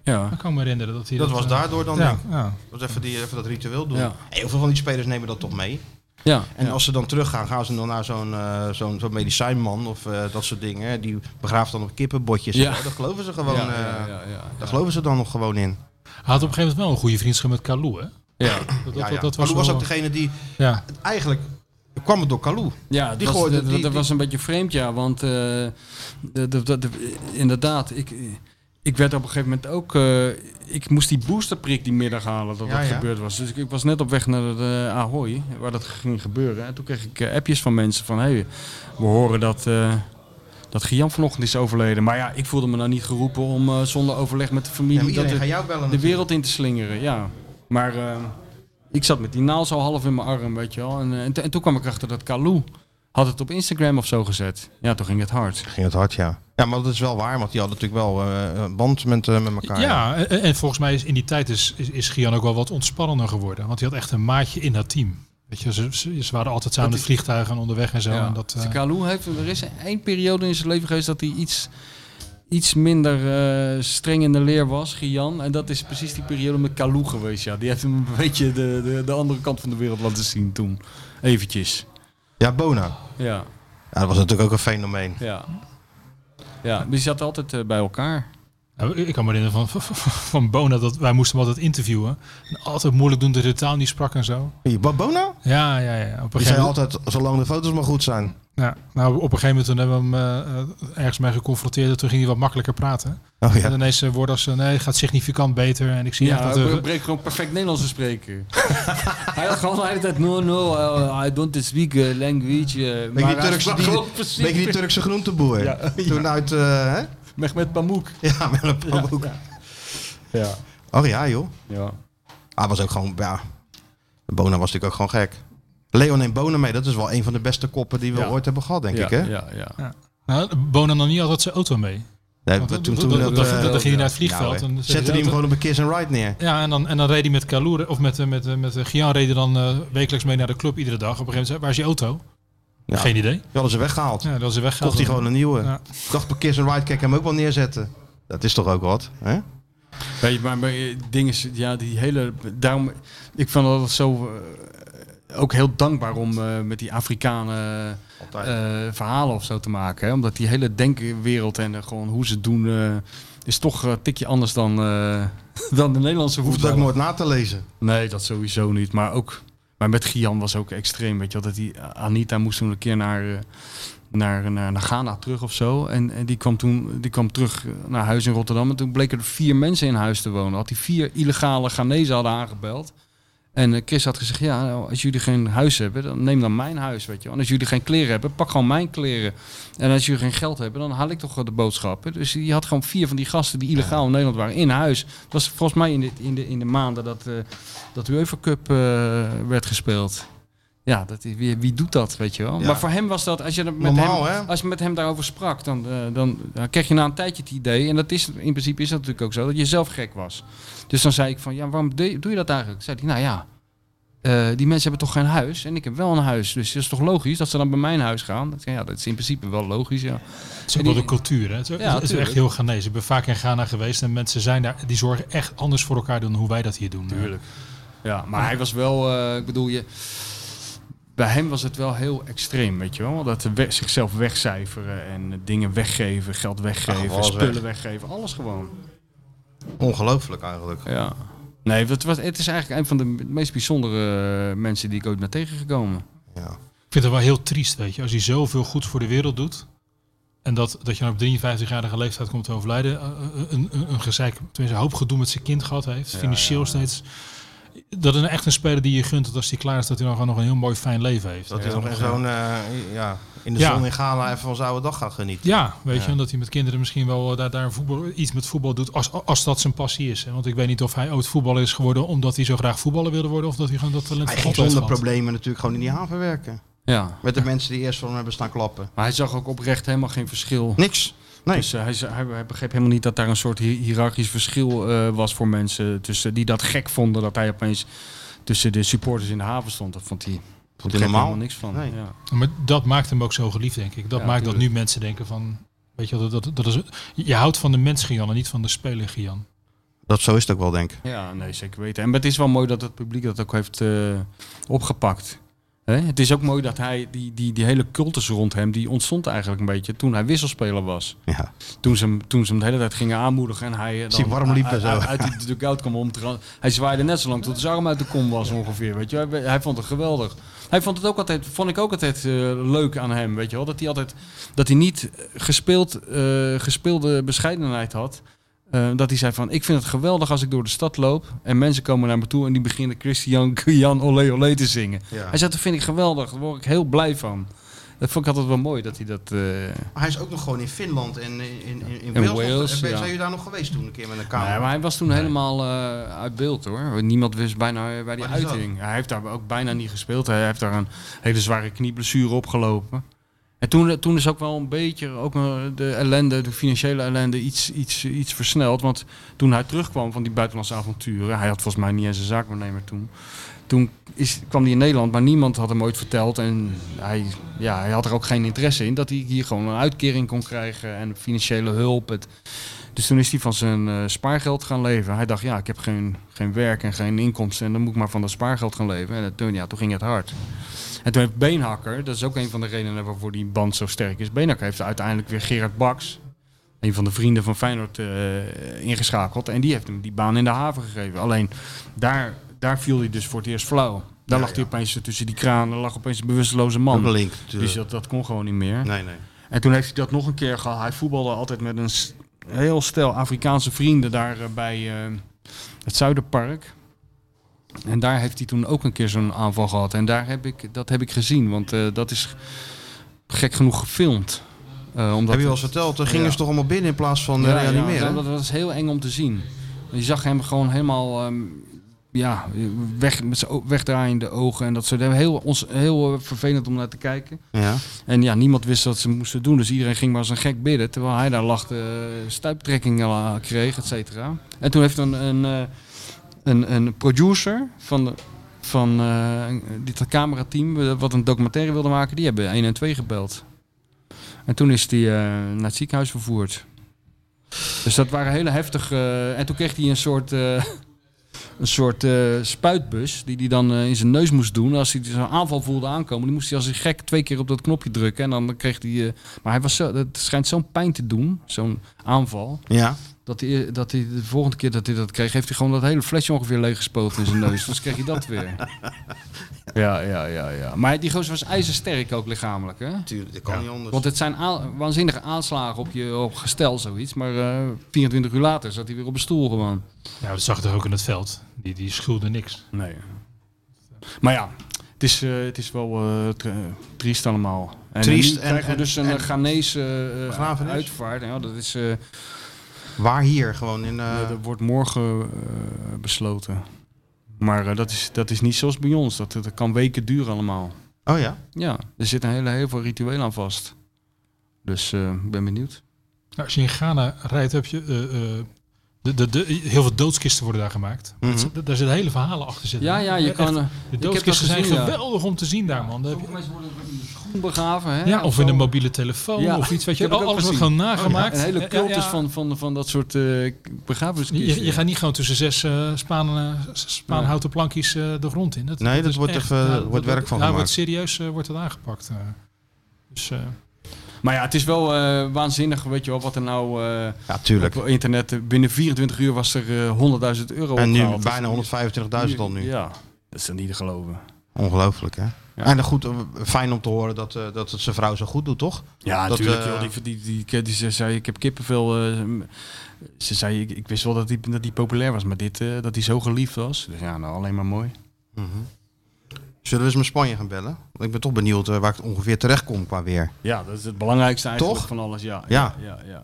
S3: Ja.
S5: Ik kan me herinneren dat hij
S2: Dat was
S5: eh,
S2: daardoor dan.
S5: Ja,
S2: denk ik.
S5: ja.
S2: Dat was even, die, even dat ritueel doen.
S3: Ja.
S2: Heel veel van die spelers nemen dat toch mee.
S3: Ja.
S2: En als ze dan teruggaan, gaan ze dan naar zo'n eh, zo'n zo'n medicijnman of eh, dat soort dingen. hè. Die begraaft dan op kippenbotjes.
S3: Ja.
S2: Ja. Dat geloven ze gewoon.
S3: ja,
S2: eh,
S3: ja, ja, ja.
S2: Daar geloven ze dan nog gewoon in.
S5: Hij had op een gegeven moment wel een goede vriendschap met Kalou, hè?
S3: Ja.
S5: Dat,
S2: ja, ja.
S5: dat- dat
S2: was, was
S5: wel-
S2: ook degene die
S5: Ja,
S2: eigenlijk kwam het door Kalou.
S3: Ja,
S2: Die
S3: dat, was,
S2: gooide-
S3: dat,
S2: die-
S3: dat
S2: die-
S3: was een beetje vreemd, ja. Want eh, de- de- de- de- inderdaad, ik, ik werd op een gegeven moment ook... eh, ik moest die boosterprik die middag halen dat
S2: Ja,
S3: dat
S2: ja.
S3: gebeurd was. Dus ik, ik was net op weg naar de Ahoy, waar dat ging gebeuren. En toen kreeg ik eh, appjes van mensen van... hey, we horen dat... eh dat Gian vanochtend is overleden. Maar ja, ik voelde me nou niet geroepen om eh, zonder overleg met de
S2: Ja,
S3: familie...
S2: maar
S3: dat
S2: iedereen
S3: het-
S2: gaat jou bellen.
S3: de wereld in te slingeren, ja. Maar eh, ik zat met die naal zo half in mijn arm, weet je wel. En, eh, en, to- en toen kwam ik achter dat Kalou had het op Instagram of zo gezet. Ja, toen ging het hard.
S2: Ging het hard, ja. Ja, maar dat is wel waar, want die hadden natuurlijk wel eh, een band met, eh, met elkaar.
S5: ja en, en volgens mij is in die tijd is, is, is Gian ook wel wat ontspannender geworden. Want hij had echt een maatje in dat team. Weet je, ze, ze, ze waren altijd samen in
S3: Dat
S5: het vliegtuig en onderweg en zo.
S3: ja.
S5: En dat,
S3: Dus
S5: eh,
S3: Kalou heeft, er is één periode in zijn leven geweest dat hij iets, iets minder eh, streng in de leer was, Gian. En dat is precies die periode met Kalou geweest, ja. Die heeft hem een beetje de, de, de andere kant van de wereld laten zien toen. Eventjes.
S2: ja Bona.
S3: Ja,
S2: Ja, dat was natuurlijk ook een fenomeen.
S3: ja. Ja, maar die zat altijd eh, bij elkaar.
S5: Nou, ik kan me herinneren van, van, van Bona dat wij moesten hem altijd interviewen. En altijd moeilijk doen dat hij de taal niet sprak en zo.
S2: Wie, Bo- Bona?
S5: Ja, ja, ja. Op een
S2: Die
S5: gegeven
S2: zei
S5: moment,
S2: altijd, zolang de foto's maar goed zijn.
S5: ja, nou, op een gegeven moment toen hebben we hem eh, eh, ergens mee geconfronteerd. En toen ging hij wat makkelijker praten.
S2: Oh
S5: En ineens eh, woorden als, eh, nee, het gaat significant beter. En ik zie echt
S3: Ja,
S5: dat...
S3: hij
S5: eh,
S3: breekt gewoon perfect Nederlands te spreken. hij had gewoon de hele tijd, no, no, I- I don't speak eh, language. eh,
S2: Ben
S3: maar
S2: je
S3: hij
S2: die Turkse,
S3: sprak
S2: die,
S3: gewoon precies
S2: beetje die Turkse groenteboer?
S3: Ja, ja.
S2: Toen uit, eh, hè?
S3: Mehmet Pamuk.
S2: Ja, met een pannenkoek.
S3: Ja.
S2: Oh ja, joh.
S3: ja.
S2: Hij was ook gewoon, ja. Bona was natuurlijk ook gewoon gek. Leon en Bona mee, dat is wel een van de beste koppen die we
S3: Ja.
S2: ooit hebben gehad, denk
S3: ja,
S2: ik, hè?
S3: Ja, ja.
S5: nou, Bona nam niet altijd zijn auto mee.
S2: Nee,
S5: Want
S2: toen,
S5: dat-
S2: toen
S5: dat-
S2: dat,
S5: dat-
S2: eh,
S5: dat ging hij naar het
S2: ja,
S5: vliegveld.
S2: hoor.
S5: en dan
S2: Zette hij hem gewoon op een kiss and ride neer.
S5: Ja, en dan, en dan reed hij met Kaloer, of met, eh, met, eh, met eh, Gian reed hij dan eh, wekelijks mee naar de club iedere dag. Op een gegeven moment zei, waar is je auto?
S2: Ja.
S5: Geen idee.
S2: Die hadden ze weggehaald.
S5: Ja, dat was hij weg.
S2: Kocht hij gewoon een nieuwe.
S5: Ja.
S2: Ik dacht bij kiss and ride, kijk hem ook wel neerzetten. Dat is toch ook wat, hè?
S3: Weet je, maar, maar eh, ding is, ja, die hele... Daarom, ik vond dat zo... eh, ook heel dankbaar om eh, met die Afrikanen
S2: Altijd.
S3: eh, verhalen of zo te maken. Hè? Omdat die hele denkwereld en eh, gewoon hoe ze het doen... eh, is toch eh, een tikje anders dan, eh, dan de Nederlandse
S2: Hoeft het
S3: voetbal.
S2: ook nooit na te lezen.
S3: Nee, dat sowieso niet. Maar ook, maar met Gian was ook extreem. Weet je wel, dat die Anita moest toen een keer naar, eh, naar, naar, naar Ghana terug of zo. En, en die kwam toen die kwam terug eh, naar huis in Rotterdam. En toen bleken er vier mensen in huis te wonen. Had die vier illegale Ghanese hadden aangebeld. En eh, Chris had gezegd, ja, nou, als jullie geen huis hebben, dan neem dan mijn huis, weet je wel. En als jullie geen kleren hebben, pak gewoon mijn kleren. En als jullie geen geld hebben, dan haal ik toch wel de boodschappen. Dus je had gewoon vier van die gasten die illegaal in Nederland waren in huis. Dat was volgens mij in de, in de, in de maanden dat, eh dat de UEFA Cup eh, werd gespeeld. Ja, dat is, wie, wie doet dat, weet je wel?
S2: Ja.
S3: Maar voor hem was dat, als je dat met
S2: Normaal,
S3: hem,
S2: hè?
S3: als je met hem daarover sprak, dan, eh, dan, dan kreeg je na een tijdje het idee, en dat is, in principe is dat natuurlijk ook zo, dat je zelf gek was. Dus dan zei ik van, ja, waarom de- doe je dat eigenlijk? Zei hij, nou ja, eh, die mensen hebben toch geen huis? En ik heb wel een huis, dus het is toch logisch dat ze dan bij mijn huis gaan? Ik zei, ja, dat is in principe wel logisch, ja.
S5: Het is ook wel de cultuur. Hè? Het is,
S3: Ja,
S5: het is
S3: tuurlijk.
S5: echt heel Ghanese. Ik ben vaak in Ghana geweest en mensen zijn daar, die zorgen echt anders voor elkaar dan hoe wij dat hier doen.
S3: Ja, maar hij was wel, eh, ik bedoel je, bij hem was het wel heel extreem, weet je wel? Dat ze we- zichzelf wegcijferen en eh, dingen weggeven, geld
S2: Ja,
S3: weggeven,
S2: alles
S3: spullen weggeven, alles gewoon.
S2: Ongelooflijk eigenlijk.
S3: Ja. Nee, het, was, het is eigenlijk een van de meest bijzondere eh, mensen die ik ooit ben tegengekomen.
S2: Ja.
S5: Ik vind het wel heel triest, weet je. Als je zoveel goed voor de wereld doet. En dat, dat je dan op 53-jarige leeftijd komt te overlijden. eh, eh, Een, een, een gezeik, tenminste een hoop gedoe met zijn kind gehad heeft. financieel steeds. Dat is een- echt een speler die je gunt dat als hij klaar is, dat hij dan gewoon nog een heel mooi fijn leven heeft.
S2: Dat
S5: Ja,
S2: is nog
S5: nog-
S2: echt zo'n, eh, ja, in de
S5: Ja.
S2: zon in Ghana even van zijn oude dag gaan genieten.
S5: Ja, weet je, en dat hij met kinderen misschien wel eh, daar, daar voetbal, iets met voetbal doet, als, als dat zijn passie is. hè. Want ik weet niet of hij ooit voetballer is geworden omdat hij zo graag voetballer wilde worden, of dat hij gewoon dat talent
S2: Hij
S5: van
S2: ging
S5: God heeft
S2: zonder
S5: gehad.
S2: problemen natuurlijk gewoon in die haven werken.
S3: Ja.
S2: Met de mensen die eerst van hem hebben staan klappen.
S3: Maar hij zag ook oprecht helemaal geen verschil.
S2: Niks. Nee.
S3: Dus eh, hij, ze- hij, hij begreep helemaal niet dat daar een soort hi- hiërarchisch verschil eh, was voor mensen tussen die dat gek vonden dat hij opeens tussen de supporters in de haven stond. Dat vond hij
S2: Vond
S3: begreep
S2: hij normaal?
S3: helemaal niks van.
S2: Nee.
S3: Ja.
S5: Maar dat maakt hem ook zo geliefd, denk ik. Dat
S3: Ja,
S5: maakt dat
S3: tuurlijk.
S5: nu mensen denken van... Weet je, wel, dat, dat, dat is, je houdt van de mens Gian en niet van de speler Gian.
S2: Dat zo is het ook wel, denk ik.
S3: ja, nee, zeker weten. En het is wel mooi dat het publiek dat ook heeft eh, opgepakt. Hè? Het is ook mooi dat hij, die, die, die hele cultus rond hem, die ontstond eigenlijk een beetje toen hij wisselspeler was.
S2: Ja.
S3: Toen ze hem, toen ze hem de hele tijd gingen aanmoedigen en hij eh,
S2: Zie, warm liep
S3: uit,
S2: en zo.
S3: uit, uit die dugout kwam om. te- Hij zwaaide net zo lang tot zijn arm uit de kom was ongeveer. Weet je. wel. Hij, hij vond het geweldig. Hij vond het ook altijd, vond ik ook altijd eh, leuk aan hem. Weet je wel. Dat hij altijd dat hij niet gespeeld, eh, gespeelde bescheidenheid had. Eh, dat hij zei van ik vind het geweldig als ik door de stad loop en mensen komen naar me toe en die beginnen Christian Jan Olé Olé te zingen.
S2: Ja.
S3: Hij zei dat vind ik geweldig, daar word ik heel blij van. Dat vond ik altijd wel mooi dat hij dat. eh,
S2: Maar hij is ook nog gewoon in Finland en in, in, in, in
S3: In
S2: Wales.
S3: Wales,
S2: Of- ben-
S3: ja.
S2: Zijn jullie daar nog geweest toen een keer met een kamer?
S3: Nee, maar hij was toen helemaal eh, uit beeld hoor. Niemand wist bijna eh, bij die
S2: Wat is dat?
S3: uiting. Hij heeft daar ook bijna niet gespeeld. Hij heeft daar een hele zware knieblessure opgelopen. En toen, eh, toen is ook wel een beetje ook eh, de ellende, de financiële ellende, iets, iets, iets versneld. Want toen hij terugkwam van die buitenlandse avonturen, hij had volgens mij niet eens een zaakwaarnemer toen. Toen is, kwam hij in Nederland, maar niemand had hem ooit verteld. En hij, ja, hij had er ook geen interesse in dat hij hier gewoon een uitkering kon krijgen en financiële hulp. Het, dus toen is hij van zijn eh, spaargeld gaan leven. Hij dacht, ja, ik heb geen, geen werk en geen inkomsten. En dan moet ik maar van dat spaargeld gaan leven. En eh, toen, ja, toen ging het hard. En toen heeft Beenhakker, dat is ook een van de redenen waarvoor die band zo sterk is. Beenhakker heeft uiteindelijk weer Gerard Baks, een van de vrienden van Feyenoord, eh, ingeschakeld. En die heeft hem die baan in de haven gegeven. Alleen daar, daar viel hij dus voor het eerst flauw. Daar lag hij opeens tussen die kranen, lag opeens een bewusteloze
S2: Ook eh, een
S3: man.
S2: link.
S3: Dus
S2: natuurlijk.
S3: dat, dat kon gewoon niet meer.
S2: Nee, nee.
S3: En toen heeft hij dat nog een keer gehad. Hij voetbalde altijd met een s- heel stel Afrikaanse vrienden daar eh, bij eh, het Zuiderpark. En daar heeft hij toen ook een keer zo'n aanval gehad. En daar heb ik, dat heb ik gezien, want eh, dat is gek genoeg gefilmd. Eh, omdat
S2: Heb je wel eens verteld, dan gingen
S3: Ja.
S2: ze toch allemaal binnen in plaats van ja, reanimeren.
S3: dat, dat is heel eng om te zien. Je zag hem gewoon helemaal ehm, ja, weg, met zijn o- wegdraaiende ogen en dat soort dingen. Heel, ons, heel eh, vervelend om naar te kijken.
S2: ja.
S3: En ja, niemand wist wat ze moesten doen. Dus iedereen ging maar als een gek bidden. Terwijl hij daar lag, eh, stuiptrekkingen la- kreeg, et cetera. En toen heeft een, een, eh, een, een producer van, de, van eh, dit camerateam... eh, wat een documentaire wilde maken, die hebben 1 en 2 gebeld. En toen is hij naar het ziekenhuis vervoerd. Dus dat waren hele heftige... eh, en toen kreeg hij een soort... eh, een soort eh, spuitbus die hij dan eh, in zijn neus moest doen. Als hij zo'n aanval voelde aankomen, die moest hij als een gek twee keer op dat knopje drukken. En dan kreeg hij... eh, maar hij was zo, het schijnt zo'n pijn te doen, zo'n aanval,
S2: ja.
S3: dat hij, eh, dat hij de volgende keer dat hij dat kreeg, heeft hij gewoon dat hele flesje ongeveer leeggespoten in zijn neus. Dus kreeg hij dat weer. Ja, ja, ja, ja. Maar die gozer was ijzersterk ook lichamelijk, hè?
S2: Tuurlijk, dat kan niet anders.
S3: Want het zijn aan- waanzinnige aanslagen op je op gestel, zoiets. Maar eh, 24 uur later zat hij weer op een stoel gewoon.
S5: Ja, dat zag je toch ook in het veld. Die, die schulde niks.
S3: Nee. Maar ja, het is, eh, het is wel eh, tr- eh, triest allemaal. En
S2: Triest
S3: nu krijgen
S2: en-
S3: we dus een
S2: en-
S3: eh, Ghanese eh,
S2: Begrafenis?
S3: uitvaart. Ja, dat, is, eh,
S2: Waar hier gewoon in. eh,
S3: dat wordt morgen eh, besloten. Maar eh, dat, is, dat is niet zoals bij ons. Dat, dat kan weken duren allemaal.
S2: Oh ja.
S3: Ja, er zit een hele, heel veel ritueel aan vast. Dus eh, ik ben benieuwd.
S5: Nou, als je in Ghana rijdt, heb je... eh, eh, de, de, de, heel veel doodskisten worden daar gemaakt.
S2: Mhm.
S5: Dat- Daar zitten hele verhalen achter zitten.
S3: Ja, ja, je
S5: Echt,
S3: kan... eh,
S5: De
S3: ik heb dat
S5: doodskisten zijn
S3: gezien, ja.
S5: geweldig om te zien daar, man. Daar heb je-
S3: Sommige mensen worden in de schoen begraven. Hè?
S5: Ja, of in een
S3: zo.
S5: mobiele telefoon
S3: Ja,
S5: of iets. Weet je,
S3: ik heb het
S5: alles
S3: ook
S5: wordt
S3: gezien. Oh
S5: gewoon nagemaakt.
S3: Een hele
S5: Ja,
S3: cultus
S5: ja.
S3: Van, van, van dat soort eh begrafeniskisten.
S5: Je, je gaat niet gewoon tussen zes eh Spaan, eh, spaanhouten plankjes eh, de grond in.
S2: Nee, dat
S5: is
S2: wordt
S5: echt-
S2: even-
S3: eh,
S5: nou,
S2: wordt
S5: dat-
S2: werk van
S5: daar
S2: gemaakt.
S5: Wordt serieus eh, wordt het aangepakt. eh. Dus, eh,
S3: Maar ja, het is wel eh, waanzinnig, weet je wel, wat er nou eh,
S2: Ja, tuurlijk.
S3: op internet... eh, Binnen 24 uur was er eh 100.000 euro
S2: En nu
S3: opgehaald. Dus-
S2: bijna 125.000 al nu.
S3: Ja, dat is dan niet te geloven.
S2: Ongelooflijk, hè?
S3: Ja.
S2: En dan goed, eh, fijn om te horen dat, eh, dat het zijn vrouw zo goed doet, toch?
S3: Ja,
S2: Dat,
S3: natuurlijk.
S2: eh,
S3: joh. die, die, die, die, ze zei, ik heb kippenvel. eh, ze zei, ik, ik wist wel dat die, dat die populair was, maar dit, eh, dat hij zo geliefd was. Dus ja, nou, alleen maar mooi. Mhm.
S2: Zullen we eens met Spanje gaan bellen? Want ik ben toch benieuwd eh, waar ik ongeveer terecht kom qua weer.
S3: Ja, dat is het belangrijkste eigenlijk
S2: Toch?
S3: van alles. Ja,
S2: Ja.
S3: ja, ja, ja.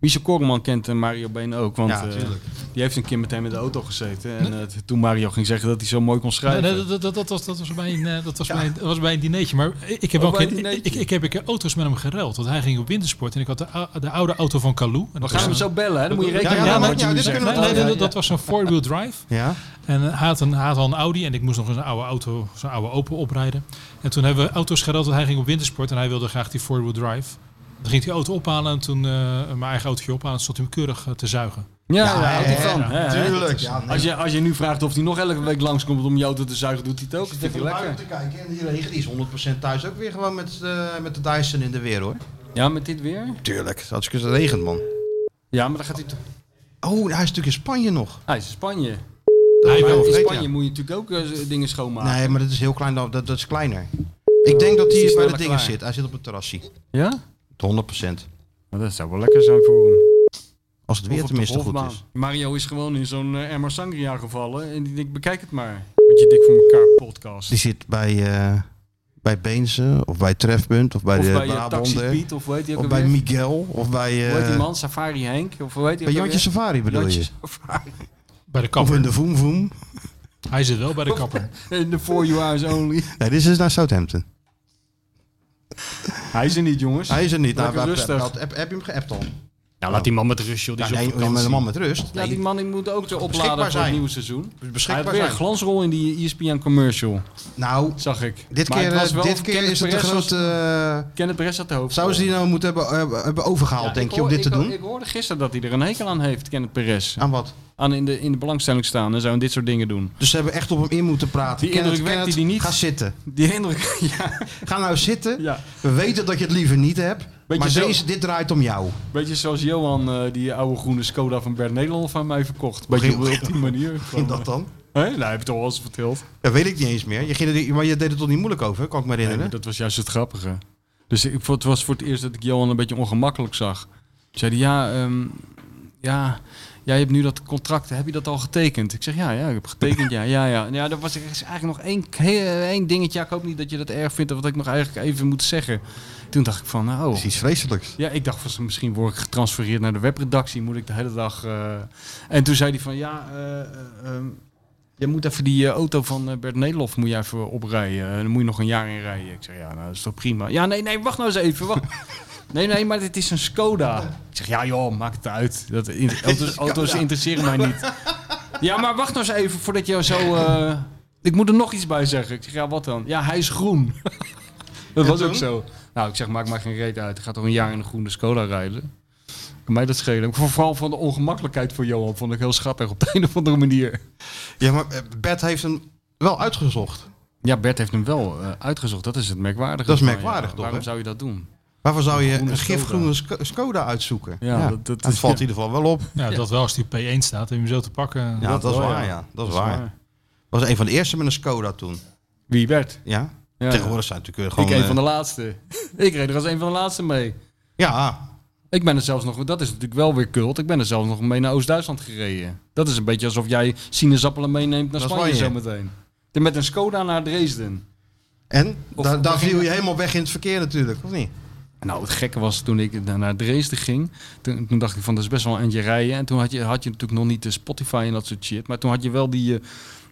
S3: Michel Korman kent eh, Mario Been ook, want
S2: Ja,
S3: eh,
S2: tuurlijk.
S3: die heeft een keer met hem in de auto gezeten. En eh, toen Mario ging zeggen dat hij zo mooi kon schrijven.
S5: Nee, dat, dat, dat, was, dat, was bij een, eh, dat was bij een- dat was bij een dineetje. Maar ik heb,
S3: Oh,
S5: ook
S3: bij
S5: een-
S3: een dineetje.
S5: ik, ik heb een keer auto's met hem geruild. Want hij ging op wintersport en ik had de, ou- de oude auto van Calou. En
S3: We
S5: dat
S3: gaan
S5: was
S3: hem
S5: een-
S3: zo bellen, hè? dan moet je rekening
S2: Ja, ja,
S3: houden
S2: maar-
S3: wat je
S2: ja,
S3: nu
S2: dit
S3: zegt.
S2: kunnen we
S5: Nee, nee,
S2: Ja,
S5: dat, dat was zo'n four-wheel drive.
S2: Ja?
S5: En eh, hij had, een, hij had al een Audi en ik moest nog eens een oude auto, zo'n oude Opel oprijden. En toen hebben we auto's geruild, want hij ging op wintersport en hij wilde graag die four-wheel drive. Dan ging ik die auto ophalen en toen eh, mijn eigen autootje ophalen en stond hij hem keurig eh, te zuigen.
S3: Ja, ja,
S2: Ja,
S3: houdt hij
S2: ja,
S3: van.
S2: ja,
S3: hè, hè?
S2: Tuurlijk. Ja, nee.
S3: Als je, als je nu vraagt of hij nog elke week langskomt om jou te zuigen, doet hij het ook. Dat
S2: Ik
S3: vindt hij lekker.
S2: te kijken en die regen die is 100% thuis ook weer gewoon met, eh, met de Dyson in de weer hoor.
S3: Ja, met dit weer?
S2: Tuurlijk, dat is regent man.
S3: Ja, maar dan gaat hij... to-
S2: Oh, hij is natuurlijk in Spanje nog.
S3: Hij is in Spanje.
S2: Dat
S3: Maar
S2: ben ik
S3: in
S2: vergeten,
S3: Spanje moet je natuurlijk ook eh, dingen schoonmaken.
S2: ja. Nee, maar dat is heel klein, dat, dat is kleiner. Ik denk dat
S3: Is
S2: hij bij
S3: hij
S2: de
S3: sneller
S2: dingen
S3: klaar?
S2: zit. Hij zit op een terrasje.
S3: Ja?
S2: 100%.
S3: dat zou wel lekker zijn voor hem.
S2: Als het weer tenminste goed is.
S3: Mario is gewoon in zo'n eh, emmer sangria gevallen. En die denkt, bekijk het maar. Met je dik voor elkaar podcast.
S2: Die zit bij, eh, bij Beense, of bij Trefpunt, of bij
S3: of
S2: de
S3: bij je Taxi
S2: Brabander.
S3: Piet, of weet je ook
S2: Of
S3: alweer?
S2: bij Miguel, of bij,
S3: Hoe heet die
S2: eh
S3: man? Safari Henk? Of hoe heet die
S2: bij
S3: ook
S2: Jantje
S3: alweer?
S2: Safari bedoel je?
S3: Jantje Safari.
S5: Bij de
S2: Of
S5: kapper.
S2: in de Voem Voem.
S5: Hij zit wel bij de kapper.
S3: In the four you eyes only.
S2: Nee, dit is dus naar Southampton.
S3: Hij is er niet, jongens.
S2: Hij is er niet.
S3: Lekker
S2: Nou, we-
S3: rustig.
S2: we- Heb, heb je hem geappt al?
S3: Ja, laat die man met rust, joh.
S2: Ja, nee, met een man met rust.
S3: Ja, die man die moet ook de
S2: Beschikbaar
S3: oplader voor het
S2: zijn.
S3: nieuwe seizoen. Hij had
S2: Beschikbaar
S3: weer een
S2: zijn.
S3: glansrol in die E ESPN commercial,
S2: Nou,
S3: zag ik.
S2: dit
S3: Maar
S2: keer,
S3: het was
S2: eh,
S3: wel
S2: dit keer
S3: Kenneth
S2: is het een
S3: Perez was-
S2: grote... eh,
S3: Kenneth Perez had de hoofd.
S2: Zouden ze die nou moeten hebben, eh, hebben overgehaald, denk je, om dit te doen?
S3: Ik hoorde gisteren dat hij er een hekel aan heeft, Kenneth Perez.
S2: Aan wat?
S3: Aan in de, in de belangstelling staan en zo en dit soort dingen doen.
S2: Dus ze hebben echt op hem in moeten praten.
S3: Die indruk wekt hij die niet.
S2: Ga zitten.
S3: Die indruk, ja.
S2: Ga nou zitten.
S3: ja.
S2: We weten dat je het liever niet hebt. maar
S3: zo-
S2: deze, dit draait om jou.
S3: Beetje zoals Johan eh, die oude groene Skoda van Bert Nederland van mij verkocht. Beetje
S2: Hoe ging-
S3: op die manier.
S2: Vind dat dan?
S3: Hè? Nou, heb je toch al eens verteld.
S2: Dat weet ik niet eens meer. Je ging er, maar je deed het toch niet moeilijk over, kan ik me
S3: Nee,
S2: herinneren?
S3: maar dat was juist het grappige. Dus ik, het was voor het eerst dat ik Johan een beetje ongemakkelijk zag. Zei hij, ja, ehm, ja, jij hebt nu dat contract, heb je dat al getekend? Ik zeg, ja, ja, ik heb getekend, ja, ja, ja. Ja, dat was er is eigenlijk nog één, he- één dingetje. Ja, ik hoop niet dat je dat erg vindt, wat ik nog eigenlijk even moet zeggen. Toen dacht ik van, nou...
S2: Dat is iets vreselijks.
S3: Ja, ik dacht van misschien word ik getransfereerd naar de webredactie. Moet ik de hele dag. eh, En toen zei hij van ja, eh, eh, ehm, je moet even die eh, auto van eh, Bert Nederlof moet je even oprijden. En dan moet je nog een jaar in rijden. Ik zeg ja, nou, dat is toch prima. Ja, nee, nee, wacht nou eens even. Wacht. Nee, nee, maar dit is een Skoda. Ik zeg, ja joh, maakt het uit. Dat, in- auto's, auto's interesseren mij niet. Ja, maar wacht nou eens even voordat je zo... eh, ik moet er nog iets bij zeggen. Ik zeg, ja, wat dan? Ja, hij is groen. dat was ook zo. Nou, ik zeg, maak maar geen reet uit. Ik ga toch een jaar in een groene Skoda rijden. Kan mij dat schelen. Vooral van de ongemakkelijkheid voor Johan vond ik heel schattig op de een of andere manier.
S2: Ja, maar eh, Bert heeft hem wel uitgezocht.
S3: Ja, Bert heeft hem wel eh, uitgezocht. Dat is het merkwaardige.
S2: Dat is
S3: van, ja,
S2: merkwaardig, toch,
S3: Waarom
S2: hè?
S3: zou je dat doen?
S2: Waarvoor zou je
S3: Groene
S2: een gifgroene Sk- Skoda uitzoeken? Ja, dat, valt in ieder geval wel op.
S5: Ja, Nou, dat wel als die op P1 staat, heb je hem zo te pakken.
S2: Ja, dat, is
S3: wel,
S2: waar,
S3: ja.
S2: ja. Dat is waar. Was een van de eerste met een Skoda toen.
S3: Wie Bert?
S2: Ja.
S3: Ja,
S2: Tegenwoordig zijn natuurlijk
S3: Ik
S2: gewoon...
S3: een van de
S2: eh,
S3: laatste. ik reed er als een van de laatste mee.
S2: Ja,
S3: Ik ben er zelfs nog, dat is natuurlijk wel weer cult. Ik ben er zelfs nog mee naar Oost-Duitsland gereden. Dat is een beetje alsof jij sinaasappelen meeneemt naar
S2: Naar
S3: Spanje
S2: Spanje.
S3: zometeen. Met een Skoda naar Dresden.
S2: En?
S3: Of
S2: daar daar
S3: begin-
S2: viel je helemaal weg in het verkeer natuurlijk, of niet?
S3: Nou, het gekke was toen ik na- naar Dresden ging. Toen, toen dacht ik van, dat is best wel een eindje rijden. En toen had je, had je natuurlijk nog niet de Spotify en dat soort shit. Maar toen had je wel die, eh,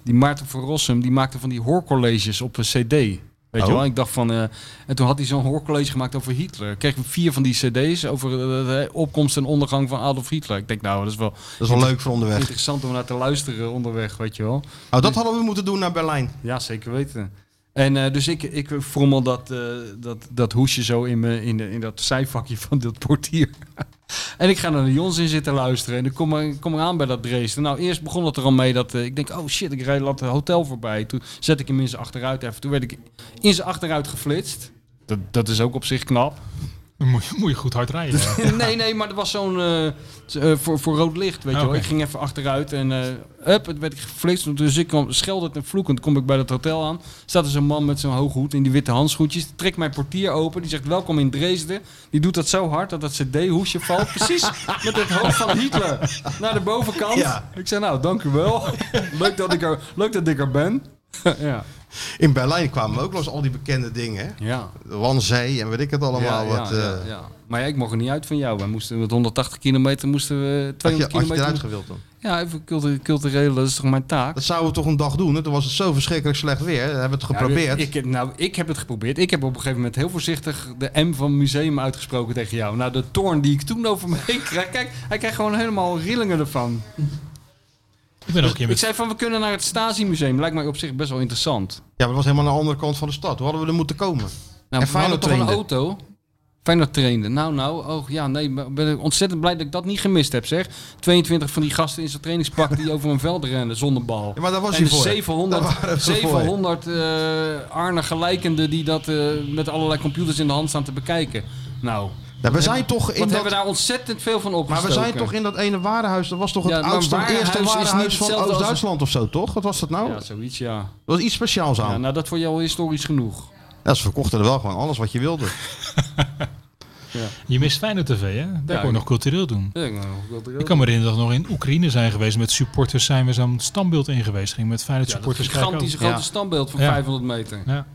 S3: die Maarten van Rossum. Die maakte van die hoorcolleges op een cd. Weet je
S2: Oh.
S3: wel? Ik dacht van... eh, en toen had hij zo'n hoorcollege gemaakt over Hitler. Ik kreeg vier van die cd's over eh, de opkomst en ondergang van Adolf Hitler. Ik denk, nou, dat is wel
S2: Dat is wel leuk voor onderweg.
S3: interessant om naar te luisteren onderweg, weet je wel.
S2: Oh, dat hadden we moeten doen naar Berlijn.
S3: Ja, zeker weten. En eh, dus ik, ik frommel dat, eh, dat, dat hoesje zo in, me, in, de, in dat zijvakje van dat portier. en ik ga naar de Jons in zitten luisteren. En dan kom ik kom ik aan bij dat Dresden. Nou, eerst begon het er al mee dat eh, ik denk, oh shit, ik rijd dat hotel voorbij. Toen zet ik hem in zijn achteruit even. Toen werd ik in zijn achteruit geflitst. Dat, dat is ook op zich knap.
S5: Dan moet je, moet je goed hard rijden. ja.
S3: nee, nee, maar dat was zo'n eh, t- eh, voor, voor rood licht, weet je wel.
S5: Oké.
S3: Ik ging even achteruit en eh up, het werd ik geflitst. Dus ik kwam scheldend en vloekend, kom ik bij dat hotel aan. Staat er zo'n man met zo'n hoge hoed in die witte handschoentjes. Die trekt mijn portier open, die zegt welkom in Dresden. Die doet dat zo hard dat dat cd-hoesje valt. Precies met het hoofd van Hitler naar de bovenkant.
S2: Ja.
S3: Ik zei nou, dank u wel. leuk, dat ik er, leuk dat ik er ben. ja.
S2: In Berlijn kwamen we ook langs al die bekende dingen. hè?
S3: Ja.
S2: Wanzee en weet ik het allemaal.
S3: ja,
S2: wat,
S3: ja, ja,
S2: eh,
S3: ja. Maar ja, ik mocht er niet uit van jou. Wij moesten met 180 kilometer moesten we
S2: Had, je,
S3: 200
S2: had je
S3: kilometer.
S2: eruit gewild dan?
S3: ja, even cultureel, cultureel, dat is toch mijn taak.
S2: Dat zouden we toch een dag doen. hè? Toen was het zo verschrikkelijk slecht weer. We hebben we het
S3: Ja,
S2: geprobeerd.
S3: ik, ik- nou, ik heb het geprobeerd. Ik heb op een gegeven moment heel voorzichtig de M van museum uitgesproken tegen jou. Nou, de toorn die ik toen over me heen kreeg. Kijk, hij krijgt gewoon helemaal rillingen ervan.
S5: Ik ben ook een keer
S3: Ik
S5: met
S3: zei van, we kunnen naar het Stasi-museum. Lijkt mij op zich best wel interessant.
S2: Ja, maar dat was helemaal aan de andere kant van de stad. Hoe hadden we er moeten komen?
S3: Nou,
S2: En
S3: we hadden
S2: Feyenoord
S3: toch een
S2: trainde.
S3: auto? Feyenoord trainde. Nou, nou, oh ja, nee, maar ben ik ontzettend blij dat ik dat niet gemist heb, zeg. 22 van die gasten in zijn trainingspak die over een veld rennen zonder bal.
S2: Ja, maar daar was
S3: en
S2: hij voor.
S3: 700,
S2: Daar waren we voor.
S3: 700 eh Arne gelijkende die dat eh, met allerlei computers in de hand staan te bekijken. Nou,
S2: Ja, we zijn toch in
S3: wat
S2: dat...
S3: hebben we daar ontzettend veel van
S2: Maar
S3: opgestoken.
S2: we zijn toch in dat ene warenhuis. Dat was toch het
S3: Ja, maar
S2: oudste,
S3: warenhuis
S2: eerste
S3: is niet
S2: warenhuis van
S3: hetzelfde als-
S2: Oost-Duitsland of zo, toch? Wat was dat nou?
S3: Ja, zoiets, ja.
S2: Dat was iets speciaals aan.
S3: ja. Nou, dat voor jou al historisch genoeg.
S2: Ja, ze verkochten er wel gewoon alles wat je wilde.
S5: Je mist Feyenoord TV, hè? Daar kon je
S3: ik-
S5: nog cultureel doen.
S3: Ja, nou, ik ben nog wel te-
S5: Ik kan me herinneren dat we nog in Oekraïne zijn geweest. Met supporters zijn we zo'n standbeeld in geweest. Ging met Feyenoord
S3: Ja, dat
S5: supporters kijken
S3: gigantische
S5: ook.
S3: grote
S2: Ja.
S3: standbeeld van
S5: Ja.
S3: 500 meter.
S5: Ja.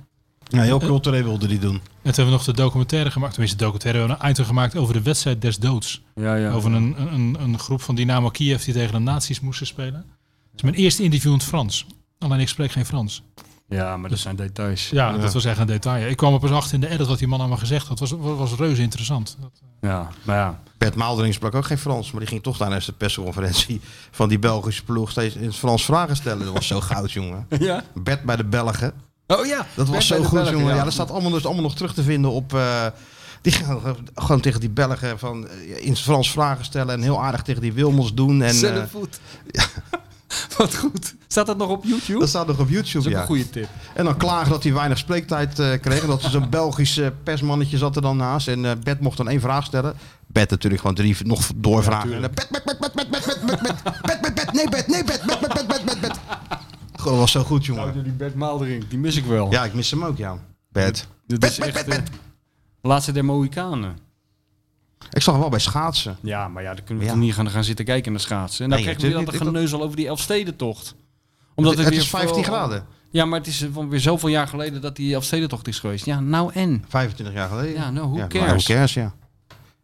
S2: Ja, heel cultureel wilde die doen.
S5: En toen hebben we nog de documentaire gemaakt. Tenminste, de documentaire. We hebben een item gemaakt over de wedstrijd des doods.
S3: Ja, ja.
S5: Over een, een, een groep van Dynamo Kiev die tegen de nazi's moesten spelen. Het is mijn eerste interview in het Frans. Alleen ik spreek geen Frans.
S3: Ja, maar dat zijn details.
S5: Ja, dat was echt een detail. Ik kwam er pas achter in de edit wat die man allemaal gezegd had. Het was, was, was reuze interessant.
S3: Ja, maar ja.
S2: Bert Maaldering sprak ook geen Frans, maar die ging toch tijdens de persconferentie van die Belgische ploeg steeds in het Frans vragen stellen. Dat was zo goud, jongen.
S3: Ja?
S2: Bert bij de Belgen.
S3: Oh ja.
S2: Dat was zo goed, jongen. Ja,
S3: Ja,
S2: dat staat allemaal, dus allemaal nog terug te vinden op... eh, die gaan gewoon- gewoon tegen die Belgen van, eh, in het Frans vragen stellen en heel aardig tegen die Wilmots doen. En, eh,
S3: voet. Wat goed. Staat dat nog op YouTube?
S2: dat staat nog op
S3: is
S2: YouTube,
S3: ook
S2: ja.
S3: een goede tip.
S2: En dan klagen dat hij weinig spreektijd eh, kreeg. En dat er zo'n Belgisch eh, persmannetje zat er dan naast. En eh Bert mocht dan één vraag stellen. Bert natuurlijk gewoon drie nog doorvragen. en, eh, Bert, Bert, Bert, Bert, Bert, Bert, Bert, Bert, Bert, Bert, Bert, Bert, nee Bert, nee Bert, Bert, Bert, Bert, Bert, Bert, Bert. Goh, dat was zo goed, jongen.
S3: die Bert Maaldering, die mis ik wel.
S2: Ja, ik mis hem ook, ja. Bert.
S3: Dit is echt eh, de laatste der Mohikanen.
S2: Ik zag hem wel bij schaatsen.
S3: Ja, maar ja, dan kunnen we
S2: Ja.
S3: toch niet gaan, gaan zitten kijken naar schaatsen. En dan
S2: Nee,
S3: krijg je weer dat
S2: natuurlijk niet.
S3: geneuzel over die Elfstedentocht. Omdat
S2: het
S3: weer
S2: is 15
S3: veel-
S2: graden.
S3: Ja, maar het is eh, van weer zoveel jaar geleden dat die Elfstedentocht is geweest. Ja, nou en?
S2: 25 jaar geleden.
S3: Ja, nou, who
S2: maar
S3: cares?
S2: who cares, ja.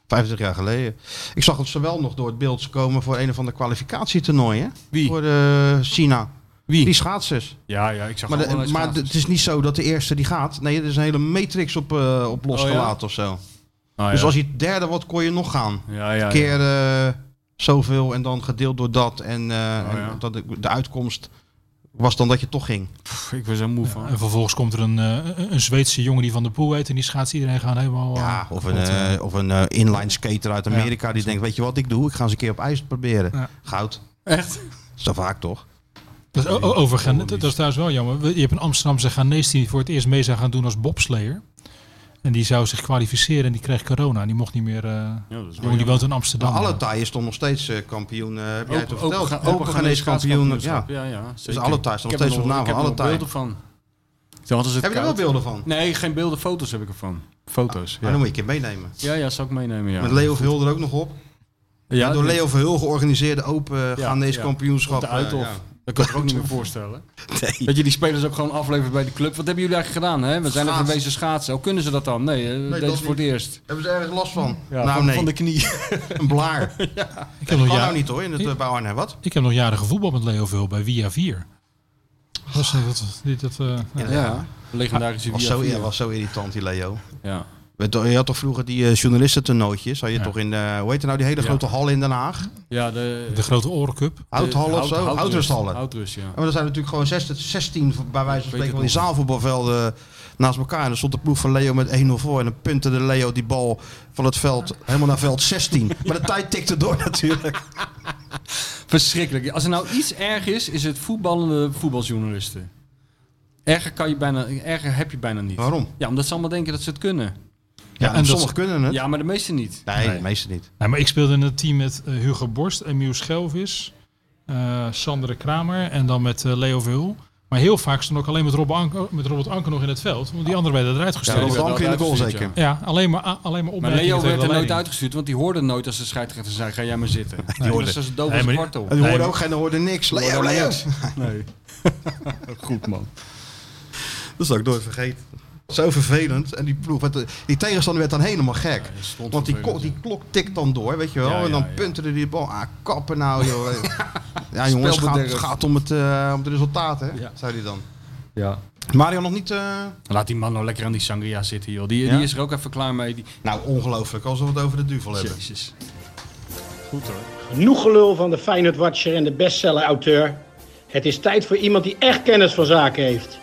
S2: 25 jaar geleden. Ik zag het zowel nog door het beeld komen voor een of ander kwalificatietoernooi, hè?
S3: Wie?
S2: Voor eh, China.
S3: Wie?
S2: Die schaatsers.
S3: Ja, ja, ik zag
S2: Maar, de-
S3: allerlei
S2: maar de-
S3: schaatsers.
S2: het is niet zo dat de eerste die gaat. Nee, er is een hele matrix op, eh, op losgelaten of zo.
S3: Oh, Ah, ja.
S2: Dus als je derde wordt, kon je nog gaan.
S3: Ja, ja, ja.
S2: Keer eh, zoveel en dan gedeeld door dat. En, eh, en
S3: Oh, ja.
S2: dat de, de uitkomst was dan dat je toch ging.
S3: Pff, ik was er moe van.
S5: En vervolgens komt er een, eh, een- een Zweedse jongen die van de poel heet. En die schaats iedereen gaan helemaal... eh,
S2: Ja, of een,
S5: kapot, eh.
S2: eh, of een eh, inline skater uit Amerika die denkt, weet je wat ik doe? Ik ga eens een keer op ijs proberen.
S5: Ja.
S2: Goud.
S3: Echt?
S2: Is dat vaak toch?
S5: Dat is, o- o- over Gaan- dat dat is trouwens wel jammer. We- Je hebt een Amsterdamse Ghanese die voor het eerst mee zou gaan doen als bobslayer. En die zou zich kwalificeren en die kreeg corona. En die mocht niet meer... eh,
S3: dat is
S5: jongen, die woont in Amsterdam.
S2: Maar Oh, Nou, alle taaien stond nog steeds eh, kampioen. eh, heb jij het al verteld?
S3: Ga-
S2: Open Ghanese kampioen. Ja.
S3: schaatskampioenschap. ja, ja
S2: Dus
S3: zeker.
S2: alle taaien stond nog
S3: Ik heb
S2: steeds
S3: er
S2: op
S3: nog-
S2: naam van
S3: ik heb er
S2: alle
S3: nog
S2: taaien.
S3: beelden van. Dan hadden ze het
S2: Heb je er wel
S3: koud.
S2: beelden van?
S3: Nee, geen beelden, foto's heb ik ervan. Foto's,
S2: Maar
S3: ja.
S2: dan moet je een keer meenemen.
S3: Ja, ja, zal ik meenemen, ja.
S2: Met Leo Verhul er ook nog op.
S3: ja,
S2: door
S3: die-
S2: Leo Verhul georganiseerde open eh,
S3: Ja,
S2: Ghanese
S3: ja.
S2: kampioenschap.
S3: Op de
S2: eh,
S3: Uithof.
S2: ja.
S3: Dat kan ik me ook niet meer voorstellen. Dat je die spelers ook gewoon aflevert bij de club. Wat hebben jullie eigenlijk gedaan, hè? We zijn er
S2: Schaatsen.
S3: geweest schaatsen. Hoe kunnen ze dat dan? Nee, eh, deze
S2: dat
S3: is voor het eerst.
S2: Hebben ze ergens last van?
S3: Ja,
S2: nou
S3: van,
S2: nee,
S3: van de knie.
S2: een blaar.
S5: ik, heb nog
S2: Kan
S5: ja-
S2: nou niet hoor, in het uh, Bouwarne. Wat?
S5: ik heb nog jaren gevoetbald met Leo Vul bij Via 4.
S2: Ah.
S5: Dat was, eh, dat, die- dat, eh, ja.
S3: Ja, legendarische
S2: Was
S3: Via
S2: zo,
S3: Via.
S2: was zo irritant die Leo.
S3: Ja.
S2: Weet Je je had toch vroeger die eh, journalistentoernooitjes? Had je
S5: Ja.
S2: toch in, eh, hoe heet het nou, die hele grote hal in Den Haag?
S3: Ja, de...
S5: De grote orencup.
S2: Houthallen of zo? Houtrusthallen.
S3: Houtrust, ja.
S2: Ja, Maar er zijn natuurlijk gewoon 16, 16 bij wijze van
S3: weet het
S2: spreken van die
S3: nog.
S2: zaalvoetbalvelden eh, naast elkaar. En dan stond de ploeg van Leo met 1-0 voor. En dan puntte de Leo die bal van het veld helemaal naar veld 16. Maar de tijd tikte door natuurlijk.
S3: Verschrikkelijk. Als er nou iets erg is, is het voetballende voetbaljournalisten. Erger, kan je bijna, erger heb je bijna niet.
S2: Waarom?
S3: Ja, omdat ze allemaal denken dat ze het kunnen.
S2: Ja,
S5: en
S2: en
S5: dat-
S2: sommigen kunnen het.
S3: Ja, maar de meesten niet.
S2: Nee, de meeste niet.
S5: Nou, maar ik speelde in het team met eh, Hugo Borst, Emiel Schelvis, eh Sandre Kramer en dan met eh, Leo Vul. Maar heel vaak stond ook alleen met, Rob Anker, met Robert Anker nog in het veld. Want die anderen werden eruit
S2: Ja,
S5: gestuurd.
S3: die
S2: dat was
S3: werd
S2: Anker in de
S3: wel
S2: goal
S3: uitgestuurd,
S2: zeker.
S5: Ja, alleen maar, a- alleen maar
S3: Maar
S5: opmerkingen.
S3: Leo
S5: tegen
S3: werd er
S5: de
S3: nooit
S5: leiding.
S3: uitgestuurd, want die hoorde nooit als de scheidsrechter zei, ga jij maar zitten. Die hoorde
S5: hoorde-
S3: ze als doof
S5: Nee,
S3: als een
S5: maar-
S3: kwartel.
S2: En die
S5: Nee,
S2: hoorden
S5: maar-
S2: ook geen, die hoorden niks. Leo,
S3: hoorden
S2: Leo.
S3: niks. Nee. Goed man.
S2: Dat zal ik nooit vergeten. Zo vervelend. En die ploeg, werd, eh, die tegenstander werd dan helemaal gek.
S3: stond
S2: Want die,
S3: vervelend,
S2: ko- die klok tikt dan door, weet je wel.
S3: Ja, ja,
S2: en dan
S3: ja.
S2: punterde die bal aan. Kappen nou, joh. ja, jongens, het gaat, het gaat om het eh, om de resultaten, hè,
S3: Ja.
S2: zei hij dan.
S3: Ja.
S2: Mario nog niet... eh,
S3: Laat die man nou lekker aan die sangria zitten, joh. Die,
S2: Ja?
S3: die is er ook even klaar mee. Die...
S2: Nou, ongelooflijk. Alsof we het over de duvel hebben.
S3: Jezus.
S6: Genoeg gelul van de Feyenoord Watcher en de bestseller auteur. Het is tijd voor iemand die echt kennis van zaken heeft.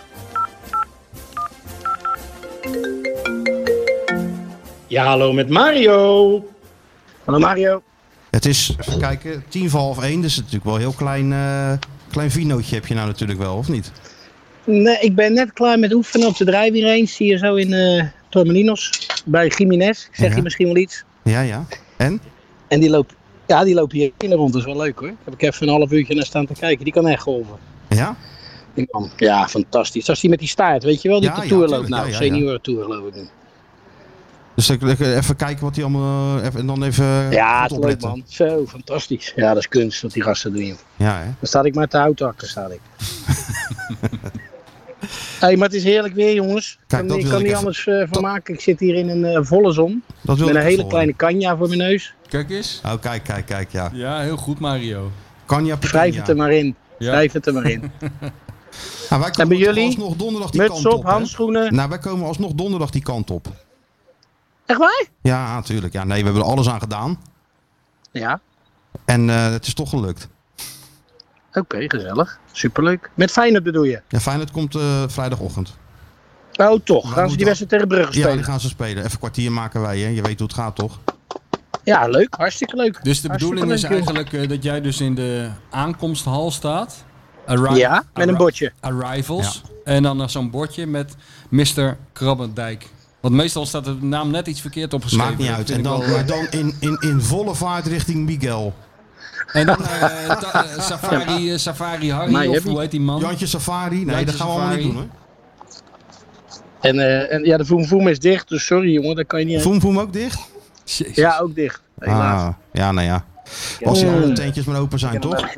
S6: Ja, hallo met Mario.
S7: Hallo Mario.
S2: Het is, even kijken, tien voor half één. Dus het is natuurlijk wel een heel klein, eh, klein vinootje heb je nou natuurlijk wel, of niet?
S7: Nee, ik ben net klaar met oefenen op de drijfweer eens hier zo in eh Tormelinos bij Jiménez. Ik zeg
S2: Ja.
S7: je misschien wel iets.
S2: Ja, ja. En?
S7: En die loopt, ja, die loopt hier in de rond. Dat is wel leuk hoor. Heb ik even een half uurtje naar staan te kijken. Die kan echt golven.
S2: Ja?
S7: Die man. Ja, fantastisch. Zoals die met die staart, weet je wel? Die
S2: Ja,
S7: op de
S2: ja,
S7: tour
S2: tuurlijk.
S7: loopt nou.
S2: Ja, ja, ja.
S7: Senioren tour geloof ik nu.
S2: Dus ik, ik- even kijken wat hij allemaal... eh, even- en dan even
S7: Ja,
S2: goed
S7: het is leuk man. Zo, fantastisch. Ja, dat is kunst wat die gasten doen. joh.
S2: Ja, hè?
S7: Dan sta ik maar te hout achter, sta ik. hey, maar het is heerlijk weer, jongens.
S2: Kijk,
S7: ik
S2: dat
S7: kan, ik
S2: wilde
S7: kan
S2: ik
S7: niet
S2: even-
S7: anders eh, van maken. Ik zit hier in een eh, volle zon.
S2: Dat wil
S7: Met een
S2: ik
S7: hele
S2: even
S7: kleine kanja voor mijn neus.
S3: Kijk eens. Dus
S2: horen. Oh, kijk, kijk, kijk, ja.
S3: Ja, heel goed, Mario.
S2: Kanja
S7: Schrijf het er maar in.
S3: Ja.
S7: Schrijf het er maar in.
S2: Nou, wij
S7: En bij
S2: komen toch
S7: jullie?
S2: alsnog donderdag die
S7: Muts
S2: kant
S7: op,
S2: op. hè?
S7: handschoenen.
S2: Nou, wij komen alsnog donderdag die kant op.
S7: Echt waar?
S2: Ja, natuurlijk. Ja, nee, we hebben er alles aan gedaan.
S7: Ja.
S2: En eh, het is toch gelukt.
S7: Oké, gezellig. Superleuk. Met Feyenoord bedoel je?
S2: Ja, Feyenoord komt eh, vrijdagochtend.
S7: Oh,
S2: Maar
S7: toch. Gaan ze
S2: Nou, moet
S7: die
S2: dat-
S7: wedstrijd tegen Brugge
S2: Ja, die
S7: spelen?
S2: gaan ze spelen. Even kwartier maken wij, hè. Je weet hoe het gaat, toch?
S7: Ja, leuk. Hartstikke leuk.
S3: Dus de
S7: Hartstikke
S3: bedoeling is
S7: leuk, joh.
S3: eigenlijk eh, dat jij dus in de aankomsthal staat. Arri-
S7: Ja, met
S2: Ah,
S7: een
S3: arri-
S7: bordje.
S3: Arrivals. En dan nog zo'n bordje met Mr. Krabbendijk. Want meestal staat de naam net iets verkeerd opgeschreven.
S2: Maakt niet uit.
S3: Vind
S2: En
S3: ik
S2: dan, eh,
S3: wel-
S2: maar dan in, in, in volle vaart richting Miguel.
S3: en dan eh, ta- eh, Safari, eh, Safari Harry,
S7: Maar je
S3: of
S7: hebt
S3: hoe
S7: niet-
S3: heet die man?
S2: Jantje Safari? Nee,
S3: Jantje
S2: dat gaan we allemaal
S3: Safari.
S2: niet doen, hè?
S7: En, eh, en ja, de Voem Voem is dicht. Dus sorry, jongen. Dat kan je niet...
S2: Voem Voem ook dicht?
S3: Jezus.
S7: Ja, oh, ook dicht. Helaas.
S2: Ah, ja, nou ja. Als
S3: Eh,
S2: die
S7: Mm.
S2: andere tentjes maar open zijn, toch?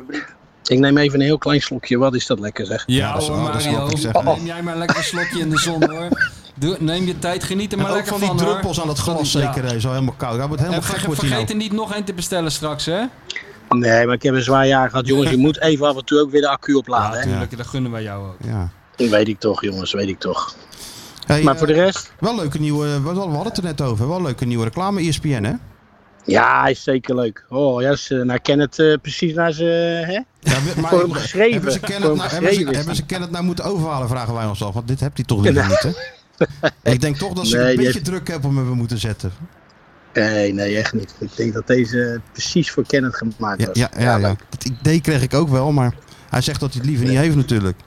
S7: Ik neem even een heel klein slokje. Wat is dat lekker zeg.
S3: Ja,
S2: dat is
S3: hoor,
S2: wel- dat is
S3: Mario.
S2: wat ik zeg, hè.
S3: Neem jij maar lekker een slokje in de zon hoor. Doe- neem je tijd, geniet er
S2: En
S3: maar
S2: ook
S3: lekker
S2: van die
S3: hoor.
S2: druppels aan dat glas
S3: Van die-
S2: zeker, hè, zo helemaal koud. Hij wordt
S3: En
S2: helemaal
S3: ver-
S2: gek, wordt hij
S3: vergeet
S2: nou.
S3: er niet nog één te bestellen straks, hè?
S7: Nee, maar ik heb een zwaar jaar gehad, jongens. Je moet even af en toe ook weer de accu opladen. hè?
S3: Tuurlijk, dat gunnen wij jou ook.
S2: Ja.
S7: Dat weet ik toch, jongens, weet ik toch.
S2: Hey,
S7: Maar
S2: eh,
S7: voor de rest?
S2: Wel leuke nieuwe, we hadden het er net over, wel leuke nieuwe reclame E ESPN hè?
S7: Ja, is zeker leuk. Oh, juist, eh, nou ken het eh, precies naar ze. hè?
S2: Ja, we-
S7: Voor hem geschreven.
S2: Hebben ze
S7: Voor
S2: Kenneth
S7: hem
S2: nou, hebben ze,
S7: geschreven is
S2: hebben ze
S7: die.
S2: Kenneth nou moeten overhalen, vragen wij ons af. Want dit hebt hij toch liever niet, hè? Ik denk toch dat ze
S7: Nee,
S2: een
S7: die
S2: beetje
S7: heeft-
S2: druk hebben om hem moeten zetten.
S7: Nee, nee, echt niet. Ik denk dat deze precies voor Kenneth gemaakt
S2: Ja,
S7: was.
S2: ja, ja, ja.
S7: leuk.
S2: Dat idee kreeg ik ook wel, maar hij zegt dat hij het liever niet heeft natuurlijk.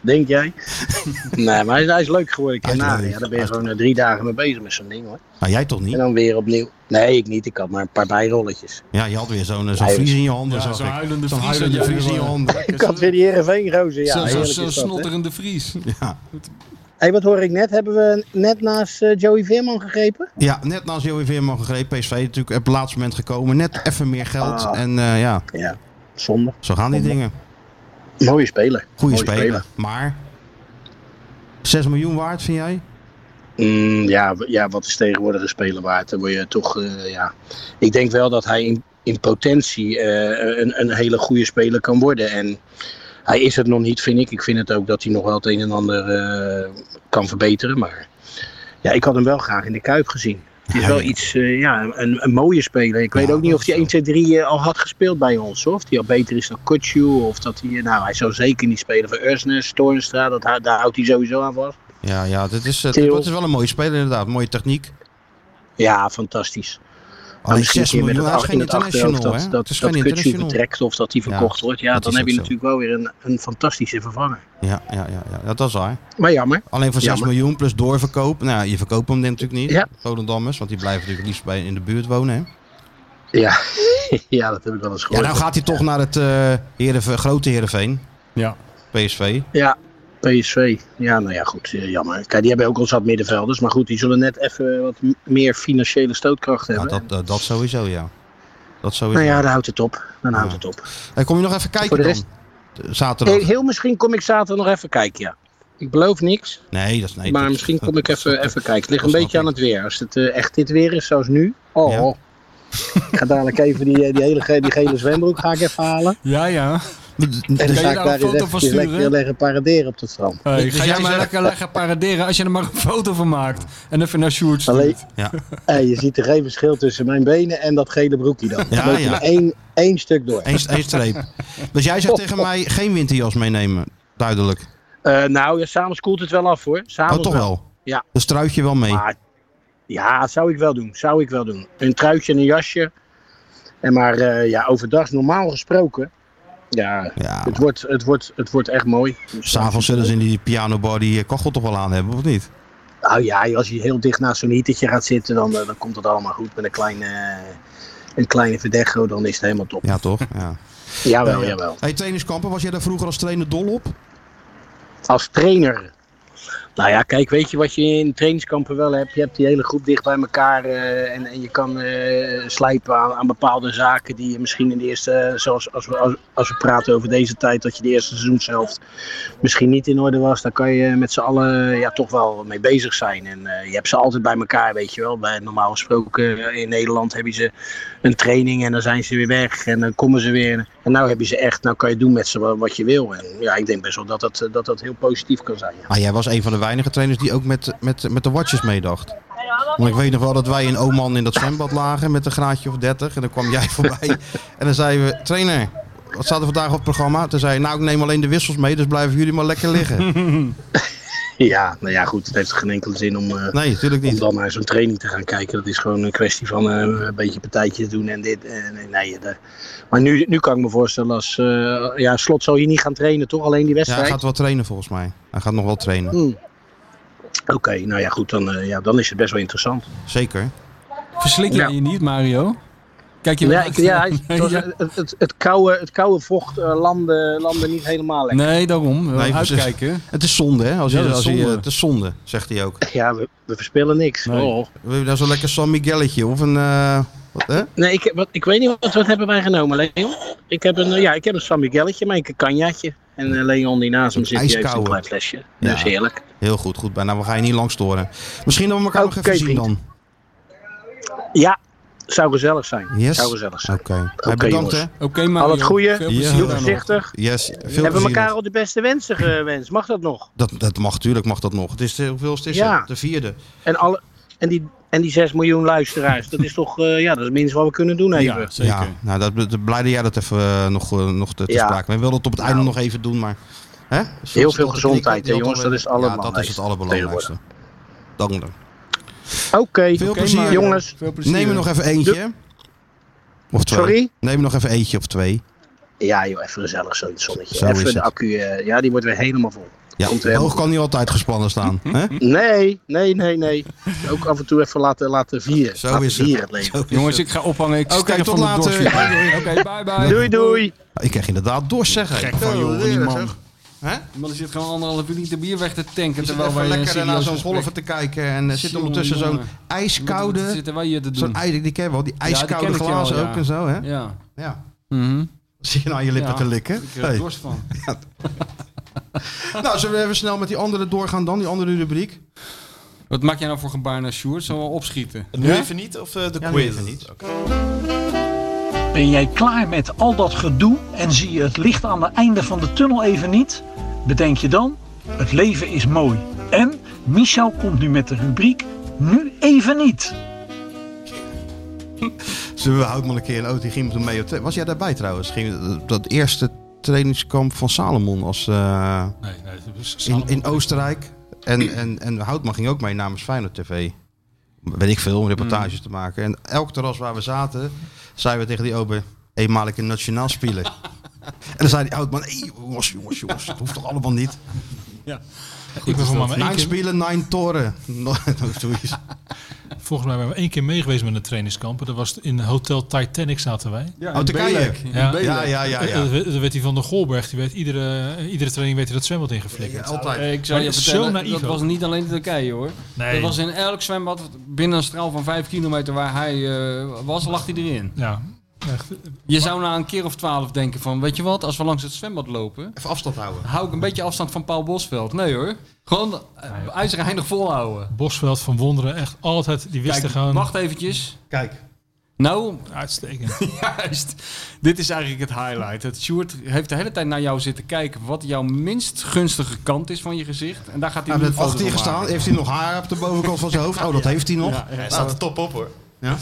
S7: Denk jij? nee, maar hij is, hij is leuk geworden.
S2: Hij is
S7: Kanaren,
S2: leuk.
S7: ja, daar
S2: Hij
S7: ben je
S2: is-
S7: gewoon eh, drie dagen mee bezig met zo'n ding hoor.
S2: Nou, jij toch
S7: En
S2: niet?
S7: dan weer opnieuw. Nee, ik niet. Ik had maar een paar bijrolletjes.
S2: Ja, je had weer zo'n eh, zo'n
S7: Hij-
S2: vries in je handen,
S3: Ja,
S2: zag
S3: zo'n
S2: ik.
S3: huilende
S2: Zo'n
S3: Fries
S2: huilende
S3: had jij
S2: vries in je
S3: wel.
S2: handen.
S7: Ik had weer die Heerenveen-rozen. Ja,
S3: Zo'n- zo'n
S7: heerlijk
S3: zo'n
S7: is dat, hè?
S3: snotterende Vries.
S2: Ja.
S7: Hé, wat hoor ik net? Hebben we net naast eh, Joey Veerman gegrepen?
S2: ja, net naast Joey Veerman gegrepen. PSV natuurlijk op het laatste moment gekomen. Net even meer geld.
S7: Ah.
S2: En eh, ja,
S7: Ja, zonde.
S2: zo gaan die dingen.
S7: Mooie speler.
S2: Goeie
S7: Mooie
S2: speler. Maar 6 miljoen waard, vind jij?
S7: Mm, ja, w- ja, wat is tegenwoordig een speler waard? Dan word je toch, eh, ja. Ik denk wel dat hij in, in potentie eh, een, een hele goede speler kan worden. En hij is het nog niet, vind ik. Ik vind het ook dat hij nog wel het een en ander eh, kan verbeteren. Maar ja, ik had hem wel graag in de Kuip gezien. Het is wel iets, eh, ja, een, een mooie speler. Ik weet ook niet of hij 1, 2, 3 eh, al had gespeeld bij ons. Hoor. Of hij al beter is dan Kutsu. Of dat hij, eh, nou, hij zou zeker niet spelen voor Ursnes, Toornstra. Dat, daar houdt hij sowieso aan vast.
S2: Ja, ja dat, is, eh,
S7: Theo.
S2: dat is wel een mooie speler inderdaad. Mooie techniek.
S7: Ja, fantastisch. Nou,
S2: Alleen
S7: misschien
S2: 6
S7: een keer
S2: miljoen,
S7: met
S2: dat
S7: het
S2: is
S7: ach-
S2: geen
S7: in het
S2: international,
S7: achterhoofd
S2: hè?
S7: dat, dat,
S2: Het is
S7: dat
S2: geen
S7: Kutsu
S2: international.
S7: vertrekt of dat hij verkocht wordt. Ja,
S2: dat
S7: dan
S2: is
S7: heb je
S2: ook zo.
S7: natuurlijk wel weer een, een fantastische vervanger.
S2: Ja, ja, ja, ja, dat is waar.
S7: Maar jammer.
S2: Alleen voor 6
S7: Jammer.
S2: miljoen plus doorverkoop. Nou, ja, je verkoopt hem natuurlijk niet.
S7: Ja.
S2: Volendammers, want die blijven natuurlijk liefst bij in de buurt wonen. Hè?
S7: Ja, ja dat heb ik wel eens
S2: Ja,
S7: gehoord.
S2: nou gaat hij toch naar het eh Heerenve- grote Heerenveen,
S3: Ja.
S2: PSV.
S7: Ja, PSV. Ja, nou ja, goed. eh, Jammer. Kijk, die hebben ook al zat middenvelders. Maar goed, die zullen net even wat m- meer financiële stootkracht
S2: Ja,
S7: hebben.
S2: dat, eh, dat sowieso, ja. Dat sowieso.
S7: nou ja, dan houdt het op. Dan houdt
S2: Ja.
S7: het op.
S2: Hey, kom je nog even
S7: Voor
S2: kijken
S7: de
S2: dan? Eh,
S7: rest-
S2: Zaterdag.
S7: Heel misschien kom ik zaterdag nog even kijken, ja. Ik beloof niks,
S2: Nee, dat is nee.
S7: maar
S2: dat-
S7: misschien kom ik
S2: dat-
S7: even,
S2: dat-
S7: even kijken. Het ligt
S2: dat
S7: een
S2: snap
S7: beetje aan
S2: ik.
S7: het weer. Als het eh, echt dit weer is, zoals nu. Oh,
S2: Ja.
S7: oh. ik ga dadelijk even die, eh, die, hele, ge- die gele zwembroek ga ik even halen.
S3: Ja, ja.
S7: En
S3: Kan
S7: dan
S3: je
S7: ga ik
S3: daar
S7: daar
S3: een foto
S7: eens
S3: van
S7: eventjes
S3: sturen?
S7: lekker leggen paraderen op dat strand.
S3: Hey,
S2: Dus
S3: ga
S2: jij
S3: jij maar
S2: zegt-
S3: lekker leggen paraderen als je er maar een foto van maakt. En even naar Sjoerd
S7: Alleen,
S3: stuurt.
S2: Ja.
S7: hé, je ziet er geen verschil tussen mijn benen en dat gele broekje dan.
S2: Ja,
S7: Dan loop je
S2: ja.
S7: maar één, één stuk door.
S2: Eén, één streep. Dus jij
S7: Oh,
S2: zegt tegen mij geen winterjas meenemen. Duidelijk.
S7: Eh, nou, ja, s'avonds koelt het wel af hoor. S'avonds
S2: Oh, toch wel?
S7: Ja.
S2: Dus truitje wel mee.
S7: Maar, ja, zou ik wel doen. Zou ik wel doen. Een truitje en een jasje. En maar eh, ja, overdag normaal gesproken. Ja,
S2: Ja.
S7: het, wordt, het, wordt, het wordt echt mooi. Dus,
S2: S'avonds zullen ze in die pianobar die eh, kachel toch wel aan hebben, of niet?
S7: Nou ja, als je heel dicht naast zo'n hietertje gaat zitten, dan, eh, dan komt het allemaal goed. Met een kleine, eh, een kleine verdecho, dan is het helemaal top.
S2: Ja, toch? Ja.
S7: Jawel, jawel.
S2: Hey, trainingskampen, was jij daar vroeger als trainer dol op?
S7: Als trainer. Nou ja, kijk, weet je wat je in trainingskampen wel hebt? Je hebt die hele groep dicht bij elkaar eh, en, en je kan eh, slijpen aan, aan bepaalde zaken die je misschien in de eerste, eh, zoals als we, als, als we praten over deze tijd, dat je de eerste seizoenshelft misschien niet in orde was. Daar kan je met z'n allen eh, ja, toch wel mee bezig zijn. En eh, je hebt ze altijd bij elkaar, weet je wel. Bij, normaal gesproken eh, in Nederland hebben ze een training en dan zijn ze weer weg en dan komen ze weer. En nou heb je ze echt, nou kan je doen met ze wa- wat je wil. En ja, ik denk best wel dat dat, eh, dat, dat heel positief kan zijn. ja.
S2: Maar Ah, jij was een van de weinige trainers die ook met, met, met de watjes meedacht. Want ik weet nog wel dat wij in Oman in dat zwembad lagen met een graadje of 30. En dan kwam jij voorbij. En dan zeiden we, trainer, wat staat er vandaag op het programma? Toen zei hij, nou ik neem alleen de wissels mee, dus blijven jullie maar lekker liggen.
S7: Ja, nou ja, goed, het heeft geen enkele zin om, eh,
S2: Nee, natuurlijk
S7: om
S2: niet.
S7: dan naar zo'n training te gaan kijken. Dat is gewoon een kwestie van eh, een beetje partijtjes doen en dit. En, en nee, de- maar nu, nu kan ik me voorstellen als... eh, ja, Slot zal hier niet gaan trainen, toch? Alleen die
S2: Ja, hij
S7: wedstrijd?
S2: gaat wel trainen volgens mij. Hij gaat nog wel trainen.
S7: Hmm. Oké, nou ja, goed, dan, eh, ja, dan is het best wel interessant.
S2: Zeker.
S3: Verslik je
S7: Ja.
S3: je niet, Mario? Kijk je
S7: Ja,
S3: wel
S7: ik,
S3: uit?
S7: ja, hij- het, was- eh,
S3: Ja.
S7: het, het, het, koude, het koude vocht eh, landde, landde niet helemaal lekker.
S3: Nee, daarom. Wel
S2: Nee, precies.
S3: Uitkijken.
S2: Het is zonde, hè? Als
S3: Ja,
S2: je,
S3: dat is
S2: als je, eh,
S3: zonde.
S2: het is zonde, zegt hij ook.
S7: Ja, we, we verspillen niks.
S3: Nee.
S7: Oh.
S2: We hebben daar zo'n lekker San Miguelletje of een... eh, wat, hè?
S7: Nee, ik, wat, ik weet niet, wat, wat hebben wij genomen, Leon? Ik heb een, eh, ja, ik heb een San Miguelletje, maar ik een kanjaatje. En eh, Leon die naast hem zit, die heeft een
S2: ijskouwe.
S7: klein flesje.
S2: Ja.
S7: Dus heerlijk.
S2: Heel goed, goed. Nou, we gaan je niet lang storen. Misschien dat we elkaar nog
S7: Oké,
S2: even zien
S7: vriend.
S2: dan.
S7: Ja, zou gezellig zijn.
S2: Yes.
S7: Zou gezellig zijn.
S2: Oké. Hey, bedankt,
S7: jongens.
S2: hè?
S3: Oké, Mario.
S7: Al het goede.
S3: Veel
S2: Ja.
S3: plezier
S7: Doe
S2: Ja.
S3: daar nog.
S7: voorzichtig. Eh,
S2: Yes. Nou, Veel
S7: Hebben we
S2: plezier
S7: elkaar
S2: nog.
S7: al de beste wensen gewenst? Mag dat nog?
S2: Dat, dat mag, tuurlijk mag dat nog. Het is de, hoeveel is het?
S7: Ja.
S2: De vierde.
S7: En, alle, en, die, en die 6 miljoen luisteraars, dat is toch eh, ja, dat is het minste wat we kunnen doen even.
S3: Ja, zeker.
S2: Ja, nou, dat, dat, blij dat jij dat even eh, nog, eh, nog te, te
S7: Ja. Nou.
S2: sprake bent. We wilden het op het einde nog even doen, maar... Hè?
S7: veel
S2: Zoals dat de
S7: gezondheid,
S2: knikker, die
S7: hè, jongens,
S2: altijd-
S7: dat is het allerbelangrijkste
S2: Ja, dat is het allerbelangrijkste. Dank je.
S7: Oké, eh,
S2: Veel
S3: Oké,
S2: plezier.
S3: Mario.
S7: jongens.
S3: Veel plezier.
S2: Neem er nog even eentje. Of twee.
S7: Sorry?
S2: Neem er nog even eentje of twee.
S7: Ja joh, even gezellig zo in het zonnetje.
S2: Zo is
S7: even de
S2: het.
S7: accu, eh, ja die wordt weer helemaal vol.
S2: Ja,
S7: Komt weer
S2: de
S7: helemaal Hm?
S2: oog kan niet altijd gespannen staan. hè?
S7: Nee, nee, nee, nee. Ook af en toe even laten, laten vieren.
S2: Zo
S7: laten
S2: is het.
S7: vieren het leven.
S3: Jongens, ik ga ophangen. Ik
S2: Oké,
S3: sterf
S2: tot
S3: van de
S2: later.
S3: dorst.
S2: Doei,
S3: Oké, bye bye.
S7: Doei, doei.
S2: Ik krijg inderdaad dorst, zeg hè.
S3: Gek van joh, van die man.
S2: Hè?
S3: Die man zit gewoon anderhalve liter bier weg te tanken.
S2: Je zit
S3: Terwijl wij
S2: even
S3: een
S2: lekker naar
S3: eh, serieus
S2: zo'n
S3: gesprek-
S2: golven te kijken en er zit
S3: Jongen,
S2: ondertussen zo'n
S3: jongen. Wat
S2: ijskoude,
S3: Zitten wij hier te doen?
S2: zo'n ei, die ken je wel, die
S3: die
S2: ijskoude
S3: ken ik
S2: glazen
S3: wel, ja.
S2: ook en zo hè. Ja.
S3: Ja. Mhm.
S2: Zie je nou aan je lippen
S3: Ja.
S2: te likken?
S3: Ik eh, heb er
S2: Hey.
S3: dorst van.
S2: Nou, zullen we even snel met die andere doorgaan dan, die andere rubriek?
S3: Wat maak jij nou voor gebaar naar Sjoerd? Zullen we wel opschieten?
S4: Nu even niet of eh, de
S2: Ja, nu
S4: quiz?
S2: even niet.
S4: Oké.
S8: Ben jij klaar met al dat gedoe en zie je het licht aan het einde van de tunnel even niet? Bedenk je dan, het leven is mooi. En Michel komt nu met de rubriek Nu even niet.
S2: Zullen we houdt maar een keer een auto, die ging met hem mee op tra- Was jij daarbij trouwens? Ging op dat eerste trainingskamp van Salomon als, eh,
S5: Nee, nee, het is
S2: in,
S5: Salomon.
S2: in Oostenrijk. En, en, en Houtman ging ook mee namens Feyenoord TV. Weet ik veel, om reportages te maken. En elk terras waar we zaten, zeiden we tegen die ober... eenmalig een nationaal spelen. en dan zei die Houtman... "Hey, jongens, jongens, jongens, dat hoeft toch allemaal niet?
S5: ik ben voor mij maar één
S2: Nine
S5: keer,
S2: spelen, nine toren. Zoiets.
S5: volgens mij ben ik maar één keer meegeweest met een trainingskamp. Dat was in Hotel Titanic zaten wij.
S3: Ja,
S2: Oh, Turkije. Ja,
S5: Ja.
S2: ja, Ah, ja,
S5: Eh,
S2: ja.
S5: eh, Dat werd die van de Golberg. Die werd iedere, eh, iedere training werd hij dat zwembad ingeflikkerd.
S2: Altijd.
S3: Ik zou
S5: Maar
S3: je
S5: dat is
S3: vertellen,
S5: zo naïef
S3: dat
S5: ook.
S3: was niet alleen in Turkije hoor.
S5: Nee.
S3: Dat was in elk zwembad binnen een straal van 5 kilometer waar hij eh, was, lag hij erin.
S5: Ja. Echt,
S3: Je zou na een keer of twaalf denken van, weet je wat, als we langs het zwembad lopen,
S2: Even afstand houden.
S3: hou ik een beetje afstand van Paul Bosveld. Nee hoor, gewoon eh, ijzerheinig volhouden.
S5: Bosveld van Wonderen, echt altijd. Die wisten
S3: Kijk,
S5: gewoon.
S3: wacht eventjes.
S2: Kijk.
S3: Nou,
S5: Uitstekend.
S3: Juist. Dit is eigenlijk het highlight. Het Sjoerd heeft de hele tijd naar jou zitten kijken wat jouw minst gunstige kant is van je gezicht. En daar gaat hij
S2: Hij
S3: nu een
S2: heeft
S3: foto
S2: achter je
S3: van
S2: gestaan.
S3: maken.
S2: Heeft hij nog haar op de bovenkant van zijn hoofd? Oh, dat heeft hij nog.
S3: Ja, ja.
S4: Hij
S2: nou,
S4: staat er top op hoor.
S2: Ja?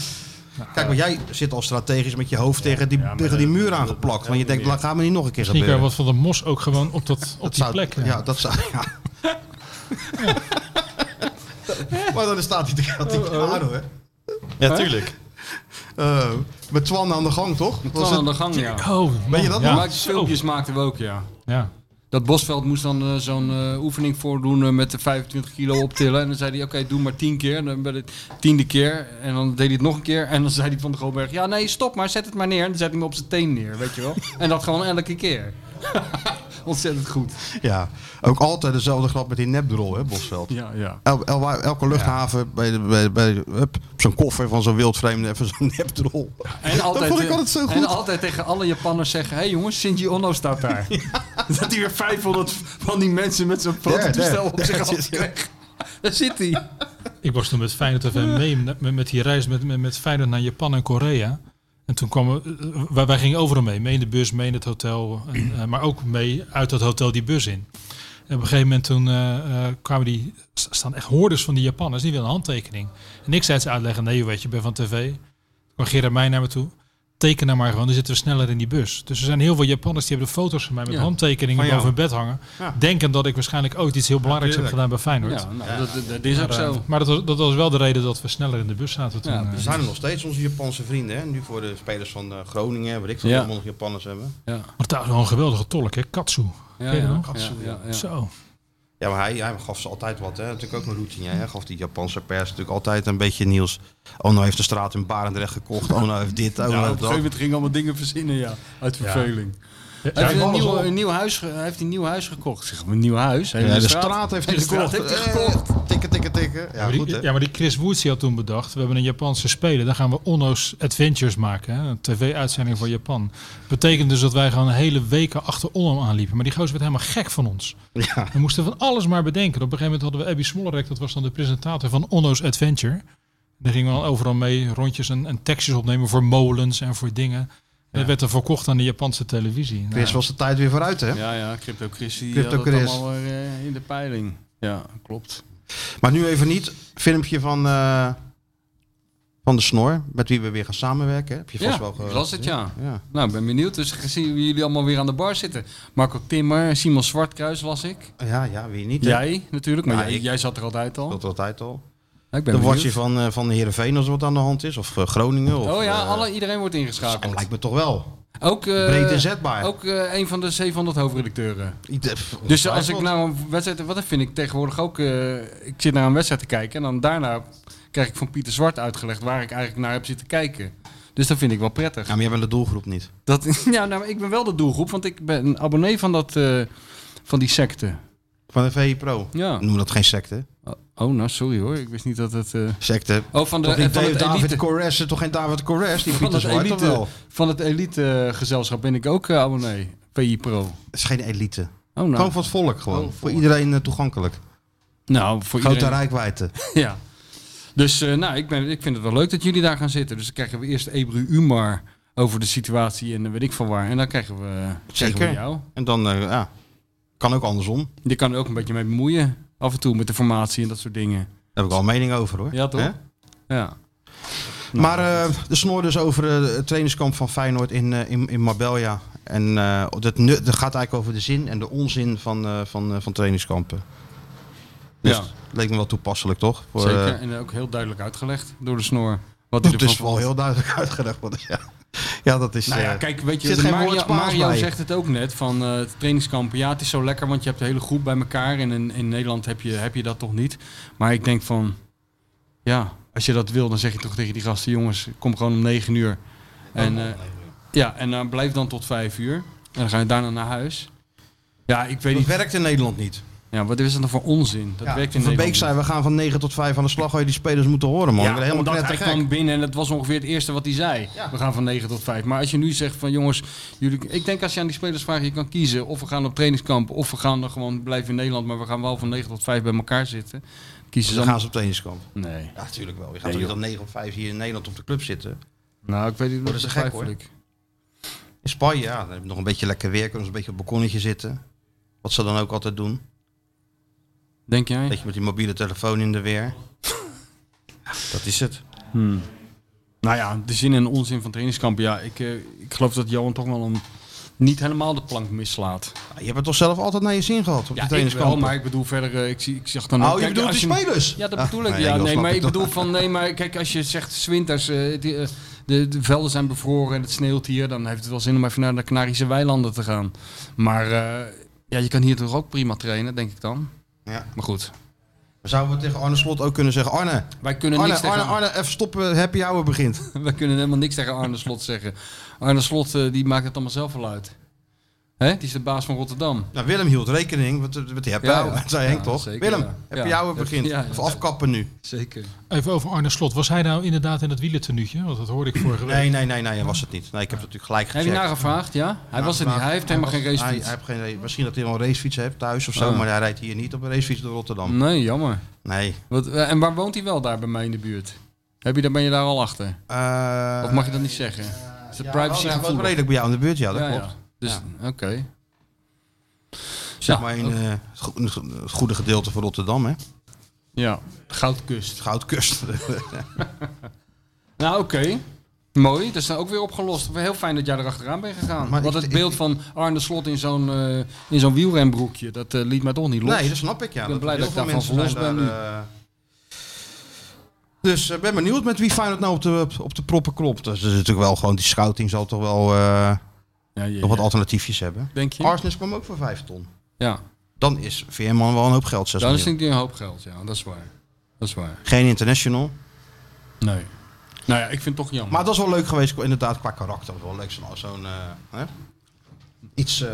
S2: Kijk, maar jij zit al strategisch met je hoofd tegen die, tegen die muur aangeplakt. Want je denkt, laat gaan we niet nog een keer
S5: Misschien kan
S2: gebeuren.
S5: wat van de mos ook gewoon op, dat, op
S2: Dat
S5: die
S2: zou-
S5: plek. eh.
S2: Ja, dat zou... Ja. maar dan staat hij te gaat
S5: Oh,
S2: hij klaar hoor.
S4: Ja, tuurlijk.
S2: Eh, met Twan aan de gang, toch?
S3: Met
S2: Was
S3: Twan aan
S2: het-
S3: de gang, ja.
S5: Oh,
S2: Weet je dat
S5: ja. Oh,
S2: nog?
S3: Maar filmpjes maakten we ook, ja.
S5: Ja.
S3: Dat Bosveld moest dan eh, zo'n eh, oefening voordoen eh, met de 25 kilo optillen. En dan zei hij, oké, doe maar 10 keer. En dan bij de tiende keer. En dan deed hij het nog een keer. En dan zei hij van de Goldberg, ja nee, stop maar, zet het maar neer. En dan zet hij hem op zijn teen neer, weet je wel. En dat gewoon elke keer. Ontzettend goed.
S2: Ja. Ook altijd dezelfde grap met die nepdrol, hè, Bosveld.
S3: Ja, ja.
S2: El- el- elke luchthaven bij, de, bij, bij hup, op zo'n koffer van zo'n wildvreemde even zo'n nepdrol.
S3: En altijd,
S2: vond ik altijd zo goed.
S3: En altijd tegen alle Japanners zeggen: hé hey jongens, Shinji Ono staat daar. Dat hij weer 500 van die mensen met zo'n fototoestel
S2: daar,
S3: op zich af kreeg. Daar zit hij.
S5: Ik was toen met Feyenoord FM mee, met, met die reis met, met, met Feyenoord naar Japan en Korea. En toen kwamen we, eh, wij, wij gingen overal mee. Mee in de bus, mee in het hotel. En, eh, maar ook mee uit dat hotel die bus in. En op een gegeven moment toen eh, eh, kwamen die, s- staan echt hoorders van die Japanners, die willen een handtekening. En ik zei ze uitleggen, nee weet je, ik ben van tv. Toen kwam Gerard mij naar me toe. Teken nou maar gewoon, dan zitten we sneller in die bus. Dus er zijn heel veel Japanners die hebben de foto's van mij met
S3: Ja.
S5: handtekeningen
S2: Van jou.
S5: boven hun bed hangen.
S2: Ja.
S5: Denken dat ik waarschijnlijk ooit iets heel belangrijks heb
S2: tuurlijk.
S5: gedaan bij Feyenoord.
S3: Ja, nou, dat, dat- dat is ook
S5: Maar, eh,
S3: zo.
S5: Maar dat was, dat was wel de reden dat we sneller in de bus zaten toen.
S3: Ja,
S5: eh.
S2: Er zijn er nog steeds onze Japanse vrienden, hè? Nu voor de spelers van eh, Groningen, weet ik veel,
S3: Ja.
S2: allemaal nog Japanners hebben.
S5: maar daar is wel een geweldige tolk, hè? Katsu.
S3: Ja,
S5: Ken je
S3: ja,
S5: nog?
S3: ja, ja, ja.
S5: Zo.
S2: Ja, maar hij, hij gaf ze altijd wat, hè? Natuurlijk ook een routine, hè? Hij gaf die Japanse pers natuurlijk altijd een beetje nieuws. Oh, nou heeft de straat in Barendrecht gekocht. Oh, nou heeft dit, oh,
S3: Ja,
S2: nou
S3: op een
S2: heeft
S3: gegeven
S2: dat.
S3: moment ging allemaal dingen verzinnen, ja. Uit verveling. Hij, heeft een nieuw, een nieuw huis, ge- hij heeft een nieuw huis gekocht. Zeg, een nieuw huis? Hij
S2: Ja,
S3: heeft
S2: de
S3: een
S2: straat heeft hij
S3: de straat
S2: gekocht.
S3: heeft hij gekocht.
S2: Eh, tikken, tikken, tikken. Ja,
S5: Maar die-
S2: goed, hè?
S5: ja, maar die Chris Woods die had toen bedacht, we hebben een Japanse speler, dan gaan we Onno's Adventures maken. Hè? Een tv-uitzending voor Japan. Betekent dus dat wij gewoon hele weken achter Onno aanliepen. Maar die gozer werd helemaal gek van ons.
S2: Ja.
S5: We moesten van alles maar bedenken. Op een gegeven moment hadden we Abby Smollerek, dat was dan de presentator van Onno's Adventure. Daar gingen we dan overal mee rondjes en, en tekstjes opnemen voor molens en voor dingen. En dat werd dan verkocht aan de Japanse televisie. Nou,
S2: Chris was de tijd weer vooruit, hè?
S3: Ja, ja, Crypto Chris. Die
S2: Crypto
S3: had het
S2: Chris.
S3: allemaal weer, eh, in de peiling. Ja, klopt.
S2: Maar nu even niet. Filmpje van, eh, van de snor, met wie we weer gaan samenwerken. hè? Heb je vast
S3: Ja,
S2: wel ge-
S3: ik las het, ja.
S2: Ja.
S3: Nou, ik ben benieuwd. Dus ik zie wie jullie allemaal weer aan de bar zitten. Marco Timmer, Simon Zwartkruis las ik.
S2: Ja, ja, wie niet. hè?
S3: Jij natuurlijk, maar
S2: Ja,
S3: jij,
S2: ik-
S3: jij zat er altijd al.
S2: Dat altijd al.
S3: Ja, ik ben
S2: Dan word je
S3: benieuwd.
S2: van, eh, van Heerenveen als er wat aan de hand is. Of eh, Groningen. Of,
S3: Oh ja,
S2: eh,
S3: alle, iedereen wordt
S2: dat
S3: ingeschakeld.
S2: lijkt me toch wel.
S3: Ook, eh,
S2: Breed inzetbaar.
S3: ook eh, een van de 700 hoofdredacteuren.
S2: Ieder-
S3: Dus als ik
S2: ongetwijfeld.
S3: nou een wedstrijd... Wat vind ik tegenwoordig ook... eh, ik zit naar een wedstrijd te kijken... en dan daarna krijg ik van Pieter Zwart uitgelegd... waar ik eigenlijk naar heb zitten kijken. Dus dat vind ik wel prettig.
S2: Ja, maar jij bent de doelgroep niet.
S3: Dat, ja, nou, ik ben wel de doelgroep... want ik ben een abonnee van, dat, eh, van die secte.
S2: Van de VI Pro.
S3: Ja.
S2: Noem dat geen secte.
S3: Oh, nou, sorry hoor. Ik wist niet dat het... eh,
S2: Secte.
S3: Oh, van, de,
S2: Toch
S3: eh,
S2: niet
S3: van het
S2: David
S3: elite...
S2: Corres, eh, toch geen David Corres? Die
S3: Van
S2: Pieter
S3: het,
S2: Zwart toch
S3: elite,
S2: wel?
S3: van het elite gezelschap ben ik ook eh, abonnee. PI Pro. Oh,
S2: Het is geen elite.
S3: nou.
S2: Gewoon van het volk gewoon.
S3: Oh,
S2: Voor
S3: volk.
S2: iedereen eh, toegankelijk.
S3: nou, voor
S2: Grote
S3: iedereen.
S2: rijkwijde.
S3: Ja. Dus eh, nou, ik, ben, ik vind het wel leuk dat jullie daar gaan zitten. Dus dan krijgen we eerst Ebru Umar over de situatie en eh, weet ik van waar. En dan krijgen we, eh, krijgen we
S2: Zeker.
S3: jou.
S2: En dan, eh, ja, kan ook andersom.
S3: Je kan er ook een beetje mee bemoeien. Af en toe met de formatie en dat soort dingen.
S2: Daar heb ik al een mening over hoor.
S3: Ja, toch?
S2: Hè?
S3: Ja.
S2: maar eh, de snor dus over eh, het trainingskamp van Feyenoord in, eh, in, in Marbella. En eh dat, nu- dat gaat eigenlijk over de zin en de onzin van, eh, van, eh, van trainingskampen. Dus
S3: Ja.
S2: leek me wel toepasselijk, toch? Voor, eh,
S3: Zeker. En ook heel duidelijk uitgelegd door de snor. Wat hij
S2: dat
S3: ervan
S2: is wel
S3: vond.
S2: heel duidelijk uitgelegd. want Ja, ja dat is...
S3: Nou ja,
S2: eh,
S3: kijk, weet je,
S2: zit geen woord
S3: Mario,
S2: Spaans
S3: Mario
S2: bij.
S3: zegt het ook net van eh, het trainingskamp. Ja, het is zo lekker, want je hebt de hele groep bij elkaar. En in, in Nederland heb je, heb je dat toch niet. Maar ik denk van, ja, als je dat wil, dan zeg je toch tegen die gasten, jongens, kom gewoon om negen uur. En, eh, ja, en eh, dan blijf dan tot vijf uur. En dan ga je daarna naar huis. Ja, ik weet
S2: dat
S3: niet.
S2: werkt in Nederland niet.
S3: Ja, wat is dat nou voor onzin? Dat
S2: Ja,
S3: werkt in
S2: van Beek
S3: Nederland
S2: zei, we gaan van 9 tot 5 aan de slag. Had je die spelers moeten horen, man.
S3: niet.
S2: ik ben
S3: Ja,
S2: helemaal
S3: omdat hij
S2: knettergek.
S3: kwam binnen en dat was ongeveer het eerste wat hij zei. We gaan van 9 tot 5. Maar als je nu zegt van jongens, jullie, ik denk als je aan die spelers vraagt, je kan kiezen of we gaan op trainingskamp of we gaan er gewoon blijven in Nederland, maar we gaan wel van 9 tot 5 bij elkaar zitten. Kiezen ze
S2: Dus Dan
S3: dan?
S2: gaan ze op trainingskamp.
S3: Nee.
S2: Ja, natuurlijk wel. Je gaat toch niet dan 9 of 5 hier in Nederland op de club zitten.
S3: Nou, ik weet niet, dat
S2: Worden
S3: is
S2: ze
S3: gek
S2: gek, hoor.
S3: hoor. Ik.
S2: In Spanje, ja, dan heb je nog een beetje lekker weer. Kunnen ze een beetje op het balkonnetje zitten. Wat ze dan ook altijd doen.
S3: Denk jij?
S2: Beetje met die mobiele telefoon in de weer.
S4: Dat is het.
S3: Nou ja, de zin en onzin van trainingskamp. Ja, ik, eh, ik geloof dat Johan toch wel een, niet helemaal de plank mislaat.
S2: Ja, je hebt het toch zelf altijd naar je zin gehad op de
S3: Ja, ik
S2: trainingskamp?
S3: wel, maar ik bedoel verder, eh, ik, zie, ik zag dan...
S2: Oh,
S3: ook-
S2: je
S3: kijk,
S2: bedoelt
S3: als
S2: die
S3: je-
S2: spelers?
S3: Ja, dat bedoel ik.
S2: Ah,
S3: ja,
S2: nee, joh,
S3: nee,
S2: snap
S3: maar
S2: ik
S3: ik
S2: toch.
S3: bedoel van, nee, maar kijk, als je zegt 's winters, eh, die, eh, de, de velden zijn bevroren en het sneeuwt hier, dan heeft het wel zin om even naar de Canarische weilanden te gaan. Maar eh, ja, je kan hier toch ook prima trainen, denk ik dan.
S2: Ja.
S3: Maar goed,
S2: Zouden we tegen Arne Slot ook kunnen zeggen... Arne,
S3: wij kunnen
S2: Arne,
S3: niks
S2: Arne,
S3: tegen
S2: Arne, even stoppen. Happy hour begint.
S3: We kunnen helemaal niks tegen Arne Slot zeggen. Arne Slot eh, die maakt het allemaal zelf wel uit. Hè? Die is de baas van Rotterdam.
S2: Nou, Willem hield rekening met, met die happy
S3: Ja,
S2: hour.
S3: ja.
S2: Dat zei Henk
S3: Ja,
S2: toch?
S3: zeker,
S2: Willem,
S3: ja.
S2: happy
S3: Ja.
S2: hour begint.
S3: Ja, ja.
S2: Of afkappen nu.
S3: Zeker.
S5: Even over Arne Slot. Was hij nou inderdaad in dat wielertenuutje? Want dat hoorde ik vorige week.
S2: Nee, nee, nee, nee, dat was het niet. Nee, ik heb het natuurlijk gelijk
S3: Heb
S2: gecheckt.
S3: je nagevraagd? Ja? Hij was het niet. Hij heeft helemaal geen
S2: Hij,
S3: racefiets.
S2: hij heeft geen, ra- misschien dat hij wel een racefiets heeft thuis of zo,
S3: Ah. Mm.
S2: maar hij rijdt hier niet op een racefiets door Rotterdam.
S3: Nee, jammer.
S2: Nee.
S3: Wat, eh, en waar woont hij wel daar bij mij in de buurt? Heb je, daar- ben je daar al achter?
S2: Eh,
S3: Of mag je dat niet zeggen? Is de
S2: ja,
S3: privacy
S2: wel, hij woont
S3: gevoelig?
S2: oh, nou, redelijk bij jou in de buurt, ja, dat
S3: Ja, ja.
S2: klopt.
S3: Dus, oké.
S2: Zeg
S3: Ja,
S2: maar in
S3: oké.
S2: eh, het go- het go- het goede gedeelte van Rotterdam, hè?
S3: Ja, goudkust.
S2: Goudkust.
S3: Nou, oké. Mooi, dat is dan ook weer opgelost. Heel fijn dat jij er achteraan bent gegaan.
S2: Maar
S3: Want
S2: ik-
S3: het
S2: ik-
S3: beeld van Arne Slot in zo'n eh, in zo'n wielrenbroekje, dat eh, liet mij toch niet los.
S2: nee, dat snap ik, ja.
S3: ben blij
S2: heel
S3: dat ik
S2: veel
S3: daarvan
S2: mensen
S3: verlost
S2: zijn
S3: ben
S2: daar, eh, dus ik ben benieuwd met wie Feyenoord nou op de, op de proppen klopt. Dus dat is natuurlijk wel gewoon, die schouting zal toch wel eh,
S3: ja, je-
S2: nog wat alternatiefjes hebben.
S3: Denk je?
S2: Arsnes kwam ook voor 5 ton.
S3: ja,
S2: Dan is Veerman wel een hoop geld. 6
S3: dan is
S2: miljoen.
S3: het een hoop geld. Ja, dat is waar. Dat is waar.
S2: Geen international.
S3: Nee. Nou ja, ik vind het toch jammer.
S2: Maar dat is wel leuk geweest, inderdaad, qua karakter. Dat is wel leuk, zo'n zo'n, eh, hè? iets eh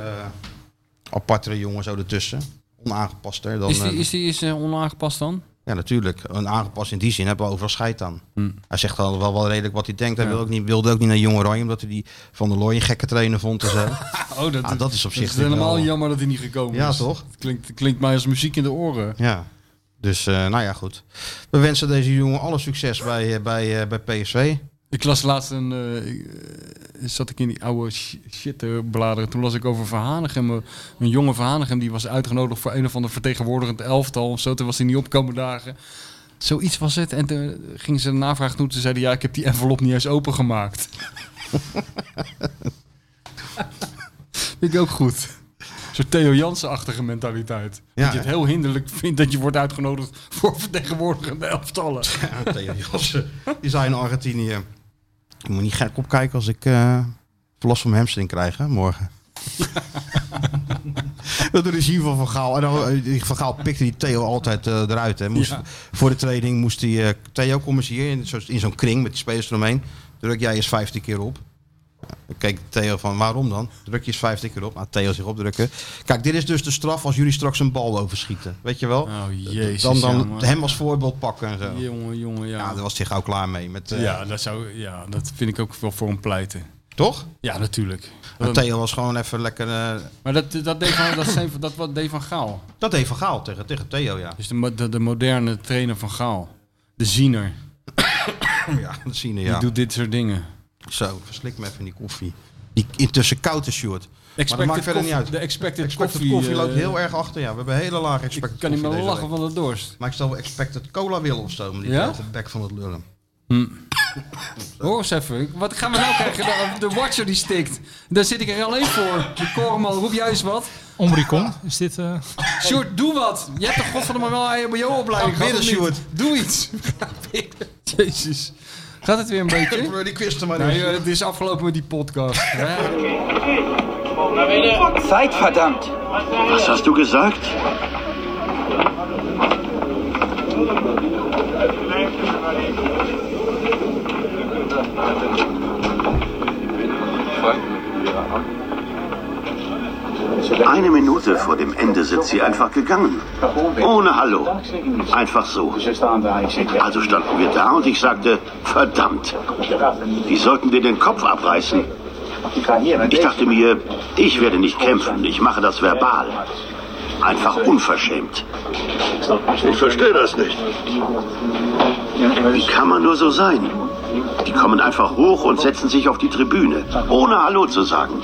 S2: apartere jongen zo ertussen. Onaangepaster dan...
S3: is die,
S2: eh,
S3: is die is, eh, onaangepast dan?
S2: ja, natuurlijk. Onaangepast in die zin hebben we overal scheid aan. Hij zegt al wel, wel redelijk wat hij denkt. Hij
S3: Hmm. Ja.
S2: wil ook niet, wilde ook niet naar Jong Oranje, omdat hij die Van der Looy een gekke trainer vond en zo.
S3: Oh, dat,
S2: Ah, dat is op zich
S3: is helemaal
S2: wel-
S3: jammer dat hij niet gekomen
S2: ja,
S3: is.
S2: toch?
S3: Het klinkt, het klinkt mij als muziek in de oren.
S2: Ja. Dus, eh, nou ja, goed. We wensen deze jongen alle succes bij, eh, bij, eh, bij PSV.
S3: Ik las laatst een. eh, ik, eh, zat ik in die oude sh- shit te bladeren. Toen las ik over Verhanegem. eh, Een jonge Verhanegem die was uitgenodigd voor een of ander vertegenwoordigend elftal of zo. Toen was hij niet opkomen dagen. Zoiets was het. En toen gingen ze een navraag doen. Toen zeiden ja, ik heb die envelop niet eens opengemaakt. Vind ik ook goed. Zo'n Theo Jansen-achtige mentaliteit.
S2: Ja,
S3: dat je het
S2: hè?
S3: heel hinderlijk vindt dat je wordt uitgenodigd voor vertegenwoordigende elftallen.
S2: Ja, Theo Jansen. eh, Die zei in Argentinië. Ik moet niet gek opkijken als ik eh last van mijn hamstring krijg hè, morgen. dat doet dus hier van Van Gaal. En dan, eh, die van Gaal pikte die Theo altijd eh, eruit. Hè. Moest,
S3: Ja.
S2: Voor de training moest hij... eh, Theo, kom eens hier in, zo- in zo'n kring met die spelers eromheen. Druk jij eens 15 keer op. Dan keek Theo van, waarom dan? Druk je eens 15 keer op. Nou, Theo zich opdrukken. Kijk, dit is dus de straf als jullie straks een bal overschieten. Weet je wel?
S3: Oh, jezus,
S2: dan
S3: ja,
S2: dan
S3: man.
S2: hem als voorbeeld pakken en zo.
S3: Jongen, jongen, ja.
S2: Ja, daar was hij gauw klaar mee. Met, eh,
S3: Ja, dat zou, ja, dat vind ik ook wel voor hem pleiten.
S2: Toch?
S3: Ja, natuurlijk.
S2: Want Theo was gewoon even lekker... eh,
S3: maar dat, dat, deed van, dat, zijn, dat wat deed Van Gaal.
S2: dat heeft Van Gaal tegen, tegen Theo, ja.
S3: Dus de, mo- de, de moderne trainer Van Gaal. De ziener.
S2: Ja, dat zien we,
S3: Die
S2: ja.
S3: doet dit soort dingen.
S2: Zo, verslik me even die koffie. Die intussen koud is, Sjoerd. maar dat maakt verder niet uit.
S3: De expected,
S2: expected koffie,
S3: koffie,
S2: loopt
S3: eh,
S2: heel erg achter, ja. We hebben hele lage expected
S3: Ik kan niet
S2: koffie
S3: meer
S2: deze
S3: lachen
S2: week.
S3: van de dorst.
S2: Maar ik stel wel expected cola willen of zo. Maar die
S3: Ja?
S2: ja? de bek van het lullen.
S3: Hoor eens even. Wat gaan we nou krijgen? De, de watcher die stikt. Daar zit ik er alleen voor. De koreman, roep jij eens wat.
S5: Omricon, is dit... eh,
S3: Sjoerd, doe wat. Je hebt toch godverdomme wel een HBO-opleiding
S2: Ga
S3: gehad, of
S2: bidden,
S3: niet? Doe iets. Jezus. Gaat het weer een beetje?
S2: Die kwisten maar
S3: Nee, eh, het is afgelopen met die podcast. Hè?
S9: Zeit, verdammt! Was hast du gesagt? Eine Minute vor dem Ende sind sie einfach gegangen. Ohne Hallo. Einfach so. Also standen wir da und ich sagte, verdammt, die sollten dir den Kopf abreißen. Ich dachte mir, ich werde nicht kämpfen, ich mache das verbal. Einfach unverschämt.
S10: Ich verstehe das nicht.
S9: Wie kann man nur so sein? Die kommen einfach hoch und setzen sich auf die Tribüne, ohne Hallo zu sagen.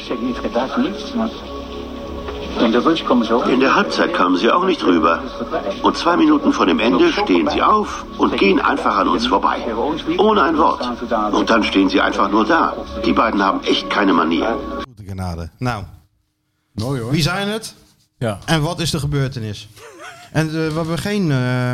S9: In der Halbzeit kamen sie auch nicht rüber. Und zwei Minuten vor dem Ende stehen sie auf und gehen einfach an uns vorbei. Ohne ein Wort. Und dan stehen sie einfach nur da. Die beiden haben echt keine Manier.
S2: Goede genade. Nou,
S3: Mooi hoor.
S2: wie zijn het
S3: Ja.
S2: en wat is de gebeurtenis? En eh, we hebben geen... eh,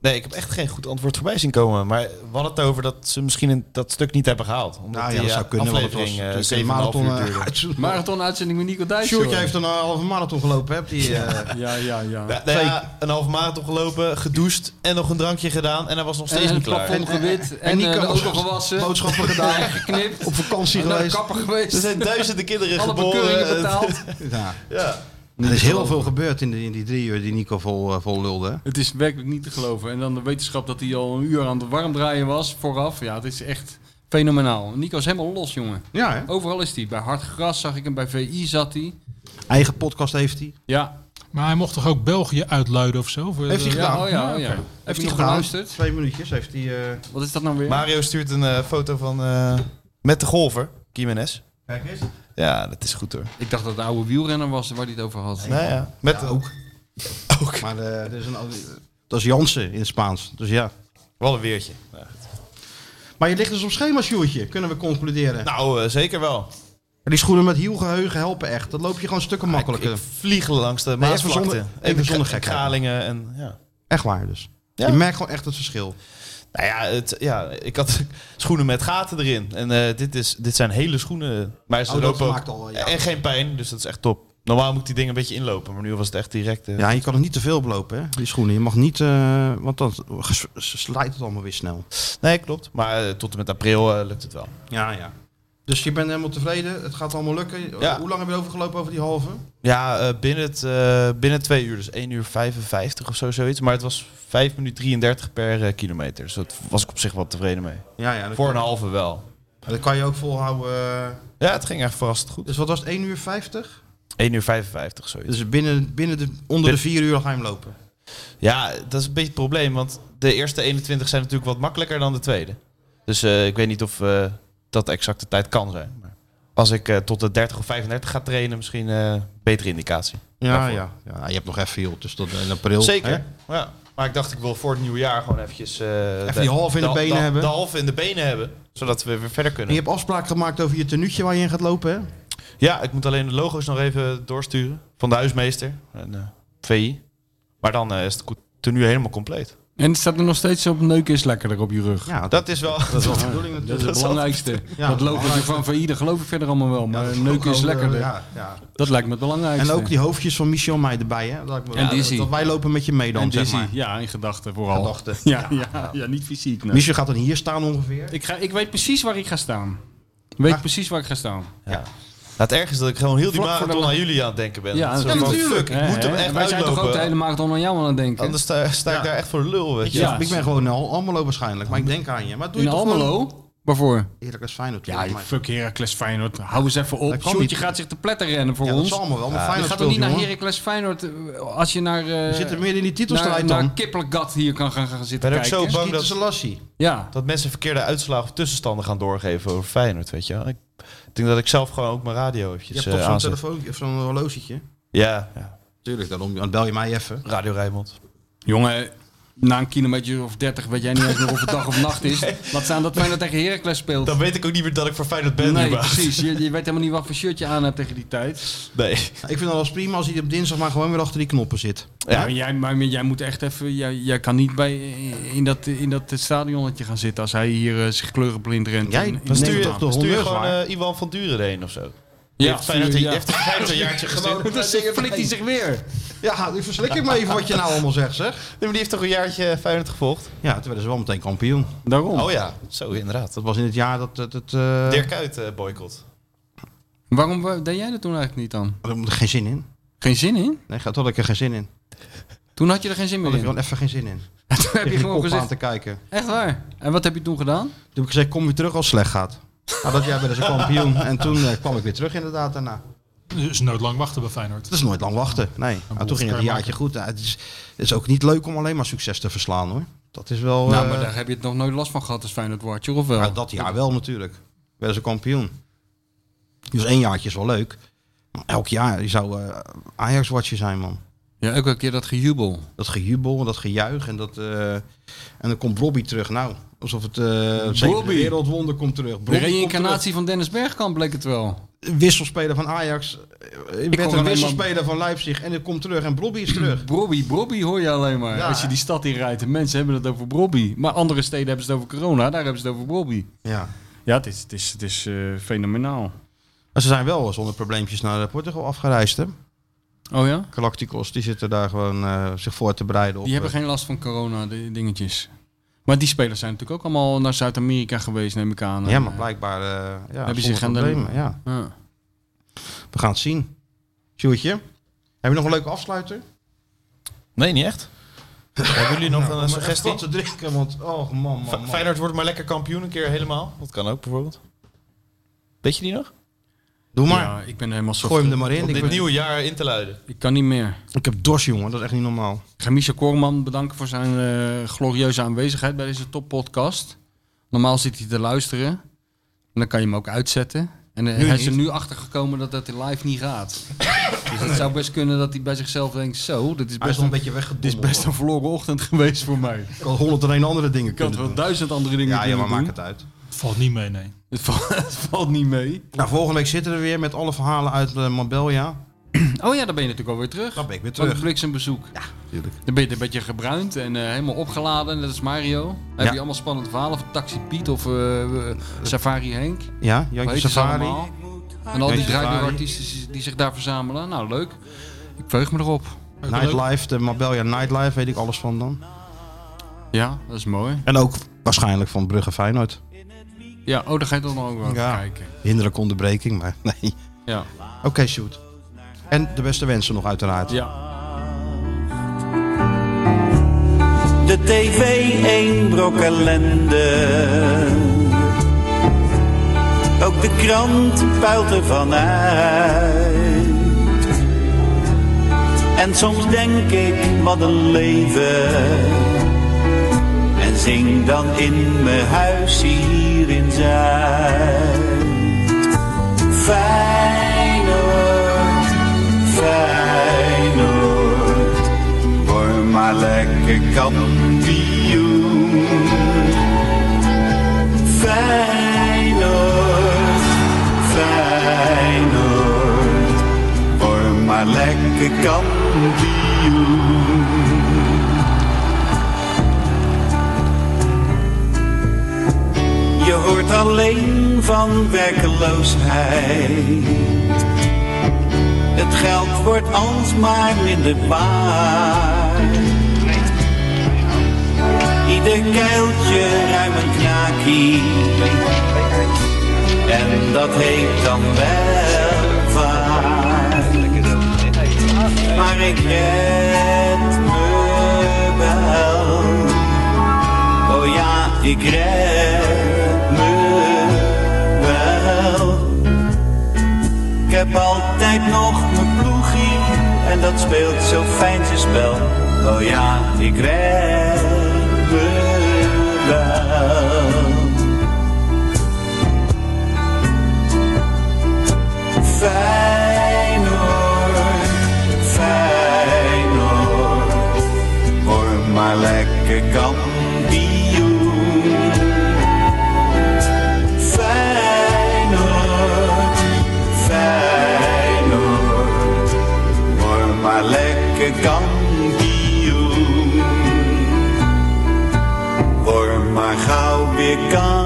S4: Nee, ik heb echt geen goed antwoord voorbij zien komen. Maar we hadden het over dat ze misschien een- dat stuk niet hebben gehaald. Omdat
S2: nou ja,
S4: die
S2: dat
S4: eh,
S2: zou kunnen, want het was
S4: aflevering eh,
S2: natuurlijk
S4: 7,5
S2: een
S4: uur
S2: marathon. eh,
S4: duurde.
S3: Marathon-uitzending met Nico Dijs.
S2: Sjoerdje
S3: joh.
S2: heeft een eh, halve marathon gelopen, hè? Die, eh,
S3: Ja, ja, ja.
S4: Ja, nou ja, een halve marathon gelopen, gedoucht en nog een drankje gedaan. En hij was nog steeds
S3: en een
S4: niet klaar.
S3: plafond gewit. En,
S2: en
S3: en
S2: Nico
S3: de auto
S2: was-
S3: gewassen.
S2: boodschappen gedaan.
S3: en geknipt.
S2: op vakantie
S3: en naar de
S2: geweest.
S3: kapper
S4: Er
S3: geweest.
S4: zijn duizenden kinderen
S3: Alle
S4: geboren. eh,
S3: bekeuringen betaald.
S2: Ja.
S4: Ja.
S2: Er is heel veel gebeurd in, die- in die drie uur die Nico vol, eh, vol lulde. hè?
S3: Het is werkelijk niet te geloven. En dan de wetenschap dat hij al een uur aan het warm draaien was vooraf. Ja, het is echt fenomenaal. Nico is helemaal los, jongen.
S2: Ja, hè?
S3: Overal is hij. Bij Hard Gras zag ik hem, bij VI zat hij.
S2: Eigen podcast heeft hij.
S3: Ja,
S5: Maar hij mocht toch ook België uitluiden of zo? Voor-
S2: Heeft hij
S5: eh,
S2: gedaan?
S3: ja, oh ja, oh ja.
S5: oké.
S3: Heb je
S2: hij
S3: nog
S2: gedaan?
S3: geluisterd?
S2: Twee minuutjes heeft hij... eh,
S3: Wat is dat nou weer?
S4: Mario stuurt een eh, foto van eh, met de golfer, Jiménez.
S2: Kijk eens.
S4: Ja, dat is goed hoor.
S3: Ik dacht dat het een oude wielrenner was waar hij het over had.
S4: Nou ja, met
S2: Ja, ook.
S4: ook.
S2: Maar eh, er is een, dat is Jansen in het Spaans. Dus ja.
S4: Wel een weertje.
S2: Maar je ligt dus op schema, Sjoerdje. Kunnen we concluderen.
S4: Nou, eh, zeker wel.
S2: die schoenen met hielgeheugen helpen echt. Dat loop je gewoon stukken makkelijker.
S4: Ik vlieg langs de
S2: eh, even
S4: maasvlakte.
S2: zonder- even zonder
S4: ka-
S2: gekheid.
S4: Kralingen en ja.
S2: Echt waar dus.
S4: Ja.
S2: Je merkt gewoon echt het verschil.
S4: Nou ja, het, ja, ik had schoenen met gaten erin. En eh, dit, is, dit zijn hele schoenen. Maar ze
S2: Oh, dat
S4: lopen ook-
S2: maakt al, ja.
S4: En geen pijn, dus dat is echt top. Normaal moet ik die dingen een beetje inlopen, maar nu was het echt direct. eh,
S2: Ja, je kan er niet te veel belopen, hè? Die schoenen. Je mag niet, eh, want dan ges- slijt het allemaal weer snel.
S4: Nee, klopt. Maar eh, tot en met april eh, lukt het wel.
S2: Ja, ja. Dus je bent helemaal tevreden. Het gaat allemaal lukken.
S4: Ja.
S2: Hoe lang heb je overgelopen over die halve?
S4: Ja, eh, binnen, het, eh, binnen twee uur. Dus 1 uur 55 of zo, zoiets. Maar het was 5 minuten 33 per eh, kilometer. Dus dat was ik op zich wel tevreden mee.
S2: Ja, ja. Dat,
S4: Voor een halve wel.
S2: dat kan je ook volhouden. eh.
S4: Ja, het ging echt verrassend goed.
S2: Dus wat was het? 1 uur 50?
S4: 1 uur 55, zoiets.
S2: Dus binnen, binnen de, onder de 4 uur ga je hem lopen.
S4: Ja, dat is een beetje het probleem. Want de eerste 21 zijn natuurlijk wat makkelijker dan de tweede. Dus eh, ik weet niet of eh, dat de exacte tijd kan zijn. Maar als ik eh, tot de 30 of 35 ga trainen, misschien eh betere indicatie.
S2: Ja,
S4: Daarvoor.
S2: ja, ja. Je hebt nog even, joh. Dus dat in april. hè?
S4: Zeker. Ja. Maar ik dacht, ik wil voor het nieuwe jaar gewoon eventjes... eh,
S2: Even die halve in de benen hebben.
S4: De halve in de benen hebben, zodat we weer verder
S2: En je
S4: kunnen.
S2: hebt afspraak gemaakt over je tenuutje waar je in gaat lopen, hè?
S4: Ja, ik moet alleen de logo's nog even doorsturen. Van de huismeester. En, eh, VI. Maar dan eh, is het co- tenue helemaal compleet.
S3: En het staat er nog steeds op neuk is lekkerder op je rug.
S2: Ja,
S4: Dat is wel...
S2: Ah, is wel de bedoeling
S3: Dat is het belangrijkste.
S2: Ja,
S3: dat
S2: dat
S3: logootje van VI, dat geloof ik verder allemaal wel. Maar
S2: dat
S3: neuk is
S2: gewoon,
S3: lekkerder.
S2: eh, Ja, ja.
S3: Dat lijkt me het belangrijkste.
S2: En ook die hoofdjes van Michel mij erbij, hè? Dat, ik me-
S3: En Dizzy.
S2: dat wij lopen met je mee dan,
S3: en
S2: zeg
S3: Dizzy.
S2: maar.
S3: Ja, in gedachten vooral.
S2: Gedachten.
S3: Ja, ja, ja, niet fysiek. nee.
S2: Michel gaat dan hier staan ongeveer.
S3: Ik, ga, ik weet precies waar ik ga staan. Ik weet
S2: Maar-
S3: precies waar ik ga staan.
S4: Nou, Het erg is dat ik gewoon heel die
S3: Vlak voor de
S4: marathon
S3: la-
S4: aan jullie aan het denken ben.
S3: Ja,
S4: Dat is
S3: natuurlijk.
S4: gewoon,
S2: Natuurlijk.
S4: Fuck, ik moet
S3: Hè,
S4: hem
S3: hè?
S4: echt
S3: Wij zijn toch ook de hele
S4: uitlopen.
S3: marathon aan jou aan het denken?
S4: Anders sta, sta ik
S2: Ja.
S4: daar echt voor de lul, weet je.
S3: Ja.
S2: Ik ben gewoon in Al- Almelo waarschijnlijk, maar ik denk aan je. Maar doe je
S3: in
S2: toch gewoon-
S3: Almelo? Waarvoor?
S2: Eerlijk is Feyenoord.
S3: Ja,
S2: volgens mij.
S3: fuck Heracles Feyenoord. Hou eens even op.
S2: Dat kan
S3: Sjoerdje
S2: niet.
S3: gaat zich te pletter rennen voor
S2: Ja, dat
S3: ons.
S2: is allemaal wel, maar
S3: Je
S2: Feyenoord
S3: gaat
S2: speelt,
S3: toch niet naar
S2: jongen.
S3: Heracles Feyenoord eh, als je naar... eh,
S2: We zitten meer in die
S3: naar,
S2: titelstrijd
S3: naar
S2: dan.
S3: Kippelgat hier kan gaan, gaan zitten
S4: ben ook
S3: kijken.
S4: zo bang
S2: Kiet
S4: dat,
S2: Selassie.
S3: Ja.
S4: dat mensen verkeerde uitslagen of tussenstanden gaan doorgeven over Feyenoord, weet je wel. Ik denk dat ik zelf gewoon ook mijn radio
S2: Je
S4: eventjes
S2: hebt toch
S4: eh,
S2: zo'n
S4: aanzet.
S2: telefoon of zo'n horlogetje?
S4: Ja, ja,
S2: Tuurlijk, daarom dan bel je mij even.
S4: Radio Rijnmond.
S3: Jongen, na een kilometer of dertig weet jij niet eens meer of het dag of nacht is. Laat staan dat Feyenoord tegen Heracles speelt.
S4: Dan weet ik ook niet meer dat ik voor Feyenoord ben.
S3: nee,
S4: überhaupt.
S3: precies. Je, je weet helemaal niet wat voor shirt je aan hebt tegen die tijd.
S4: Nee.
S2: Ik vind het wel eens prima als hij op dinsdag maar gewoon weer achter die knoppen zit.
S3: Ja. maar, jij, maar jij moet echt even... Jij, jij kan niet bij, in, dat, in dat stadionnetje gaan zitten als hij hier eh, zich kleurenblind rent.
S2: Jij-
S3: in, in
S2: dan
S4: Dan
S2: Nee,
S4: stuur je,
S2: maar toch de
S4: dan stuur je
S2: honneurs
S4: gewoon
S2: waar.
S4: eh, Iwan van Duren heen of zo.
S3: eh, Ja,
S4: heeft Feyenoord
S3: tuur,
S4: die
S3: ja.
S4: heeft er 50 jaartje gestuurd. Nee,
S3: Dan flikt hij zich weer.
S2: Ja, ik verslik ik me even wat je nou allemaal zegt, zeg.
S4: maar die heeft toch een jaartje Feyenoord gevolgd?
S2: Ja, toen werden ze wel meteen kampioen.
S3: Daarom.
S4: Oh ja, zo inderdaad.
S2: Dat was in het jaar dat het... het eh,
S4: Dirk Kuyt eh boycott.
S3: Waarom eh, deed jij dat toen eigenlijk niet dan?
S2: Daar had ik geen zin in.
S3: Geen zin in?
S2: Nee, toen had ik er geen zin in.
S3: Toen had je er geen zin
S2: Toen had
S3: meer
S2: ik
S3: in.
S2: gewoon even geen zin in.
S3: Toen heb je
S2: Tegen die
S3: gewoon
S2: kop aan
S3: gezegd,
S2: te kijken.
S3: echt waar. En wat heb je toen gedaan?
S2: Toen heb ik gezegd, kom weer terug als het slecht gaat. Nou, dat jaar werden ze kampioen. En toen eh, kwam ik weer terug inderdaad daarna.
S5: Dus noodlang wachten bij Feyenoord.
S2: Dat is nooit lang wachten. Nee. Nou, toen ging het een jaartje goed. Nou, het, is, het is ook niet leuk om alleen maar succes te verslaan hoor. Dat is wel...
S3: nou,
S2: eh,
S3: maar daar heb je het nog nooit last van gehad als Feyenoord Wartje, of wel?
S2: Ja, dat jaar wel natuurlijk. Werden ze kampioen. Dus één jaartje is wel leuk. Maar elk jaar je zou eh, Ajax-watje zijn, man.
S3: Ja, ook een keer dat gejubel.
S2: Dat gejubel en dat gejuich. En, dat, eh, en dan komt Robbie terug. Nou, alsof het eh het zevende
S3: Robbie.
S2: wereldwonder komt terug.
S3: De
S2: Robbie komt
S3: reïncarnatie van Dennis Bergkamp bleek het wel.
S2: terug. Wisselspeler van Ajax. eh, werd
S3: alleen
S2: een
S3: maar-
S2: wisselspeler van Leipzig. En het komt terug. En Robbie is terug.
S3: Brobby, Brobby hoor je alleen maar.
S2: Ja.
S3: Als je die stad inrijdt en mensen hebben het over Brobby. Maar andere steden hebben ze het over corona, daar hebben ze het over Brobby.
S2: Ja.
S3: Ja, het is, het is, het is eh, fenomenaal.
S2: Maar ze zijn wel zonder probleempjes naar eh, Portugal afgereisd. Hè?
S3: Oh ja?
S2: Galacticos die zitten daar gewoon eh, zich voor te bereiden op.
S3: Die hebben
S2: eh,
S3: geen last van corona, de dingetjes. Maar die spelers zijn natuurlijk ook allemaal naar Zuid-Amerika geweest, neem ik aan.
S2: Ja, maar blijkbaar eh ja,
S3: Hebben ze
S2: zonder
S3: geen-
S2: problemen. Ja.
S3: Ja.
S2: We gaan het zien. Sjoerdje, heb je nog een leuke afsluiter?
S4: Nee, niet echt. Hebben jullie
S2: Nou,
S4: nog een
S2: Echt
S4: suggestie?
S2: wat te drinken, want oh man, man,
S4: Fe-
S2: man.
S4: Feyenoord wordt maar lekker kampioen een keer helemaal. Dat kan ook bijvoorbeeld. Weet je die nog?
S2: Doe maar.
S3: Ja, ik ben helemaal soft.
S2: Gooi hem er maar in.
S4: Om
S2: Ik,
S4: dit
S2: ben-
S4: nieuwe jaar in te luiden.
S3: Ik kan niet meer.
S2: ik heb dorst, jongen. Dat is echt niet normaal.
S3: Ik ga Michel Korman bedanken voor zijn eh, glorieuze aanwezigheid bij deze toppodcast. Normaal zit hij te luisteren. En dan kan je hem ook uitzetten. En eh, hij is er nu achter gekomen dat dat in live niet gaat. dus het zou best kunnen dat hij bij zichzelf denkt: zo, dit is
S2: Hij is
S3: best,
S2: al
S3: een,
S2: een beetje weggedoemd.
S3: dit is best een verloren ochtend geweest voor mij.
S2: Ik had honderd en een andere dingen
S3: Ik had
S2: kunnen
S3: wel
S2: doen.
S3: duizend andere dingen
S2: Ja, ja, maar
S3: kunnen
S2: maak
S3: doen.
S2: het uit.
S5: Valt niet mee, nee.
S3: Het, valt, het valt niet mee.
S2: Nou, volgende week zitten we weer met alle verhalen uit eh, Marbella.
S3: Oh ja, dan ben je natuurlijk alweer terug.
S2: Dan ben ik weer
S3: Van
S2: terug.
S3: het bliksembezoek.
S2: Natuurlijk.
S3: Dan ben je een beetje gebruind en eh, helemaal opgeladen, net als Mario. Dan heb
S2: Ja.
S3: je allemaal spannende verhalen van Taxi Piet of eh, eh, Safari Henk.
S2: Ja,
S3: Hoe
S2: Jantje
S3: heet ze
S2: Safari.
S3: allemaal? En al die
S2: Jantje
S3: draaiende
S2: Safari.
S3: artiesten die zich daar verzamelen. Nou, leuk. Ik veug me erop.
S2: Nightlife, de Marbella Nightlife, weet ik alles van dan.
S3: Ja, dat is mooi.
S2: En ook waarschijnlijk van Brugge Feyenoord.
S3: Ja, oh, daar ga je dan ook wel
S2: Ja.
S3: kijken.
S2: Hinderlijke onderbreking, maar nee.
S3: Ja.
S2: Oké, shoot. En de beste wensen nog uiteraard.
S3: ja.
S1: De tv een brok ellende. Ook de krant puilt ervan uit. En soms denk ik, wat een leven. En zing dan in mijn huis hier in Zuid. Feyenoord, Feyenoord. Word maar lekker kampioen. Feyenoord, Feyenoord. Word maar lekker kampioen. Je hoort alleen van werkeloosheid. Het geld wordt alsmaar minder waard. Ieder kuiltje ruim een knaakie. En dat heet dan welvaart. Maar ik red me wel. Oh ja, ik red me wel. Ik heb altijd nog mijn ploegie en dat speelt zo fijn zijn spel. Oh ja, ik red me wel. Feyenoord, Feyenoord, word maar lekker kampioen. Feyenoord. Feyenoord, word maar lekker kampioen. Word maar gauw weer kampioen.